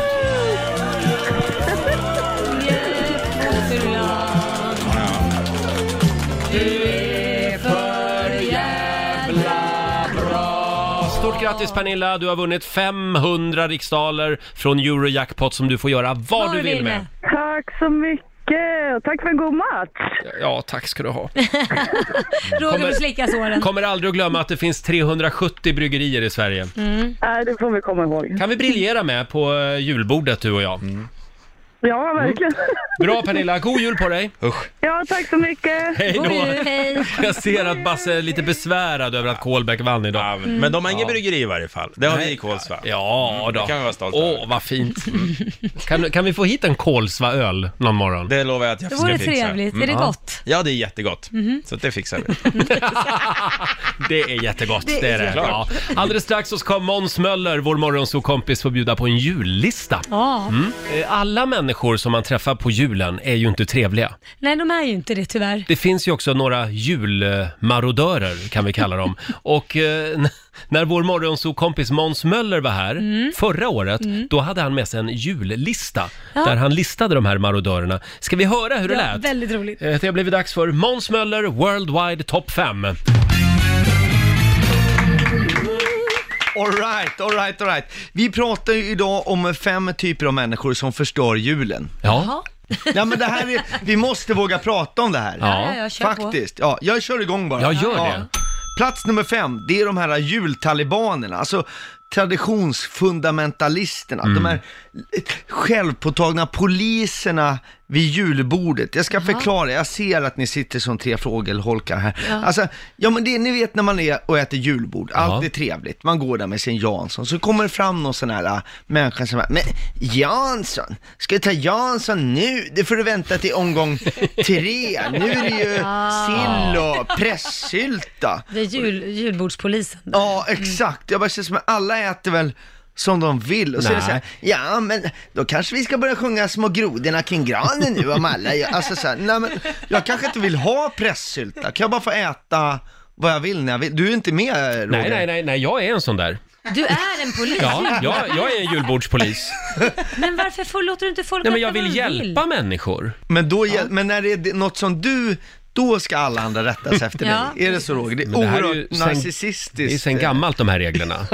Speaker 1: Stort grattis Pernilla, du har vunnit 500 riksdaler från Eurojackpot som du får göra vad du vill med.
Speaker 19: Tack så mycket och tack för en god match.
Speaker 1: Ja, tack ska du ha.
Speaker 2: Roger
Speaker 1: Kommer-
Speaker 2: får slicka såren.
Speaker 1: Kommer aldrig att glömma att det finns 370 bryggerier i Sverige.
Speaker 19: Mm. Nej, det får vi komma ihåg.
Speaker 1: Kan vi briljera med på eh, julbordet du och jag.
Speaker 19: Ja, verkligen.
Speaker 1: Bra Pernilla, god jul på dig! Usch.
Speaker 19: Ja, tack så mycket.
Speaker 1: Hej då! Jag ser att Basse är lite besvärad över att Kolbäck vann idag.
Speaker 12: men- men de har ingen bryggeri i varje fall. Det har vi i Mm,
Speaker 1: Kolsva. Ja, då.
Speaker 12: det kan vi vara stolta
Speaker 1: Åh, vad fint.
Speaker 2: *laughs*
Speaker 1: Mm. Kan, kan vi få hit en Kolsva-öl någon morgon?
Speaker 12: Det lovar jag att jag
Speaker 2: Det
Speaker 12: ska
Speaker 2: vore
Speaker 12: fixa. Mm.
Speaker 2: trevligt. Är det
Speaker 12: ja.
Speaker 2: gott?
Speaker 12: Ja, det är jättegott.
Speaker 2: Mhm.
Speaker 12: Så det fixar vi.
Speaker 1: *laughs* Det är jättegott,
Speaker 12: Det är
Speaker 1: det, är det.
Speaker 12: jättegott.
Speaker 1: Ja. Alldeles strax så ska Måns Möller, vår morgonsåkompis, få bjuda på en jullista.
Speaker 2: Ja.
Speaker 1: Mm. Eh, Alla människor som man träffar på julen är ju inte trevliga.
Speaker 2: Nej, de är ju inte det tyvärr.
Speaker 1: Det finns ju också några julmarodörer, kan vi kalla dem. Och eh, n- när vår morgonsokompis Måns Möller var här förra året,
Speaker 2: Mm.
Speaker 1: då hade han med sig en jullista
Speaker 2: Ja.
Speaker 1: där han listade de här marodörerna. Ska vi höra hur det
Speaker 2: ja,
Speaker 1: lät?
Speaker 2: Väldigt roligt.
Speaker 1: Eh, Det har blivit dags för Måns Möller Worldwide Top 5.
Speaker 21: Alright, alright, alright. Vi pratar ju idag om fem typer av människor som förstör julen.
Speaker 1: Ja.
Speaker 21: Ja men det här är, vi måste våga prata om det här.
Speaker 1: Ja. Ja, ja, kör på.
Speaker 21: Faktiskt. Ja, jag kör igång bara.
Speaker 1: Ja, gör det.
Speaker 21: Plats nummer fem, det är de här jultalibanerna, alltså traditionsfundamentalisterna.
Speaker 1: Mm.
Speaker 21: De här självpåtagna poliserna vid julbordet. Jag ska förklara, jag ser att ni sitter som tre frågelholkar här.
Speaker 22: Ja.
Speaker 21: Alltså, ja men det, ni vet när man är och äter julbord, allt är trevligt, man går där med sin Jansson, så kommer det fram någon sån här äh, människa som bara, men Jansson, ska du ta Jansson nu? Det får du vänta till omgång tre, nu är det ju
Speaker 2: Ah.
Speaker 21: sill och pressylta.
Speaker 2: Det är jul, julbordspolisen.
Speaker 21: Ja, exakt. Jag bara känner som att alla äter väl som de vill. Och så är det så här, ja men då kanske vi ska börja sjunga Små grodorna kring granen nu om alla gör-" Alltså så här, nej men jag kanske inte vill ha pressylta. Kan jag bara få äta vad jag vill när jag vill? Du är inte med Roger?
Speaker 1: Nej, nej, nej, nej, jag är en sån där.
Speaker 2: Du är en polis.
Speaker 1: Ja, jag, jag är en julbordspolis.
Speaker 2: *laughs* Men varför får, låter du inte folk
Speaker 1: Nej, men
Speaker 2: äta
Speaker 1: jag
Speaker 2: vad
Speaker 1: vill
Speaker 2: de
Speaker 1: hjälpa människor.
Speaker 21: Men, då, hjäl- men när det är det- något som du, då ska alla andra rätta sig efter
Speaker 2: Ja.
Speaker 21: dig. Är det så Roger? Det är
Speaker 1: Men det här är ju
Speaker 21: oerhört
Speaker 1: sen-
Speaker 21: narcissistiskt.
Speaker 1: Det är sen gammalt de här reglerna.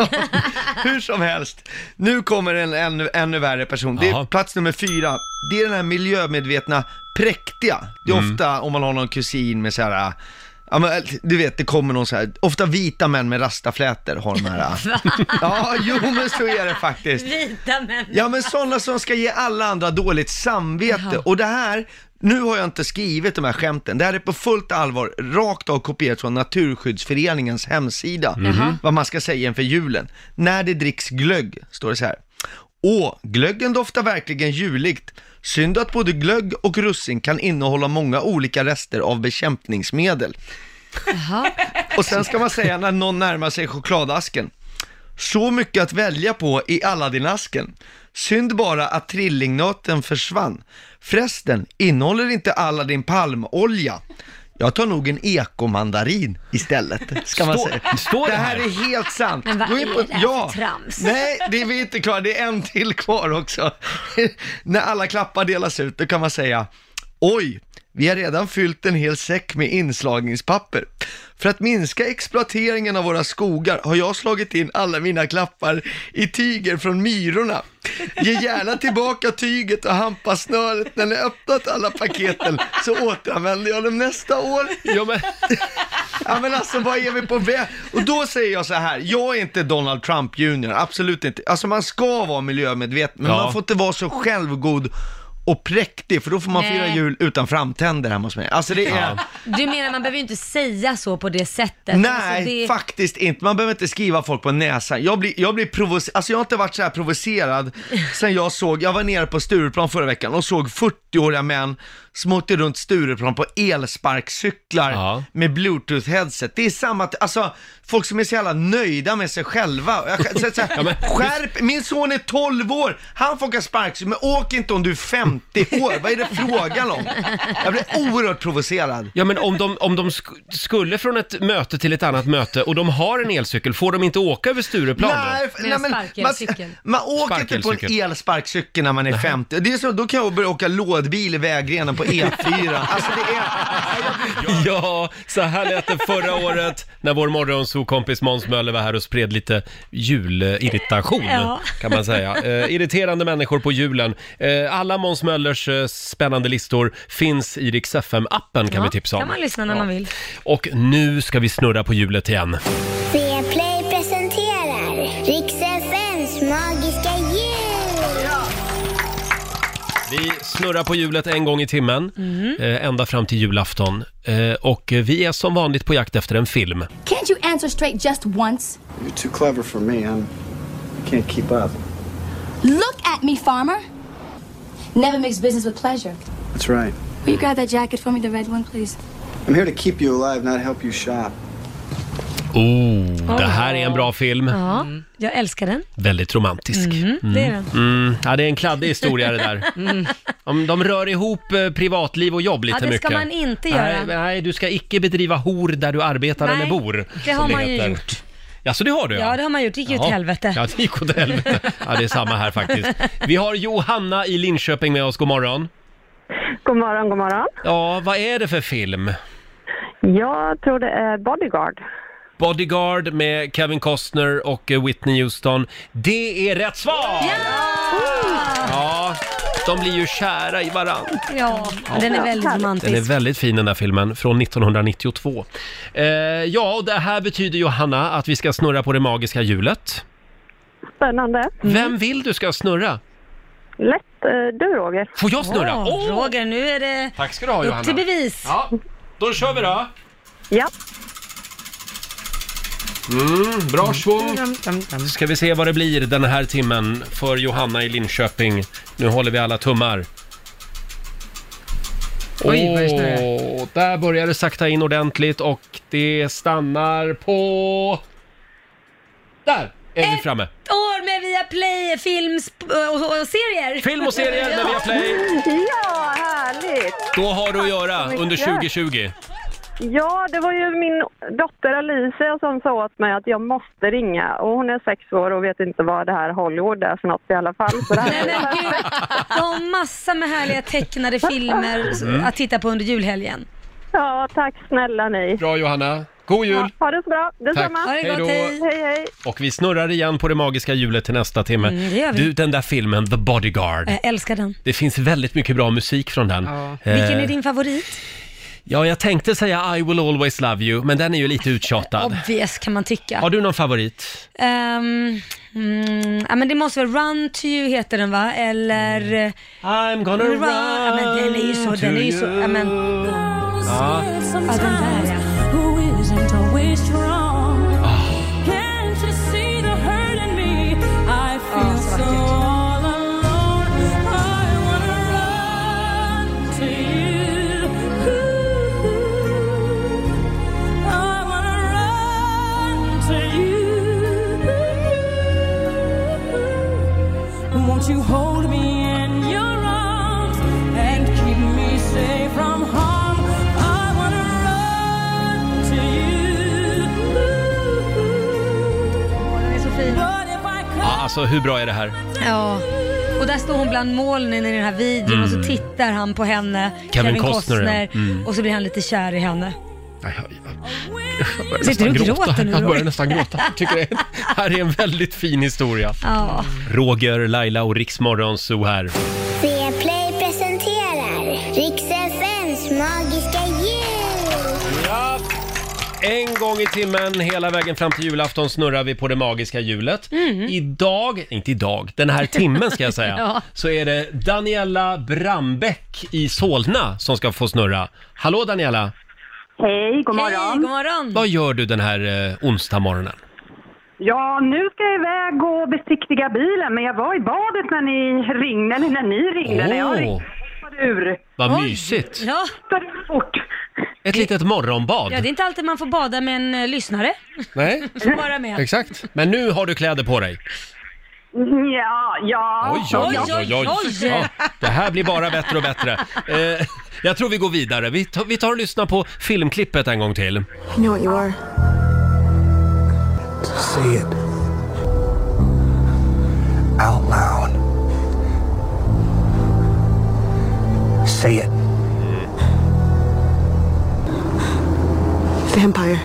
Speaker 21: Hur som helst, nu kommer en ännu, ännu värre person. Det är
Speaker 1: Jaha.
Speaker 21: plats nummer fyra. Det är den här miljömedvetna, präktiga. Det är
Speaker 1: Mm.
Speaker 21: ofta om man har någon kusin med så här, ja, men, du vet det kommer någon så här, ofta vita män med rastaflätor har de här. ja, jo men så är det faktiskt.
Speaker 2: Vita människor.
Speaker 21: Ja men sådana som ska ge alla andra dåligt samvete. Och det här, Nu har jag inte skrivit de här skämten. Det här är på fullt allvar rakt av kopierat från Naturskyddsföreningens hemsida.
Speaker 5: Mhm.
Speaker 21: Vad man ska säga inför julen. När det dricks glögg, står det så här. Åh, glöggen doftar verkligen juligt. Synd att både glögg och russin kan innehålla många olika rester av bekämpningsmedel. *laughs* Och sen ska man säga när någon närmar sig chokladasken. Så mycket att välja på i Aladdin-asken. Synd bara att trillingnöten försvann. Förresten, innehåller inte Aladdin palmolja? Jag tar nog en ekomandarin istället, ska man
Speaker 5: Står-
Speaker 21: säga.
Speaker 5: står det
Speaker 21: det här
Speaker 5: här?
Speaker 21: är helt sant.
Speaker 5: Men vad
Speaker 21: Gå in
Speaker 5: är
Speaker 21: på-
Speaker 5: det här för
Speaker 21: ja.
Speaker 5: trams?
Speaker 21: Nej, det är vi inte klara. Det är en till kvar också. *laughs* När alla klappar delas ut, då kan man säga Oj, vi har redan fyllt en hel säck med inslagningspapper. För att minska exploateringen av våra skogar har jag slagit in alla mina klappar i tyger från myrorna. Ge gärna tillbaka tyget och hampasnöret när ni öppnat alla paketen så återanvänder jag dem nästa år.
Speaker 1: Ja men,
Speaker 21: ja, men alltså vad är vi på väg? Och då säger jag så här, jag är inte Donald Trump junior, absolut inte. Alltså man ska vara miljömedveten, men
Speaker 5: Ja.
Speaker 21: man får inte vara så självgod och präktig, för då får man
Speaker 2: Nej.
Speaker 21: fira jul utan framtänder hemma hos mig. Alltså det är...
Speaker 2: Du menar man behöver ju inte säga så på det sättet.
Speaker 21: Nej,
Speaker 2: Alltså, det...
Speaker 21: faktiskt inte. Man behöver inte skriva folk på näsan. Jag blir, jag blir provocerad, alltså jag har inte varit så
Speaker 2: *laughs*
Speaker 21: här provocerad sen jag såg, jag var nere på Stureplan förra veckan och såg 40-åriga män som åkte runt Stureplan på elsparkcyklar med bluetooth-headset. Det är samma, alltså folk som är så jävla nöjda med sig själva. Jag, kan- så, så, här, skärp, min son är 12 år, han får åka sparkcykel, men åk inte om du är 50 år. Vad är det frågan om? Jag blir oerhört *laughs* provocerad.
Speaker 1: ja, men om de, om de sk- skulle från ett möte till ett annat möte och de har en elcykel, får de inte åka över Stureplan
Speaker 21: Nej,
Speaker 1: då?
Speaker 21: f- nej, men man, man åker inte på en
Speaker 1: Sparkelcykel.
Speaker 21: elsparkcykel när man är 50. Det är så, då kan jag börja åka lådbil i vägrenen på E4. alltså det är...
Speaker 1: *laughs* Ja, så här lät det
Speaker 21: *laughs*
Speaker 1: förra året när vår morgonsokompis Måns Möller var här och spred lite julirritation,
Speaker 5: Ja.
Speaker 1: kan man
Speaker 2: *laughs*
Speaker 1: säga. Eh, irriterande människor på julen. Eh, alla Måns Möllers eh, spännande listor finns i Rix FM-appen kan
Speaker 2: ja,
Speaker 1: vi tipsa om.
Speaker 2: kan man lyssna när man vill.
Speaker 1: Och nu ska vi snurra på hjulet igen.
Speaker 9: Viaplay presenterar Rix FMs magiska jul.
Speaker 1: Vi snurrar på hjulet en gång i timmen,
Speaker 2: Mm.
Speaker 1: eh, ända fram till julafton. Eh, och vi är som vanligt på jakt efter en film.
Speaker 22: Can't you answer straight just once?
Speaker 23: You're too clever for me. I'm, I can't keep up.
Speaker 22: Look at me, farmer. Never mix business with pleasure.
Speaker 23: That's right.
Speaker 22: Will you grab that jacket for me, the red one, please?
Speaker 23: I'm here to keep you alive, not help you shop.
Speaker 1: Oh, det här är en bra film.
Speaker 2: Ja, jag älskar den.
Speaker 1: Väldigt romantisk.
Speaker 2: Mm, det är den.
Speaker 1: Mm. Ja, det är en kladdig historia det
Speaker 2: *laughs*
Speaker 1: där.
Speaker 2: Mm.
Speaker 1: Om de rör ihop eh, privatliv och jobb lite
Speaker 2: Ja, det ska
Speaker 1: mycket.
Speaker 2: man inte göra.
Speaker 1: Nej, men nej, du ska icke bedriva hor där du arbetar
Speaker 2: Nej,
Speaker 1: eller bor.
Speaker 2: det har
Speaker 1: som
Speaker 2: man ju
Speaker 1: heter.
Speaker 2: gjort.
Speaker 1: Ja, så det har du
Speaker 2: Ja, det har man gjort. Det gick ju åt
Speaker 1: Jaha.
Speaker 2: helvete.
Speaker 1: Ja, det gick åt helvete. Ja, det är samma här
Speaker 2: *laughs*
Speaker 1: faktiskt. Vi har Johanna i Linköping med oss. God morgon.
Speaker 24: God morgon, god morgon.
Speaker 1: Ja, vad är det för film?
Speaker 24: Jag tror det är Bodyguard.
Speaker 1: Bodyguard med Kevin Costner och eh, Whitney Houston. Det är rätt svar! Ja, de blir ju kära i varann.
Speaker 2: Ja, den är väldigt romantisk.
Speaker 1: Den är väldigt fin den där filmen, från 1992. Eh, ja, och det här betyder Johanna att vi ska snurra på det magiska hjulet.
Speaker 24: Spännande.
Speaker 2: Mm.
Speaker 1: Vem vill du ska snurra?
Speaker 24: Lätt. eh, Du, Roger.
Speaker 1: Får jag snurra?
Speaker 2: Åh,
Speaker 1: Åh!
Speaker 2: Roger, nu är det
Speaker 1: Tack ska du ha Johanna.
Speaker 2: upp till bevis.
Speaker 1: Ja, då kör vi då.
Speaker 24: Ja.
Speaker 1: Mm, bra svung. Ska vi se vad det blir den här timmen för Johanna i Linköping. Nu håller vi alla tummar.
Speaker 5: Oj, vad det snurrar.
Speaker 1: Åh, där börjar det sakta in ordentligt och det stannar på... Där
Speaker 2: Eh.
Speaker 1: är vi framme.
Speaker 2: Ett år med Viaplay, film och, och, och serier.
Speaker 1: Film och serier med
Speaker 2: Ja.
Speaker 1: Viaplay.
Speaker 24: Ja, härligt.
Speaker 1: Då har du att göra
Speaker 24: Tack så
Speaker 1: under
Speaker 24: mycket.
Speaker 1: 2020.
Speaker 24: Ja, det var ju min dotter Alicia som sa åt mig att jag måste ringa. Och hon är sex år och vet inte vad det här Hollywood är för något i alla fall. Så det
Speaker 1: *laughs*
Speaker 24: här
Speaker 2: Nej, men gud. Jag har massor med härliga tecknade filmer s-
Speaker 1: Mm.
Speaker 2: att titta på under julhelgen.
Speaker 24: Ja, tack snälla ni.
Speaker 1: Bra Johanna. God jul!
Speaker 24: Ha det så bra. Detsamma.
Speaker 1: Tack. Ha det gott, Hej då.
Speaker 24: Hej, hej.
Speaker 1: Och vi snurrar igen på det magiska hjulet till nästa timme.
Speaker 2: Mm, det gör vi.
Speaker 1: Du, den där filmen The Bodyguard.
Speaker 2: Jag älskar den.
Speaker 1: Det finns väldigt mycket bra musik från den. Eh,
Speaker 2: Vilken är din favorit?
Speaker 1: Ja, jag tänkte säga I will always love you, men den är ju lite uttjatad.
Speaker 2: Obvious kan man tycka.
Speaker 1: Har du någon favorit?
Speaker 2: Ehm, mm, ja, men det måste väl Run to you heter den va? Eller...
Speaker 1: Mm. I'm gonna run,
Speaker 2: Ja, men den är ju
Speaker 1: Eh,
Speaker 2: så, den är ju så,
Speaker 1: to you.
Speaker 2: ja, men...
Speaker 1: Ja.
Speaker 2: Ja, den där ja.
Speaker 6: Won't you hold me in your arms and keep me safe from harm? I wanna run to you. But if I
Speaker 1: Ja, alltså hur bra är det här?
Speaker 2: Ja. Och där står hon bland molnen i den här videon
Speaker 1: Mm.
Speaker 2: och så tittar han på henne,
Speaker 1: Kevin Costner, ja. Mm.
Speaker 2: och så blir han lite kär i henne.
Speaker 1: Jag börjar
Speaker 2: Sitter
Speaker 1: nästan
Speaker 2: du och
Speaker 1: gråta.
Speaker 2: gråter nu,
Speaker 1: Jag börjar
Speaker 2: Roger?
Speaker 1: nästan gråta. Jag Tycker det här är en väldigt fin historia.
Speaker 2: Ja.
Speaker 1: Roger, Laila och Riksmorgon Zoo här.
Speaker 9: Viaplay presenterar Rix FMs magiska jul.
Speaker 1: Ja. En gång i timmen hela vägen fram till julafton snurrar vi på det magiska hjulet. Idag, inte idag, den här timmen ska jag säga,
Speaker 2: Mm. *laughs* Ja.
Speaker 1: så är det Daniela Brambäck i Solna som ska få snurra. Hallå Daniela!
Speaker 7: Hej, god morgon.
Speaker 2: Hej, god morgon.
Speaker 1: Vad gör du den här eh, onsdag morgonen?
Speaker 7: Ja, nu ska jag iväg och besiktiga bilen, men jag var i badet när ni ringde, eller när ni ringde. När jag ringde hoppade ur.
Speaker 1: Vad mysigt!
Speaker 2: Ja.
Speaker 7: Fort.
Speaker 1: Ett litet morgonbad.
Speaker 2: ja, det är inte alltid man får bada med en eh, lyssnare.
Speaker 1: Nej,
Speaker 2: Som bara är med.
Speaker 1: exakt. Men nu har du kläder på dig.
Speaker 7: Ja, ja.
Speaker 1: Ja, det här blir bara bättre och bättre. Eh, jag tror vi går vidare. Vi tar, vi tar och lyssnar på filmklippet en gång till.
Speaker 25: You know what you are?
Speaker 5: Say it. Out loud. Say it.
Speaker 25: Vampire.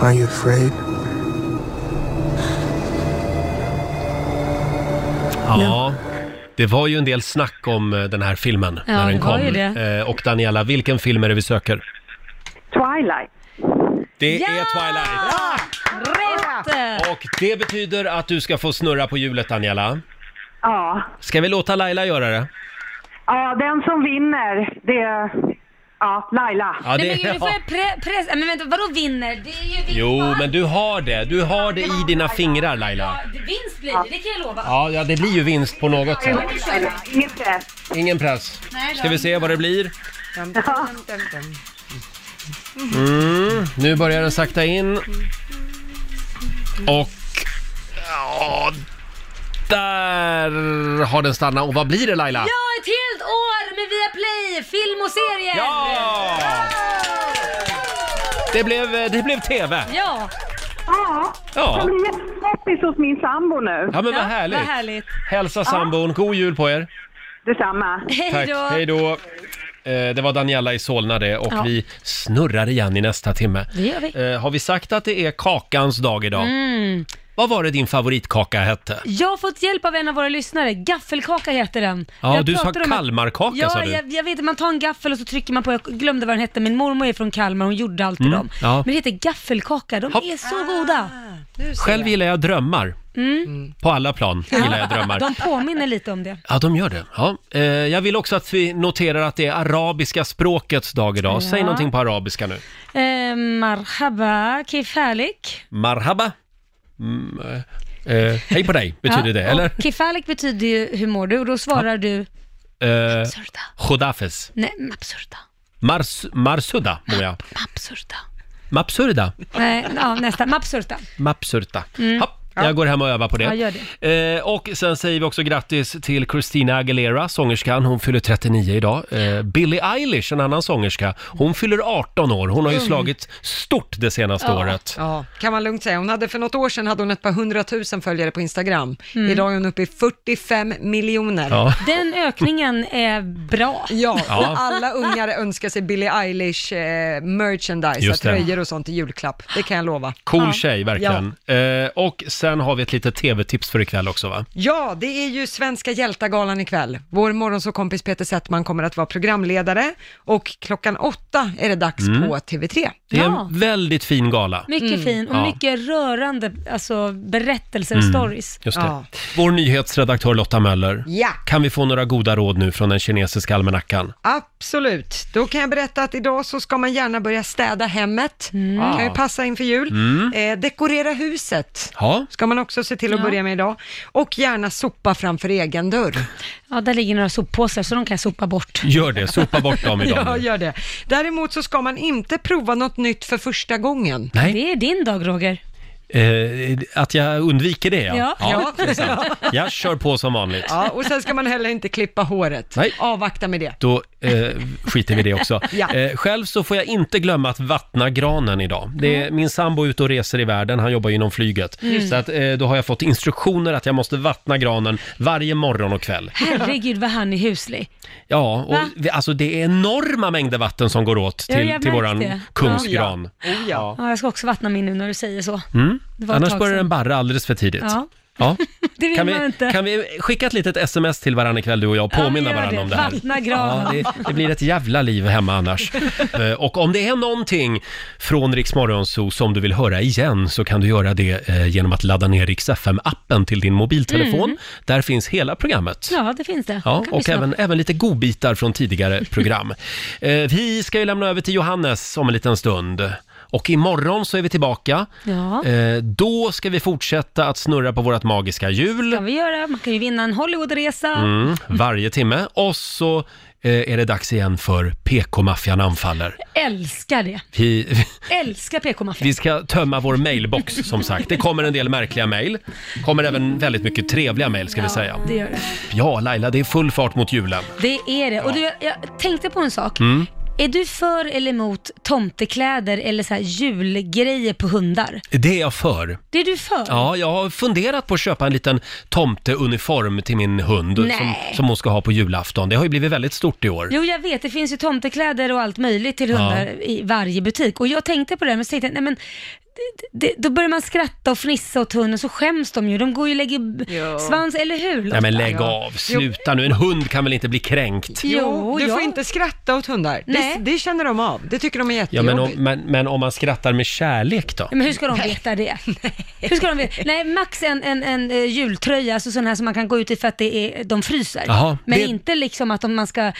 Speaker 5: Are you afraid?
Speaker 1: Ja. Det var ju en del snack om eh, den här filmen
Speaker 7: Ja,
Speaker 1: när den
Speaker 7: det
Speaker 1: kom.
Speaker 7: var ju det.
Speaker 1: Eh, Och Daniela, vilken film är det vi söker?
Speaker 7: Twilight.
Speaker 1: Det är Twilight.
Speaker 2: Rätt!
Speaker 1: Och det betyder att du ska få snurra på hjulet, Daniela.
Speaker 7: Ja.
Speaker 1: Ska vi låta Laila göra det?
Speaker 7: ja, den som vinner, det är ja, Laila.
Speaker 1: Ja, det-
Speaker 2: Nej, men Gud, nu får jag pre- press... Nej, Men vänta, vadå vinner? Det är ju
Speaker 1: Jo, men du har det. Du har det i dina fingrar, Laila.
Speaker 2: vinst blir det, det kan jag lova.
Speaker 1: Ja, ja, det blir ju vinst på något sätt.
Speaker 7: Ingen press.
Speaker 1: Ingen press.
Speaker 2: Nej då.
Speaker 1: Ska vi se vad det blir?
Speaker 7: Ja.
Speaker 1: Mm, nu börjar den sakta in. Och... Ja, där har den stannat. Och vad blir det Laila?
Speaker 2: Ja, ett helt år med Viaplay, film och serier!
Speaker 1: Ja! Det blev, eh, det blev TV.
Speaker 2: Ja!
Speaker 7: Ja.
Speaker 1: Ja.
Speaker 7: Jag blir jättepoppis hos min sambo nu.
Speaker 1: Ja, men vad härligt. Hälsa sambon. God jul på er.
Speaker 7: Detsamma.
Speaker 1: Tack. Hej då. Eh, Det var Daniela i Solna det och
Speaker 2: Ja.
Speaker 1: vi snurrar igen i nästa timme.
Speaker 2: Det gör vi.
Speaker 1: Eh, Har vi sagt att det är kakans dag idag?
Speaker 2: Mm.
Speaker 1: Vad var det din favoritkaka hette?
Speaker 2: Jag har fått hjälp av en av våra lyssnare. Gaffelkaka heter den.
Speaker 1: Ja,
Speaker 2: Jag
Speaker 1: du sa
Speaker 2: pratade om att-
Speaker 1: Kalmarkaka,
Speaker 2: ja,
Speaker 1: sa du.
Speaker 2: Jag, jag vet, man tar en gaffel och så trycker man på, jag glömde vad den hette, min mormor är från Kalmar, hon gjorde alltid
Speaker 1: Mm,
Speaker 2: dem.
Speaker 1: ja.
Speaker 2: Men det heter gaffelkaka, de är så goda.
Speaker 1: Själv gillar jag drömmar.
Speaker 2: Mm.
Speaker 1: På alla plan gillar jag drömmar.
Speaker 2: *laughs* De påminner lite om det.
Speaker 1: Ja, de gör det. Ja. Eh, Jag vill också att vi noterar att det är arabiska språkets dag idag. Säg
Speaker 2: Ja.
Speaker 1: någonting på arabiska nu.
Speaker 2: Eh, marhaba, kif härlik.
Speaker 1: Marhaba. Mm, eh, eh, hej på dig, betyder det, eller?
Speaker 2: Kif härlik betyder ju hur mår du och då svarar du
Speaker 1: Eh, Khodafes.
Speaker 2: nej, absurda.
Speaker 1: Mars, marsuda, må jag.
Speaker 2: Absurda.
Speaker 1: Mapsurda.
Speaker 2: Nej, ja, nästa. Mapsurta.
Speaker 1: Mapsurta.
Speaker 2: Mm.
Speaker 1: Hopp, Jag går hem och övar på det.
Speaker 2: Ja, gör
Speaker 1: Eh, och sen säger vi också grattis till Christina Aguilera, sångerskan. Hon fyller 39 idag. Eh, Billie Eilish, en annan sångerska, hon fyller 18 år. Hon har ju
Speaker 3: Mm.
Speaker 1: slagit stort det senaste året.
Speaker 3: Ja, kan man lugnt säga. Hon hade för något år sedan hade hon ett par hundratusen följare på Instagram. Idag är hon uppe i 45 miljoner.
Speaker 1: Ja.
Speaker 2: Mm. Den ökningen är bra.
Speaker 3: Ja,
Speaker 1: Ja.
Speaker 3: och alla ungar önskar sig Billie Eilish eh, merchandise,
Speaker 1: Just det.
Speaker 3: tröjor och sånt i julklapp. Det kan jag lova.
Speaker 1: Cool
Speaker 3: Ja.
Speaker 1: tjej, verkligen. Eh, och sen sen har vi ett litet tv-tips för ikväll också va?
Speaker 3: Ja, det är ju Svenska hjältargalan ikväll. Vår morgonsåkompis Peter Settman kommer att vara programledare och klockan åtta är det dags
Speaker 1: Mm.
Speaker 3: på TV3.
Speaker 1: Det är en väldigt fin gala.
Speaker 2: Mycket fin och
Speaker 1: Mm. Ja.
Speaker 2: mycket rörande alltså, berättelser och
Speaker 1: Mm,
Speaker 2: stories.
Speaker 1: Just det. Vår nyhetsredaktör Lotta Möller.
Speaker 3: Ja.
Speaker 1: Kan vi få några goda råd nu från den kinesiska almanackan?
Speaker 3: Absolut. Då kan jag berätta att idag så ska man gärna börja städa hemmet.
Speaker 1: Ah.
Speaker 3: kan ju passa inför jul.
Speaker 1: Mm.
Speaker 3: Eh, dekorera huset.
Speaker 1: Ja.
Speaker 3: Ska man också se till att
Speaker 2: Ja.
Speaker 3: börja med idag. Och gärna sopa framför egen dörr.
Speaker 2: Ja, där ligger några soppåsar så de kan jag sopa bort.
Speaker 1: Gör det, sopa bort
Speaker 3: *laughs*
Speaker 1: dem idag.
Speaker 3: ja, gör det. Däremot så ska man inte prova något nytt för första gången.
Speaker 1: Nej.
Speaker 2: Det är din dag, Roger.
Speaker 1: Eh, att jag undviker det ja.
Speaker 3: Ja. Ja.
Speaker 1: det är sant. Jag kör på som vanligt.
Speaker 3: *laughs* Ja, och sen ska man heller inte klippa håret.
Speaker 1: Nej.
Speaker 3: Avvakta med det.
Speaker 1: Då eh, skiter vi i det
Speaker 2: *laughs*
Speaker 1: också.
Speaker 3: Ja.
Speaker 1: Eh, själv så får jag inte glömma att vattna granen idag. Det är, min sambo är ute och reser i världen, han jobbar ju inom flyget.
Speaker 2: Mm.
Speaker 1: Så att, eh, då har jag fått instruktioner att jag måste vattna granen varje morgon och kväll.
Speaker 2: Herregud vad han är huslig.
Speaker 1: Ja, och
Speaker 2: Va?
Speaker 1: vi, alltså det är enorma mängder vatten som går åt
Speaker 2: Ja,
Speaker 1: till,
Speaker 2: jag
Speaker 1: till
Speaker 2: märkte
Speaker 1: våran
Speaker 2: det.
Speaker 1: kungsgran.
Speaker 2: Ja.
Speaker 1: Ja.
Speaker 2: Ja, jag ska också vattna min nu när du säger så.
Speaker 1: Mm.
Speaker 2: Det var ett
Speaker 1: Annars
Speaker 2: tag
Speaker 1: börjar
Speaker 2: sedan.
Speaker 1: den barra alldeles för tidigt.
Speaker 2: Ja.
Speaker 1: Ja.
Speaker 2: *laughs* Det vill
Speaker 1: Kan
Speaker 2: man
Speaker 1: vi,
Speaker 2: inte.
Speaker 1: kan vi skicka ett litet sms till varandra ikväll du och jag och
Speaker 2: Ja,
Speaker 1: påminna
Speaker 2: vi gör
Speaker 1: varandra
Speaker 2: det.
Speaker 1: om det här?
Speaker 2: Vattna granen.
Speaker 1: Ja, det, det blir ett jävla liv hemma
Speaker 2: *laughs*
Speaker 1: annars. Eh, och om det är någonting från Rix Morgonzoo som du vill höra igen så kan du göra det eh, genom att ladda ner Rix FM-appen till din mobiltelefon.
Speaker 2: Mm.
Speaker 1: Där finns hela programmet.
Speaker 2: Ja, det finns det.
Speaker 1: Ja,
Speaker 2: Kan
Speaker 1: och
Speaker 2: lyssna
Speaker 1: även,
Speaker 2: på.
Speaker 1: även lite godbitar från tidigare
Speaker 2: *laughs*
Speaker 1: program. eh, vi ska ju lämna över till Johannes om en liten stund. Och imorgon så är vi tillbaka.
Speaker 2: Ja,
Speaker 1: Eh, då ska vi fortsätta att snurra på vårt magiska hjul.
Speaker 2: kan vi göra. Man kan ju vinna en Hollywoodresa.
Speaker 1: Eh. Mm, varje timme. Och så eh, är det dags igen för PK-maffian anfaller.
Speaker 2: Älskar det.
Speaker 1: Vi, *laughs*
Speaker 2: Älskar PK-maffian.
Speaker 1: vi ska tömma vår mailbox som sagt. Det kommer en del märkliga mejl. kommer även väldigt mycket trevliga mejl ska vi säga.
Speaker 2: Det gör det.
Speaker 1: Ja, Laila, det är full fart mot julen.
Speaker 2: Det är det. Och du, jag- jag tänkte på en sak.
Speaker 1: Mm.
Speaker 2: Är du för eller emot tomtekläder eller så här julgrejer på hundar?
Speaker 1: Det är jag för.
Speaker 2: Det är du för?
Speaker 1: Ja, jag har funderat på att köpa en liten tomteuniform till min hund
Speaker 2: Nej.
Speaker 1: som, som hon ska ha på julafton. Det har ju blivit väldigt stort i år.
Speaker 2: Jo, jag vet. Det finns ju tomtekläder och allt möjligt till
Speaker 1: Ja.
Speaker 2: hundar i varje butik. Och jag tänkte på det, här, men så tänkte jag, nej men det, det, då börjar man skratta och fnissa åt hunden, så skäms de ju. De går ju och lägger b- svans, eller hur?
Speaker 1: Nej men
Speaker 2: Lotta?
Speaker 1: lägg av, sluta nu. En hund kan väl inte bli kränkt?
Speaker 3: Jo, du
Speaker 2: ja.
Speaker 3: får inte skratta åt hundar. Det,
Speaker 2: Nej.
Speaker 3: det känner de av. Det tycker de är
Speaker 1: Ja, men, om,
Speaker 3: jättejobbigt.
Speaker 1: men, men om man skrattar med kärlek då?
Speaker 2: Ja, Men hur ska de veta
Speaker 3: *laughs*
Speaker 2: det? Hur ska de veta? Nej, max en, en, en eh, jultröja, alltså sån här som man kan gå ut i för att det är, de fryser.
Speaker 1: Jaha,
Speaker 2: men
Speaker 1: det-
Speaker 2: inte liksom att de, man ska eh,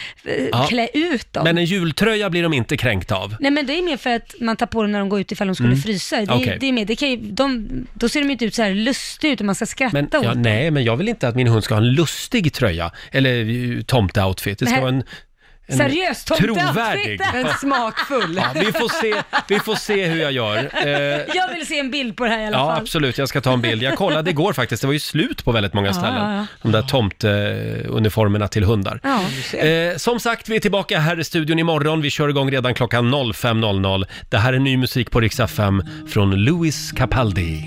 Speaker 1: Ja.
Speaker 2: klä ut dem.
Speaker 1: Men en jultröja blir de inte kränkta av.
Speaker 2: Nej men det är mer för att man tar på dem när de går ut ifall de skulle
Speaker 1: Mm.
Speaker 2: frysa. Det, är-
Speaker 1: Okej.
Speaker 2: det är mer, det kan ju, de, då ser de ju inte ut så här lustiga ut och man ska skratta
Speaker 1: Men,
Speaker 2: åt
Speaker 1: ja,
Speaker 2: dem.
Speaker 1: nej, men jag vill inte att min hund ska ha en lustig tröja eller eh, tomteoutfit. Det ska
Speaker 2: Nej.
Speaker 1: vara en, en
Speaker 2: Seriös tomteoutfit.
Speaker 1: trovärdig.
Speaker 3: Men smakfull.
Speaker 1: Ja, vi, får se, vi får se hur jag gör. Eh,
Speaker 2: *laughs* Jag vill se en bild på det här i alla
Speaker 1: ja,
Speaker 2: fall.
Speaker 1: absolut. Jag ska ta en bild. Jag kollade igår faktiskt. Det var ju slut på väldigt många
Speaker 2: Ja,
Speaker 1: ställen.
Speaker 2: ja, ja.
Speaker 1: De där tomteuniformerna till hundar.
Speaker 2: Ja.
Speaker 1: Eh, som sagt, vi är tillbaka här i studion imorgon. Vi kör igång redan klockan 05.00. Det här är ny musik på Rix FM från Louis Capaldi.